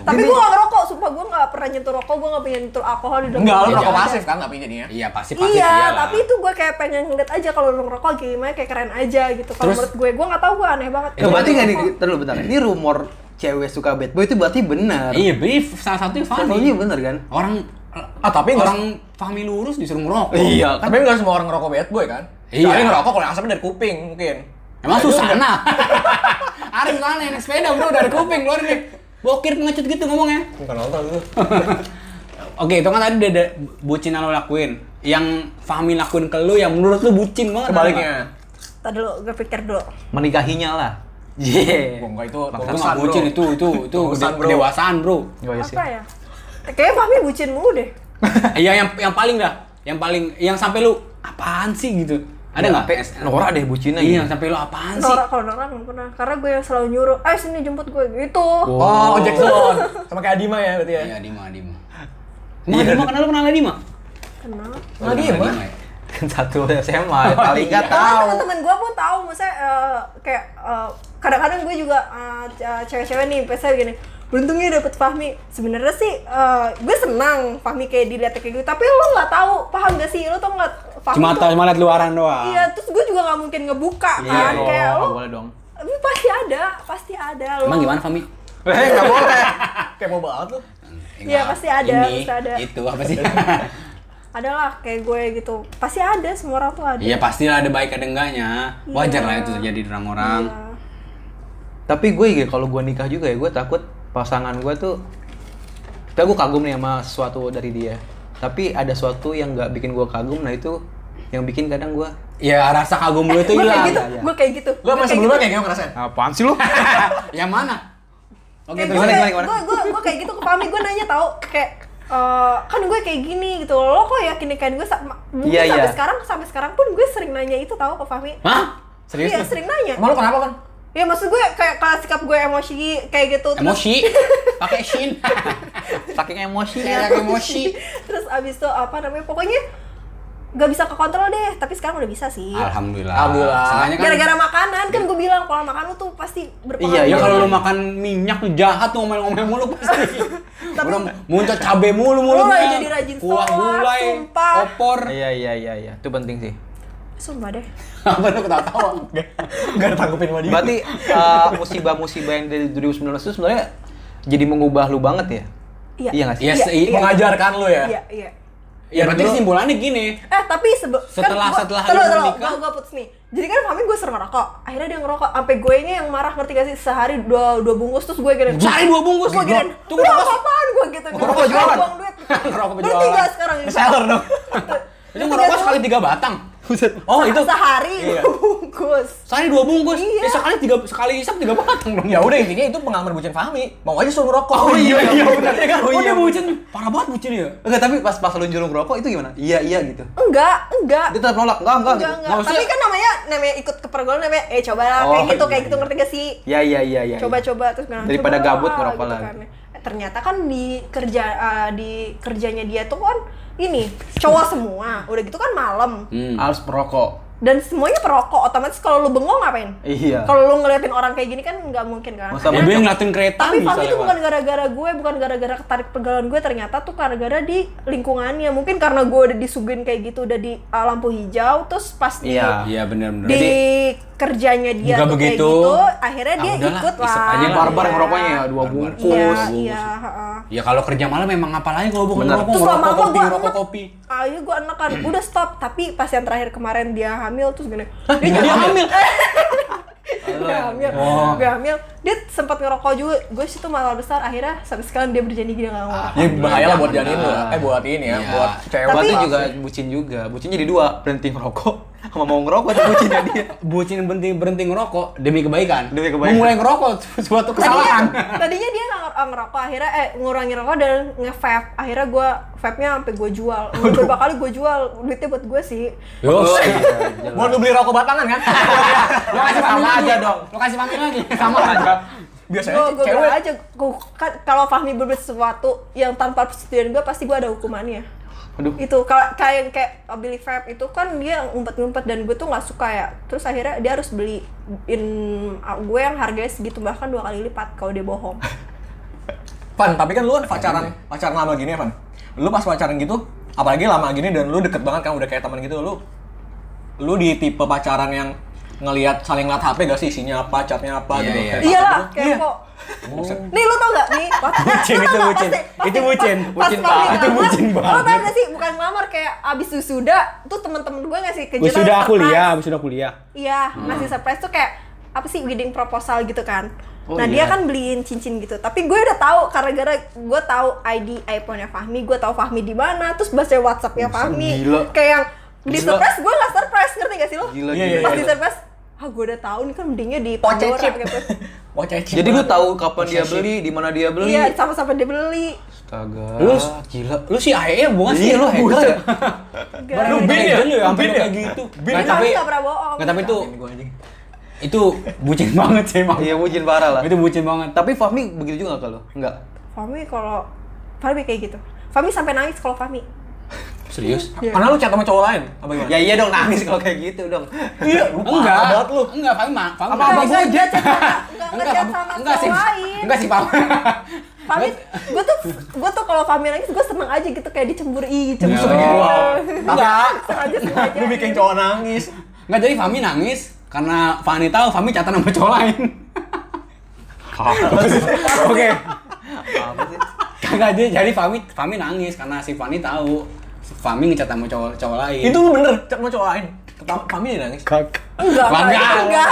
Speaker 4: tapi gue gak ngerokok sumpah gue gak pernah nyentuh rokok gue gak pengen nyentuh alkohol di dalam
Speaker 1: Enggak, lu
Speaker 4: hidup
Speaker 1: rokok
Speaker 4: gue.
Speaker 1: pasif kan tapi jadinya.
Speaker 3: Iya pasti pasti
Speaker 4: iya tapi itu gue kayak pengen ngeliat aja kalau lu ngerokok gimana kayak keren aja gitu kalau
Speaker 3: Terus-
Speaker 4: menurut gue gue gak tau gue aneh banget
Speaker 2: Itu berarti nggak di terlalu bentar. Ini rumor cewek suka bad boy itu berarti benar.
Speaker 3: Iya, beef salah satunya Fahmi.
Speaker 2: Iya benar kan?
Speaker 3: Orang
Speaker 1: Ah, tapi nggak-
Speaker 3: orang Fahmi lurus disuruh ngerokok.
Speaker 2: Iya kan?
Speaker 1: Tapi nggak semua orang ngerokok bad boy kan?
Speaker 3: Iya.
Speaker 1: Kecuali ngerokok kalau yang asapnya dari kuping mungkin. Nah,
Speaker 3: Emang
Speaker 1: itu
Speaker 3: susah nah. Arif soalnya naik sepeda bro dari kuping keluar nih. Bokir pengecut gitu ngomongnya.
Speaker 1: udah- Bukan nonton itu.
Speaker 3: Oke, itu kan tadi udah ada bucin yang lo lakuin. Yang Fahmi lakuin ke lu yang menurut lu bucin banget.
Speaker 1: Sebaliknya.
Speaker 4: tadi dulu gue pikir dulu
Speaker 2: Menikahinya lah.
Speaker 1: Gua
Speaker 2: Iya.
Speaker 1: nggak itu
Speaker 3: Itu
Speaker 1: urusan
Speaker 3: nggak bucin itu itu itu
Speaker 1: Urusan,
Speaker 3: kede-
Speaker 1: bro.
Speaker 3: kedewasaan bro.
Speaker 2: Gak sih.
Speaker 4: apa ya kayaknya Fahmi bucin mulu deh
Speaker 3: Iya yang yang paling dah, yang paling yang sampai lu apaan sih gitu. Ada nggak?
Speaker 2: Sampai Nora deh bucinnya gitu.
Speaker 3: Iya, yang sampai lu apaan sih?
Speaker 4: Nora kalau Nora nggak pernah karena gue yang selalu nyuruh eh sini jemput gue gitu
Speaker 1: Oh, ojek Jackson. Sama kayak Adima ya berarti ya.
Speaker 3: Iya, Dima, Dima. Emang Dima kenal lu kenal Dima?
Speaker 4: kenapa
Speaker 1: Nah, Dima.
Speaker 3: ya?
Speaker 2: Kan satu SMA paling
Speaker 1: Iya.
Speaker 2: nggak
Speaker 4: Bahkan
Speaker 2: tahu.
Speaker 4: teman-teman gue pun tahu, maksudnya eh, kayak eh, kadang-kadang gue juga eh, ce- cewek-cewek nih, biasanya gini, beruntungnya dapet Fahmi. Sebenarnya sih eh, gue senang Fahmi kayak dilihat kayak gitu, tapi lo nggak tahu, paham gak sih? Lo tau nggak Fahmi
Speaker 3: Cuma
Speaker 4: tuh,
Speaker 3: tahu cuma liat luaran doang.
Speaker 4: Iya, terus gue juga nggak mungkin ngebuka
Speaker 2: Iya
Speaker 4: kan, kayak lo
Speaker 2: dong. Boleh dong.
Speaker 4: "Tapi pasti ada, pasti ada lo.
Speaker 3: oh. Emang gimana Fahmi?
Speaker 1: Eh, nggak boleh. Kayak mau banget lu.
Speaker 4: Iya,
Speaker 3: Enggak.
Speaker 4: pasti ada,
Speaker 3: Ini,
Speaker 4: pasti ada.
Speaker 3: Itu apa sih?
Speaker 4: Ada lah kayak gue gitu, pasti ada semua orang tuh ada.
Speaker 3: Iya pastilah ada baik ada enggaknya.
Speaker 4: Iya.
Speaker 3: Wajar lah itu terjadi di orang-orang.
Speaker 2: Tapi gue juga kalau gue nikah juga ya gue takut pasangan gue tuh Tapi gue kagum nih sama sesuatu dari dia Tapi ada sesuatu yang nggak bikin gue kagum nah itu yang bikin kadang gue
Speaker 3: Ya rasa kagum lu itu
Speaker 4: Gue Iya. kayak
Speaker 3: hilang.
Speaker 4: gitu, gue kayak gitu.
Speaker 1: Lu sama sebelumnya kayak gimana ngerasain?
Speaker 2: Apaan sih lu?
Speaker 3: Yang mana? Oke,
Speaker 4: Kayak
Speaker 3: terus
Speaker 4: gue,
Speaker 3: gimana, gimana,
Speaker 4: kayak-
Speaker 3: gimana?
Speaker 4: gue gue gue kayak gitu ke Fahmi gue nanya tau kayak eh, kan gue kayak gini gitu lo kok yakin nikahin gue sama mungkin
Speaker 2: Iya,
Speaker 4: sampai
Speaker 2: iya.
Speaker 4: sekarang sampai sekarang pun gue sering nanya itu tau ke Fahmi
Speaker 3: Hah? Serius?
Speaker 4: iya
Speaker 3: lu?
Speaker 4: sering nanya
Speaker 1: Emang lu kenapa kan?
Speaker 4: ya maksud gue kayak kalau sikap gue emosi kayak gitu terus
Speaker 3: Emosi. Pakai shin.
Speaker 2: Saking
Speaker 4: Iya.
Speaker 2: emosinya
Speaker 3: Kayak emosi.
Speaker 4: terus abis itu apa namanya pokoknya gak bisa ke kontrol deh tapi sekarang udah bisa sih
Speaker 3: Alhamdulillah.
Speaker 1: Alhamdulillah.
Speaker 3: Seenggaknya kan
Speaker 4: gara-gara makanan kan gue bilang pola makan lu tuh pasti berpengaruh
Speaker 2: Iya, iya.
Speaker 3: Ya kalau lu makan minyak lu jahat tuh ngomel-ngomel mulu pasti.
Speaker 4: Tapi-
Speaker 3: Orang muncul cabe mulu mulu.
Speaker 4: Mulai jadi rajin
Speaker 3: Kuah
Speaker 4: sholat,
Speaker 3: gulai,
Speaker 4: sumpah.
Speaker 3: opor.
Speaker 2: Iya iya iya iya, itu penting sih.
Speaker 4: Sumpah deh.
Speaker 3: Apa lu ketawa?
Speaker 1: Gak ditanggepin sama dia.
Speaker 2: Berarti eh, musibah-musibah yang dari 2019 itu sebenarnya jadi mengubah lu banget ya?
Speaker 4: Iya.
Speaker 2: Iya nggak sih?
Speaker 3: Yes,
Speaker 4: Iya, iya.
Speaker 1: Mengajarkan lu ya.
Speaker 4: Iya, iya.
Speaker 3: Ya berarti simbolannya gini.
Speaker 4: Eh, tapi sebe
Speaker 3: Setelah-
Speaker 4: gua-
Speaker 3: setelah
Speaker 4: tunggu,
Speaker 3: lu
Speaker 4: tunggu,
Speaker 3: menikah?
Speaker 4: gua, gua putus nih. Jadi kan Fahmi gue sering ngerokok. Akhirnya dia ngerokok sampai gue ini yang marah ngerti gak sih sehari dua dua bungkus terus gue gini.
Speaker 3: Sehari dua bungkus?
Speaker 4: gue gini.
Speaker 3: Gila. Tunggu,
Speaker 4: Tunggu
Speaker 3: terus?
Speaker 4: apaan gue gitu.
Speaker 3: Ngerokok jualan?
Speaker 4: Buang duit.
Speaker 3: Ngerokok
Speaker 4: Berarti
Speaker 3: jualan.
Speaker 4: gak sekarang Gitu. ini.
Speaker 3: Seller dong. Itu ngerokok sekali tiga batang. Oh itu
Speaker 4: sehari dua bungkus.
Speaker 3: sehari dua bungkus.
Speaker 4: Iya.
Speaker 3: Ya, sekali tiga sekali isap tiga batang dong.
Speaker 1: Ya udah intinya itu pengalaman bucin Fahmi. Mau aja suruh ngerokok.
Speaker 3: benar ya kan.
Speaker 1: Iya, Oh
Speaker 3: Oh
Speaker 1: iya.
Speaker 3: dia bucin parah banget bucin ya.
Speaker 2: Enggak, tapi pas pas lu nyuruh ngerokok itu gimana? Iya iya gitu.
Speaker 4: Enggak, enggak.
Speaker 2: Dia tetap nolak, enggak enggak.
Speaker 4: Enggak,
Speaker 2: gitu.
Speaker 4: enggak.
Speaker 3: maksudnya-
Speaker 4: Tapi kan namanya namanya ikut ke pergaulan namanya eh cobalah
Speaker 2: Oh,
Speaker 4: kayak gitu,
Speaker 2: iya,
Speaker 4: kayak gitu
Speaker 2: iya.
Speaker 4: ngerti gak sih?
Speaker 2: Iya iya iya iya.
Speaker 4: coba-coba terus bilang
Speaker 2: Daripada
Speaker 4: "Coba
Speaker 2: gabut, ngerokok
Speaker 4: gitu
Speaker 2: lagi.
Speaker 4: kan. Eh, ternyata kan di kerja eh, di kerjanya dia tuh kan ini cowok semua udah gitu kan malam
Speaker 2: Hmm. Harus merokok.
Speaker 4: dan semuanya perokok otomatis kalau lu bengong ngapain
Speaker 2: Iya.
Speaker 4: kalau lu ngeliatin orang kayak gini kan nggak mungkin kan
Speaker 2: Masa
Speaker 3: Ya
Speaker 4: Karena-
Speaker 3: dia ngeliatin kereta
Speaker 4: tapi
Speaker 3: bisa
Speaker 4: Fahmi itu bukan
Speaker 3: lewat.
Speaker 4: gara-gara gue, bukan gara-gara ketarik pergaulan gue, ternyata tuh gara-gara di lingkungannya. Mungkin karena gue udah disuguhin kayak gitu, udah di uh, lampu hijau, terus pas di
Speaker 2: Iya.
Speaker 3: Iya benar-benar.
Speaker 4: di kerjanya
Speaker 3: Juga
Speaker 4: dia tuh kayak
Speaker 3: begitu.
Speaker 4: gitu, akhirnya
Speaker 3: Ah,
Speaker 4: dia
Speaker 3: udahlah,
Speaker 4: ikut lah.
Speaker 3: isep aja
Speaker 2: Ini
Speaker 3: Iya.
Speaker 2: barbar ngerokoknya ya, dua
Speaker 3: Barbar.
Speaker 2: bungkus.
Speaker 4: Iya,
Speaker 3: Bungkus.
Speaker 4: iya. heeh.
Speaker 3: Ya kalau kerja malam memang apa lagi kalau bukan
Speaker 2: Bener.
Speaker 3: ngerokok,
Speaker 4: Terus lama
Speaker 3: ngerokok
Speaker 4: lama
Speaker 3: kopi,
Speaker 4: gue
Speaker 3: ngerokok kopi.
Speaker 4: Ayo gue enak kan, udah stop. Tapi pas yang terakhir kemarin dia hamil terus gini.
Speaker 3: Dia
Speaker 4: nyampe-
Speaker 3: hamil.
Speaker 4: gue hamil,
Speaker 3: Oh.
Speaker 4: gue hamil. Dia sempat ngerokok juga. Gue situ malah besar. Akhirnya sampai sekarang dia berjanji gini nggak
Speaker 3: Ah.
Speaker 4: ngerokok.
Speaker 1: Ya bahaya lah buat janin lu.
Speaker 2: Benar.
Speaker 1: Eh buat ini ya,
Speaker 3: Iya.
Speaker 1: buat cewek.
Speaker 2: Tapi
Speaker 4: Tapi-
Speaker 2: juga bucin juga. Bucinnya jadi dua, berhenti ngerokok sama mau ngerokok itu bucinnya dia.
Speaker 3: Bucin berhenti berhenti ngerokok demi kebaikan.
Speaker 2: Demi kebaikan.
Speaker 3: Memulai ngerokok suatu kesalahan.
Speaker 4: Tadinya, Iya. tadinya dia nggak nger- ngerokok, akhirnya eh ngurangi rokok dan nge-vape. Akhirnya gue vape-nya sampai gue jual. Beberapa kali gue jual, duitnya buat gue sih.
Speaker 3: Yo,
Speaker 1: Iya, Mau lu beli rokok batangan kan?
Speaker 3: lo kasih
Speaker 2: Sama
Speaker 3: panggung
Speaker 4: kan
Speaker 3: lagi
Speaker 2: aja dong.
Speaker 3: Lo kasih panggung lagi. Sama aja.
Speaker 1: Biasanya
Speaker 4: Gue gue
Speaker 1: cewek.
Speaker 4: bilang aja, gua- kan kalau Fahmi berbuat sesuatu yang tanpa persetujuan gue pasti gue ada hukumannya.
Speaker 2: Aduh.
Speaker 4: Itu kalau kayak kayak beli vape itu kan dia ngumpet-ngumpet dan gue tuh nggak suka ya. Terus akhirnya dia harus beliin ah, gue yang harganya segitu bahkan dua kali lipat kalau dia bohong.
Speaker 1: Fan, tapi kan lu kan pacaran, pacaran lama gini ya, Fan. Lu pas pacaran gitu, apalagi lama gini dan lu deket banget kan udah kayak teman gitu, lu lu di tipe pacaran yang ngelihat saling ngeliat HP gak sih isinya apa, catnya apa
Speaker 3: Iya,
Speaker 1: gitu.
Speaker 3: iya.
Speaker 1: Kayak
Speaker 4: Iyalah,
Speaker 1: pacaran gitu.
Speaker 4: kepo. Nih lu tau gak nih? Pas,
Speaker 3: Bucin,
Speaker 4: lu
Speaker 3: itu
Speaker 4: tau nggak?
Speaker 3: bucin.
Speaker 4: Pasti- pasti
Speaker 3: Itu
Speaker 4: pas-
Speaker 3: bucin.
Speaker 4: pas
Speaker 3: Bucin
Speaker 4: Fahmi
Speaker 3: banget. Itu
Speaker 4: ngelamar,
Speaker 3: bucin
Speaker 4: Lu tau
Speaker 3: banget.
Speaker 4: gak sih bukan ngelamar kayak abis wisuda tuh temen-temen gue ngasih kejutan.
Speaker 3: Sudah
Speaker 4: surprise.
Speaker 3: kuliah, sudah kuliah. Hmm.
Speaker 4: Iya, ngasih surprise tuh kayak apa sih wedding proposal gitu kan.
Speaker 2: Oh,
Speaker 4: nah
Speaker 2: iya.
Speaker 4: dia kan beliin cincin gitu, tapi gue udah tahu karena gara gue tahu ID iPhone-nya Fahmi, gue tahu Fahmi di mana, terus baca
Speaker 3: Oh,
Speaker 4: WhatsApp-nya Fahmi,
Speaker 2: gila.
Speaker 4: kayak yang di
Speaker 2: Gila.
Speaker 4: surprise gue nggak surprise ngerti gak sih lo?
Speaker 2: Gila,
Speaker 1: Iya,
Speaker 2: gila,
Speaker 1: iya,
Speaker 4: Pas di
Speaker 1: iya.
Speaker 2: gila.
Speaker 4: surprise, ah gue udah tahu nih kan mendingnya di
Speaker 1: Pocet
Speaker 4: Pandora
Speaker 1: chip.
Speaker 4: gitu.
Speaker 1: Wah, cecik
Speaker 2: Jadi lu
Speaker 1: banget.
Speaker 2: tahu kapan dia beli, di mana dia beli.
Speaker 4: Iya, sama-sama dia beli.
Speaker 2: Astaga.
Speaker 3: Lu
Speaker 2: gila.
Speaker 3: Lu sih AE bukan sih? E
Speaker 2: Iya, lu hacker
Speaker 3: Buset.
Speaker 2: ya?
Speaker 4: Enggak.
Speaker 3: Lu bin ya? Lu sampai
Speaker 1: Bin ya?
Speaker 3: kayak gitu.
Speaker 1: Bin
Speaker 3: Nggak,
Speaker 4: ya?
Speaker 3: tapi
Speaker 4: Nggak pernah bohong.
Speaker 3: nggak, tapi itu
Speaker 1: Ini gua anjing.
Speaker 3: itu bucin banget sih emang.
Speaker 2: Iya, bucin parah lah.
Speaker 3: Itu bucin banget.
Speaker 2: Tapi Fahmi begitu juga nggak kalau? Enggak.
Speaker 4: Fahmi kalau Fahmi kayak gitu. Fahmi sampai nangis kalau Fahmi.
Speaker 3: Serius?
Speaker 4: Iya.
Speaker 1: Karena lu chat sama cowok lain, apa gimana?
Speaker 2: Ya iya dong nangis kalau kayak gitu dong.
Speaker 1: Iya, lu
Speaker 3: Enggak.
Speaker 1: parah banget lu.
Speaker 3: Enggak, Fahmi mah. Fahmi mah-
Speaker 4: Apa- apa
Speaker 3: Enggak,
Speaker 4: gua aja? Enggak, enggak
Speaker 3: Fahmi-
Speaker 4: sama
Speaker 3: enggak sih.
Speaker 4: cowok lain.
Speaker 3: Enggak sih, Fahmi.
Speaker 4: Fahmi, gue tuh gue tuh kalau Fahmi nangis gue seneng aja gitu kayak dicemburi,
Speaker 1: Lu
Speaker 4: cemburu.
Speaker 3: Iya.
Speaker 1: seneng gua. Enggak.
Speaker 4: Sengaja sengaja.
Speaker 1: Lu bikin Ya, cowok nangis.
Speaker 3: Enggak jadi Fahmi nangis karena Fahmi tahu Fahmi catatan sama cowok lain. Oke.
Speaker 2: Apa sih?
Speaker 3: Kagak dia jadi Fahmi Fahmi nangis karena si Fahmi tahu si Fahmi ngecat sama cowok cowok lain.
Speaker 1: Itu lu bener chat sama cowok lain. Ketawa kami dia nangis.
Speaker 4: Enggak,
Speaker 3: Bangga.
Speaker 4: enggak, enggak.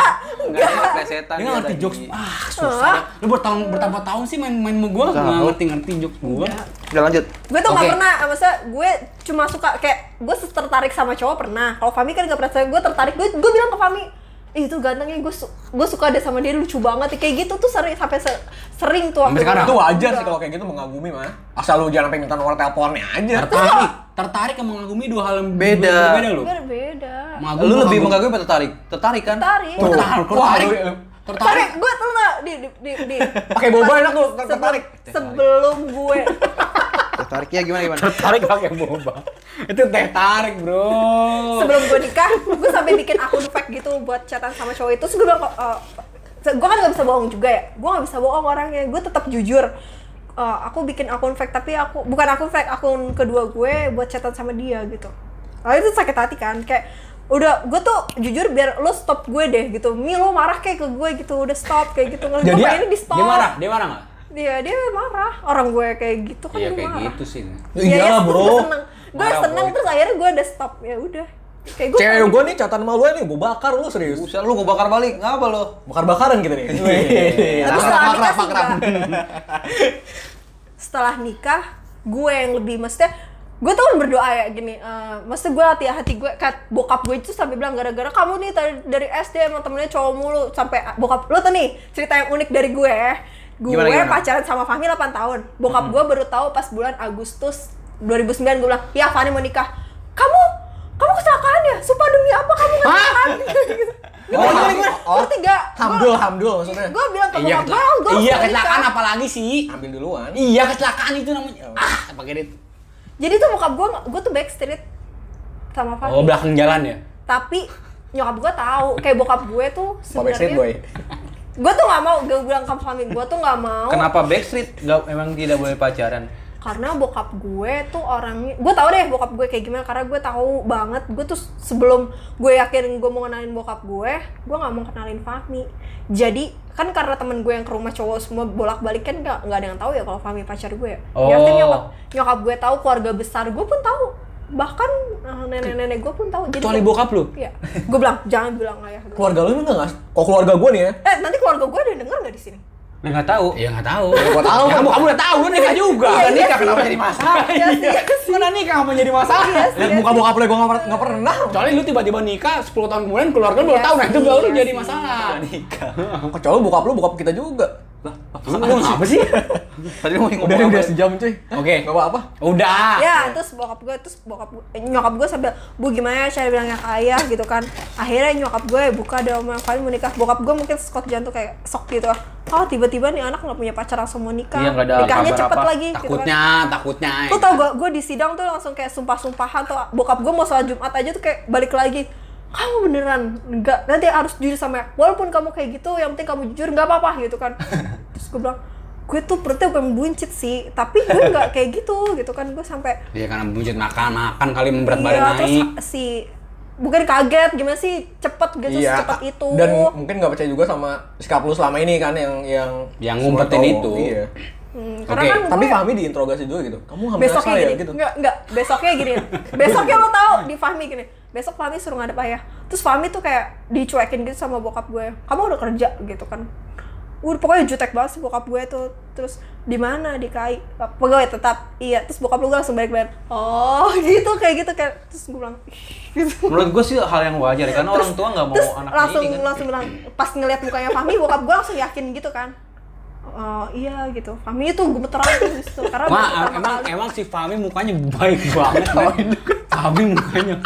Speaker 2: Enggak ada plesetan.
Speaker 3: Dia nggak ngerti
Speaker 2: ada
Speaker 3: jokes.
Speaker 2: di-
Speaker 3: Ah, susah. dah. Lu bertahun bertambah tahun sih main main sama gua nggak ngerti ngerti jokes gua.
Speaker 4: Iya.
Speaker 2: Udah lanjut.
Speaker 4: Gue tuh
Speaker 3: Oke.
Speaker 4: nggak pernah, maksudnya gue cuma suka kayak gue tertarik sama cowok pernah. Kalau Fahmi kan nggak pernah, saya- gue tertarik. Gue gue bilang ke Fahmi, Ih, itu gantengnya gue su- gue suka deh sama dia lucu banget kayak gitu tuh sering sampai se- sering tuh
Speaker 3: Sampai
Speaker 4: waktu
Speaker 3: sekarang?
Speaker 4: itu.
Speaker 1: Itu wajar sih kalau kayak gitu mengagumi mah. Asal lu jangan sampai minta nomor teleponnya aja.
Speaker 3: Tertarik, tertarik sama mengagumi dua hal yang
Speaker 2: Beda.
Speaker 3: Beda lu.
Speaker 4: Gue beda.
Speaker 3: Mengagumi,
Speaker 2: Lu lebih
Speaker 3: mengagumi.
Speaker 2: mengagumi apa tertarik? Tertarik kan?
Speaker 4: Tertarik.
Speaker 3: Tertarik,
Speaker 1: Wah,
Speaker 3: tertarik.
Speaker 1: lu-
Speaker 3: Tertarik.
Speaker 4: Tertarik, gue tuh nggak di di di. di.
Speaker 1: Pakai boba enak lu, ter-
Speaker 4: Sebe-
Speaker 1: tertarik.
Speaker 4: Sebelum gue,
Speaker 2: Tertarik ya gimana gimana?
Speaker 3: Tertarik pakai boba. Itu teh tarik, Bro. Oh.
Speaker 4: sebelum gue nikah, gue sampai bikin akun fake gitu buat chatan sama cowok itu. Terus "Oh, gue bilang, "Eh, gue kan gak bisa bohong juga ya. Gue gak bisa bohong orangnya. Gue tetap jujur. Eh, eh, aku bikin akun fake tapi aku bukan akun fake akun kedua gue buat chatan sama dia gitu lalu itu sakit hati kan kayak udah gue tuh jujur biar lo stop gue deh gitu mi lo marah kayak ke gue gitu udah stop kayak gitu gue
Speaker 3: Jadi ya,
Speaker 4: pengennya di stop
Speaker 3: dia marah, dia marah nggak?
Speaker 4: dia dia marah orang gue kayak gitu kan
Speaker 3: Iya
Speaker 4: dia
Speaker 3: kayak
Speaker 4: marah
Speaker 3: gitu sih.
Speaker 1: Ya iyalah, bro.
Speaker 4: Gue Iya, seneng, gue
Speaker 3: Marah,
Speaker 4: seneng
Speaker 3: boy.
Speaker 4: terus akhirnya gue udah stop ya udah. Kayak gue
Speaker 1: Cewek gue nih catatan malu nih, gue bakar lu serius.
Speaker 2: Buset lu gue bakar balik, ngapa lu?
Speaker 1: Bakar-bakaran kita nih. Iya,
Speaker 2: Makrab,
Speaker 4: Tapi setelah nikah
Speaker 2: makrab,
Speaker 4: sih
Speaker 2: makrab.
Speaker 4: enggak. Setelah nikah, gue yang lebih maksudnya gue tuh kan berdoa ya gini, eh maksudnya gue hati hati gue kat bokap gue itu sampai bilang gara-gara kamu nih tadi dari SD emang temennya cowok mulu sampai ah, bokap lu tuh nih cerita yang unik dari gue ya. gue
Speaker 2: Gimana, gimana?
Speaker 4: pacaran sama Fahmi 8 tahun bokap gue baru tahu pas bulan Agustus 2009 gue bilang ya Fahmi mau nikah kamu kamu kecelakaan ya sumpah demi apa kamu kecelakaan Gitu. Gue
Speaker 1: Oh,
Speaker 4: bilang,
Speaker 1: ham-
Speaker 4: "Gua-
Speaker 1: oh,
Speaker 4: gua tiga
Speaker 1: Hamdul, hamdul maksudnya.
Speaker 4: gue bilang ke
Speaker 3: Iya,
Speaker 4: bokap gue,
Speaker 3: kecelakaan.
Speaker 4: gue
Speaker 3: Iya,
Speaker 4: harus nikah." Oh.
Speaker 3: kecelakaan apalagi sih?
Speaker 1: Ambil duluan.
Speaker 3: Iya, kecelakaan itu namanya. Ah, pakai dit.
Speaker 4: Jadi tuh bokap gue, gue tuh backstreet sama Fahmi.
Speaker 3: Oh, belakang jalan ya.
Speaker 4: Tapi nyokap gue tahu, kayak bokap gue tuh
Speaker 1: Mau backstreet boy.
Speaker 4: sebenarnya. Gue tuh nggak mau, gue bilang ke Fahmi, gue tuh nggak mau.
Speaker 2: Kenapa Backstreet nggak emang tidak boleh pacaran?
Speaker 4: Karena bokap gue tuh orangnya, gue tahu deh bokap gue kayak gimana. Karena gue tahu banget, gue tuh sebelum gue yakin gue mau kenalin bokap gue, gue nggak mau kenalin Fahmi. Jadi kan karena temen gue yang ke rumah cowok semua bolak balik kan nggak nggak ada yang tahu ya kalau Fahmi pacar gue.
Speaker 2: Oh.
Speaker 4: Yakin nyokap nyokap gue tahu, keluarga besar gue pun tahu, bahkan eh, nenek-nenek gue pun tahu. Jadi
Speaker 3: Kecuali
Speaker 4: gue-
Speaker 3: bokap lu.
Speaker 4: Iya, gue bilang jangan bilang ayah. gua.
Speaker 1: Keluarga lu enggak ngasih? Kok keluarga gue nih ya?
Speaker 4: Eh nanti keluarga gue ada yang denger nggak di sini?
Speaker 2: Lu nggak tahu?
Speaker 3: Ya nggak tahu.
Speaker 1: gua tahu.
Speaker 3: Ya, kamu kamu udah tahu, lu nikah juga.
Speaker 2: Kan
Speaker 4: Iya, iya
Speaker 2: nikah
Speaker 4: sih.
Speaker 2: kenapa jadi masalah?
Speaker 4: Iya sih, iya sih.
Speaker 3: Mana nikah kamu jadi masalah?
Speaker 1: Lihat muka bokap lu gue enggak pernah.
Speaker 3: Kecuali lu tiba-tiba nikah 10 tahun kemudian keluarga baru
Speaker 4: Iya
Speaker 3: tahu nah itu
Speaker 4: sih,
Speaker 3: baru
Speaker 4: iya
Speaker 3: jadi
Speaker 4: sih.
Speaker 3: masalah. Nikah.
Speaker 1: Kecuali bokap lu bokap kita juga. Lah,
Speaker 3: Apa sih?
Speaker 2: Tadi lu mau
Speaker 1: Udah
Speaker 2: ngomong
Speaker 1: udah
Speaker 2: apa?
Speaker 1: sejam cuy.
Speaker 3: Oke.
Speaker 1: Enggak apa-apa.
Speaker 3: Udah.
Speaker 4: Ya,
Speaker 2: Ah.
Speaker 4: terus bokap gue, terus bokap gue, eh, nyokap gue sambil bu gimana ya saya bilang yang ayah gitu kan. Akhirnya nyokap gue buka ada omel kalian mau nikah. Bokap gue mungkin skot jantung kayak sok gitu. ah. Oh tiba-tiba nih anak nggak punya pacar langsung mau nikah.
Speaker 2: Iya, nggak ada
Speaker 4: Nikahnya
Speaker 2: kabar
Speaker 4: cepet
Speaker 2: apa.
Speaker 4: lagi. Gitu kan.
Speaker 3: Takutnya, takutnya.
Speaker 4: Lu tau gue, gue di sidang tuh langsung kayak sumpah-sumpahan tuh bokap gue mau sholat Jumat aja tuh kayak balik lagi kamu beneran nggak nanti harus jujur sama aku. walaupun kamu kayak gitu yang penting kamu jujur nggak apa-apa gitu kan terus gue bilang gue tuh perutnya bukan buncit sih tapi gue nggak kayak gitu gitu kan gue sampai
Speaker 3: Iya karena buncit makan, makan kali berat
Speaker 4: iya,
Speaker 3: badan
Speaker 4: terus
Speaker 3: naik.
Speaker 4: si bukan kaget gimana sih cepet gitu secepat itu
Speaker 1: Iya.
Speaker 4: Hmm,
Speaker 1: Dan mungkin nggak percaya juga sama sikap lu selama ini kan yang yang
Speaker 3: Yang ngumpetin
Speaker 1: cowok.
Speaker 3: itu.
Speaker 1: Iya.
Speaker 4: Hmm, karena
Speaker 3: Oke,
Speaker 4: kan
Speaker 1: Tapi
Speaker 4: gue
Speaker 1: Fahmi diinterogasi juga gitu. Kamu hamil
Speaker 4: besoknya
Speaker 1: saya
Speaker 4: gini
Speaker 1: gitu.
Speaker 4: enggak enggak besoknya gini besoknya lo tau di Fahmi gini besok Fahmi suruh ngadep ayah terus Fahmi tuh kayak dicuekin gitu sama bokap gue kamu udah kerja gitu kan udah pokoknya jutek banget sih bokap gue tuh terus di mana di KAI pegawai tetap iya terus bokap lu langsung balik balik oh gitu kayak gitu kayak terus gue bilang "Ih," gitu
Speaker 2: Menurut gue sih hal yang wajar ya, karena orang tua nggak mau
Speaker 4: terus
Speaker 2: anaknya
Speaker 4: langsung
Speaker 2: ini kan.
Speaker 4: langsung bilang pas ngeliat mukanya Fahmi bokap gue langsung yakin gitu kan oh iya gitu Fahmi itu gemeteran tuh di situ
Speaker 3: Ma,
Speaker 4: karena baru pertama
Speaker 3: emang
Speaker 4: kali.
Speaker 3: emang si Fahmi mukanya baik banget. men. Fahmi mukanya.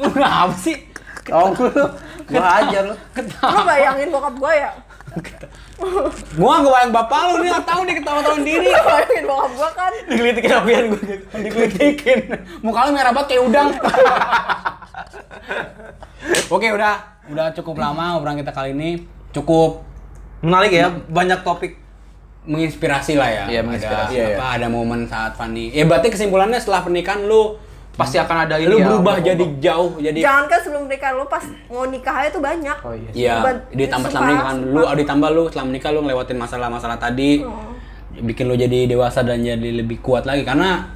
Speaker 3: Lu kenapa sih?
Speaker 2: Oh, lu wajar lu.
Speaker 4: lu bayangin bokap gue ya
Speaker 3: Gua gak bayang bapak lu nih, gak tau nih ketawa-tawain diri.
Speaker 4: lu bayangin bokap gue kan
Speaker 3: Dikelitikin apian gue, dikelitikin. Muka lu merah banget kayak udang. Oke, udah. Udah cukup lama obrolan kita kali ini. Cukup
Speaker 2: Menarik ya, banyak topik.
Speaker 3: menginspirasi lah ya.
Speaker 2: Iya, menginspirasi.
Speaker 3: Ada,
Speaker 1: Iya,
Speaker 3: apa, ada momen saat Fanny. Ya berarti kesimpulannya setelah pernikahan lu
Speaker 2: Pasti akan ada ini
Speaker 3: lu
Speaker 2: ya,
Speaker 3: berubah
Speaker 2: ombak-ombak.
Speaker 3: jadi jauh jadi
Speaker 4: jangan kan sebelum nikah lu pas mau nikah aja tuh banyak
Speaker 2: Oh iya. kan,
Speaker 4: Beban.
Speaker 3: Iya, ditambah setelah Oh.
Speaker 4: Sumpah,
Speaker 3: menikah lu, ah,
Speaker 4: sumpah.
Speaker 3: ditambah lu setelah menikah lu ngelewatin masalah-masalah tadi, bikin lu jadi dewasa dan jadi lebih kuat lagi. Karena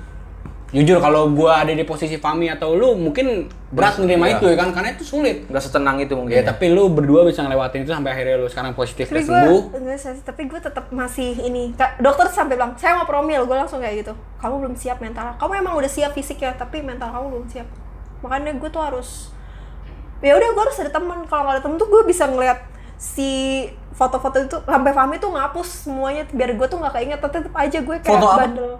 Speaker 3: jujur kalau gua ada di posisi Fami atau lu mungkin berat nerima itu ya kan, karena itu sulit.
Speaker 2: Nggak setenang itu mungkin.
Speaker 3: Ya, tapi lu berdua bisa ngelewatin itu sampai akhirnya lu sekarang positif
Speaker 4: tapi
Speaker 3: dan
Speaker 4: gue
Speaker 3: sembuh.
Speaker 4: enggak sih, tapi gue tetap masih ini Kak, dokter sampai bilang saya mau promil gue langsung kayak gitu kamu belum siap mental kamu emang udah siap fisik ya tapi mental kamu belum siap makanya gue tuh harus ya udah gue harus ada teman kalau nggak ada teman tuh gue bisa ngeliat si foto-foto itu sampai Fahmi tuh ngapus semuanya biar gue tuh nggak keinget tapi tetep aja gue kayak
Speaker 1: Foto apa?
Speaker 4: bandel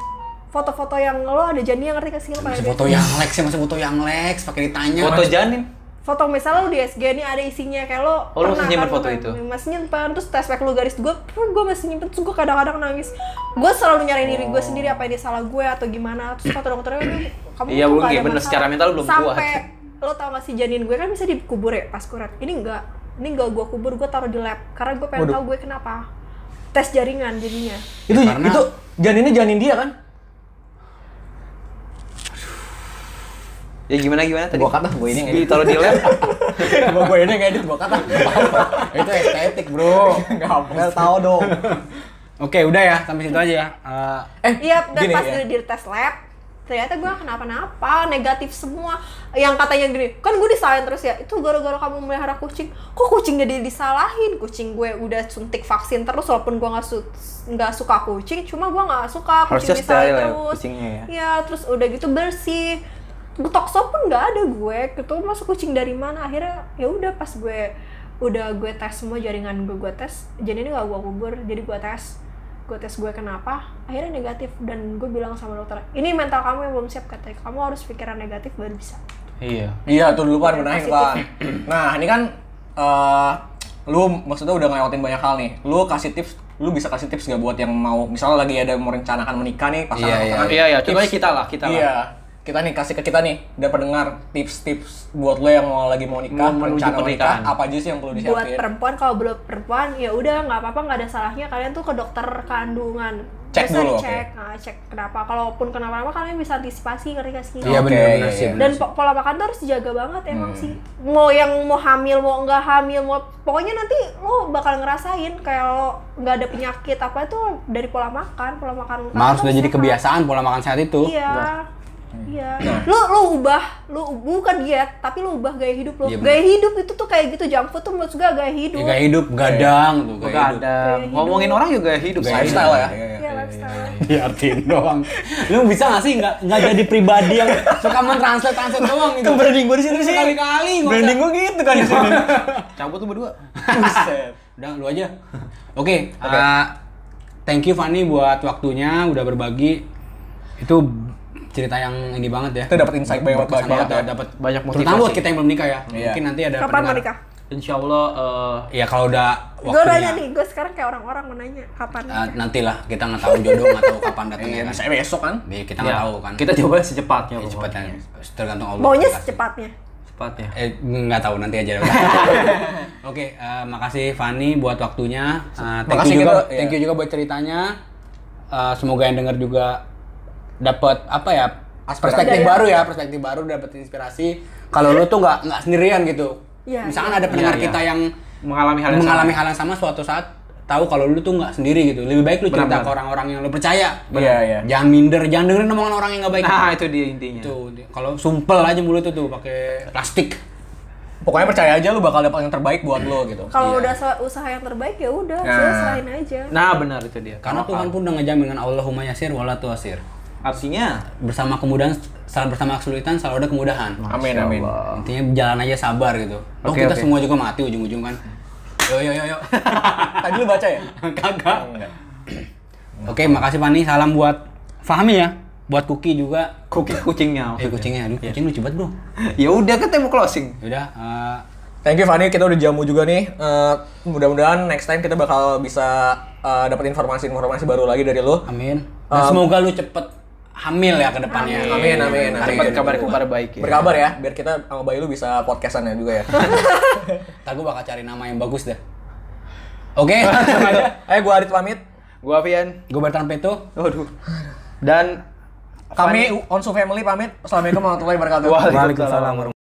Speaker 4: foto-foto yang lo ada janji yang ngerti kasih lo
Speaker 3: Masih
Speaker 4: kayak
Speaker 3: foto
Speaker 4: gitu.
Speaker 3: yang Lex, ya, masih foto yang Lex, pakai ditanya.
Speaker 2: Foto Iya, janin.
Speaker 4: foto misalnya lo di SG ini ada isinya kayak lo
Speaker 2: Oh, lo masih
Speaker 4: pernah
Speaker 2: nyimpen
Speaker 4: kan,
Speaker 2: foto itu?
Speaker 4: masih nyimpen terus tes back lo garis gue gue masih nyimpen terus gue kadang-kadang nangis gue selalu nyariin diri
Speaker 2: Oh.
Speaker 4: gue sendiri apa ini salah gue atau gimana terus kata dokternya "Ini kamu
Speaker 2: Iya,
Speaker 4: tuh
Speaker 2: mungkin
Speaker 4: nggak ada
Speaker 2: bener,
Speaker 4: masalah."
Speaker 2: secara mental lo belum
Speaker 4: sampai
Speaker 2: kuat.
Speaker 4: lo tau gak sih janin gue kan bisa dikubur ya pas kuret ini enggak ini enggak gue kubur gue taruh di lab karena gue pengen tahu gue kenapa tes jaringan jadinya
Speaker 1: itu
Speaker 3: karena-
Speaker 1: itu janinnya janin dia kan
Speaker 2: Ya gimana gimana tadi?
Speaker 1: Gua kata, gua ini ngedit.
Speaker 2: Ditaruh di lab.
Speaker 1: gua gue ini ngedit gua kata
Speaker 3: itu estetik bro
Speaker 1: nggak apa nggak tahu dong
Speaker 3: oke udah ya sampai situ aja ya Eh,
Speaker 1: eh
Speaker 4: iya dan
Speaker 1: gini
Speaker 4: pas
Speaker 1: ya.
Speaker 4: di, di tes lab ternyata gue kenapa-napa negatif semua yang katanya gini kan gue disalahin terus ya itu gara-gara kamu melihara kucing kok kucing jadi disalahin kucing gue udah suntik vaksin terus walaupun gue nggak su- nggak suka kucing cuma gue nggak suka
Speaker 2: Harusnya
Speaker 4: kucing disalahin
Speaker 2: steril ya
Speaker 4: terus
Speaker 2: kucingnya ya.
Speaker 4: Iya, terus udah gitu bersih Tokso pun nggak ada gue gitu masuk kucing dari mana akhirnya ya udah pas gue udah gue tes semua jaringan gue gue tes jadi ini nggak gue kubur jadi gue tes gue tes gue kenapa akhirnya negatif dan gue bilang sama dokter ini mental kamu yang belum siap katanya kamu harus pikiran negatif baru bisa
Speaker 3: iya
Speaker 1: Iya tuh dulu pan benahin
Speaker 4: Positif.
Speaker 1: pan. Nah ini kan eh, lu maksudnya udah ngelewatin banyak hal nih. Lu kasih tips, lu bisa kasih tips gak buat yang mau misalnya lagi ada yang merencanakan menikah nih pasangan
Speaker 3: Iya,
Speaker 1: pasangan.
Speaker 2: Iya ya, contohnya
Speaker 1: Tips-
Speaker 2: kita lah, kita lah.
Speaker 1: Iya kita nih kasih ke kita nih dan pendengar tips-tips buat lo yang mau lagi mau nikah
Speaker 2: Mau menuju
Speaker 1: merencana
Speaker 2: pernikahan.
Speaker 1: menikah apa aja sih yang perlu
Speaker 4: buat
Speaker 2: ya.
Speaker 1: disiapin?
Speaker 4: perempuan kalau belum perempuan ya udah nggak apa-apa nggak ada salahnya kalian tuh ke dokter kandungan
Speaker 1: Cek
Speaker 4: Biasa
Speaker 1: dulu,
Speaker 4: dicek nah, cek kenapa kalaupun kenapa-napa kalian bisa antisipasi ngerti nggak sih
Speaker 3: iya
Speaker 1: Oke,
Speaker 3: benar-benar
Speaker 1: iya.
Speaker 3: sih benar
Speaker 4: dan
Speaker 3: sih.
Speaker 4: po- pola makan tuh harus dijaga banget emang
Speaker 3: Hmm.
Speaker 4: sih mau yang mau hamil mau nggak hamil mau pokoknya nanti lo bakal ngerasain kayak lo nggak ada penyakit apa itu dari pola makan pola makan lo
Speaker 3: Malah harus
Speaker 4: kan
Speaker 3: udah jadi
Speaker 4: sehat.
Speaker 3: kebiasaan pola makan sehat itu
Speaker 4: iya iya lo lo ubah lo bukan diet tapi lo ubah gaya hidup lo
Speaker 3: Iya, bener.
Speaker 4: gaya hidup itu tuh kayak gitu junk food tuh menurut gue gaya hidup
Speaker 3: ya gaya hidup gadang tuh
Speaker 2: Gak
Speaker 3: gaya hidup
Speaker 2: ada.
Speaker 4: hidup.
Speaker 2: Ngomongin orang juga hidup.
Speaker 3: Gaya
Speaker 2: Saya
Speaker 3: hidup.
Speaker 1: Lifestyle ya. Iya, iya.
Speaker 4: Iya, lifestyle.
Speaker 3: diartiin doang lu bisa gak sih nggak nggak jadi pribadi yang suka mentranslate translate doang gitu
Speaker 1: Kan branding gue di sini sih.
Speaker 3: Sekali-kali, gua
Speaker 1: Branding gue gitu kan di sini.
Speaker 2: Cabut tuh berdua.
Speaker 1: Buset.
Speaker 3: udah lu aja oke ah, thank you Fanny buat waktunya udah berbagi itu cerita yang ini banget ya
Speaker 1: Kita dapat insight banyak
Speaker 3: Berkesan
Speaker 1: banget
Speaker 2: Iya.
Speaker 1: ya.
Speaker 3: dapat
Speaker 2: Banyak
Speaker 3: terutama
Speaker 2: motivasi.
Speaker 3: buat kita yang belum nikah ya
Speaker 1: Iya.
Speaker 3: mungkin nanti ada
Speaker 4: kapan mau
Speaker 3: pendengar-
Speaker 4: nikah
Speaker 2: Insya Allah eh,
Speaker 3: ya kalau udah
Speaker 4: gue nanya
Speaker 3: waktunya
Speaker 4: nih gue sekarang kayak orang-orang mau nanya kapan
Speaker 3: Ah, nantilah kita nggak tahu jodoh nggak tahu kapan datangnya
Speaker 1: Iya,
Speaker 3: kan
Speaker 1: bisa besok kan?
Speaker 3: Iya, kita nggak
Speaker 2: ya,
Speaker 3: tahu kan
Speaker 2: Kita coba secepatnya.
Speaker 3: Ya,
Speaker 2: pokoknya.
Speaker 3: cepatnya tergantung Allah
Speaker 4: maunya
Speaker 3: Tergantung.
Speaker 4: secepatnya
Speaker 2: Cepatnya.
Speaker 3: Eh, nggak tahu nanti aja. Oke, eh, makasih Fani buat waktunya. Eh, thank
Speaker 1: Makasih
Speaker 3: you juga,
Speaker 1: kita, ya.
Speaker 3: thank you juga buat ceritanya. Eh, semoga yang denger juga dapat apa ya?
Speaker 1: Aspirasi.
Speaker 3: Perspektif
Speaker 4: Iya.
Speaker 3: baru ya, perspektif baru dapat inspirasi. Kalau lu tuh nggak nggak sendirian gitu.
Speaker 4: Iya,
Speaker 3: Misalkan ada pendengar
Speaker 2: Iya, iya.
Speaker 3: kita yang
Speaker 2: Mengalami hal yang
Speaker 3: mengalami
Speaker 2: sama.
Speaker 3: hal yang sama suatu saat tahu kalau lu tuh nggak sendiri gitu. Lebih baik lu cerita
Speaker 2: Benar-benar.
Speaker 3: ke orang-orang yang lu percaya.
Speaker 1: Iya, iya.
Speaker 3: Jangan minder, jangan dengerin omongan orang yang nggak baik.
Speaker 2: Nah, itu dia intinya.
Speaker 3: Tuh, kalau sumpel aja mulut tuh tuh pakai plastik.
Speaker 1: Pokoknya percaya aja lu bakal dapat yang terbaik buat lo gitu.
Speaker 3: Iya.
Speaker 4: kalau udah udah usaha yang terbaik ya udah
Speaker 1: Nah.
Speaker 4: selesain aja
Speaker 2: Nah, benar itu dia.
Speaker 3: Karena Tuhan pun udah ngejamin dengan Allahumma yasir wala tuasir.
Speaker 2: artinya
Speaker 3: Bersama kemudahan, salah bersama kesulitan, selalu ada kemudahan.
Speaker 1: Amin amin.
Speaker 3: Intinya jalan aja sabar gitu. Oh
Speaker 2: Oke,
Speaker 3: kita
Speaker 2: oke.
Speaker 3: semua juga mati ujung-ujung kan. Yo yo yo yo.
Speaker 1: Tadi lu baca ya?
Speaker 3: Kagak. Oke, makasih Pani. Salam buat Fahmi ya. Buat Kuki juga.
Speaker 2: kucing kucingnya.
Speaker 3: Eh kucingnya,
Speaker 2: Iya.
Speaker 3: aduh kucing lucu banget bro.
Speaker 2: ya udah kan kita mau closing.
Speaker 3: Yaudah, eh,
Speaker 1: Thank you Fani, kita udah jamu juga nih. Eh, mudah-mudahan next time kita bakal bisa eh, dapat informasi-informasi baru lagi dari lu.
Speaker 3: amin. Dan Nah, semoga lu cepet hamil ya ke depannya.
Speaker 1: Amin, amin, amin.
Speaker 2: Cepat kabar-kabar baik ya.
Speaker 1: Berkabar ya, biar kita sama Bayu lu bisa podcastannya juga ya.
Speaker 3: Ntar gua bakal cari nama yang bagus deh. Oke,
Speaker 1: Ayo Eh, gua Adit pamit.
Speaker 2: Gua Avian.
Speaker 3: gue Bertan Peto.
Speaker 2: Waduh. Dan
Speaker 1: Kami Onsu Family pamit. Assalamualaikum warahmatullahi wabarakatuh.
Speaker 2: Waalaikumsalam.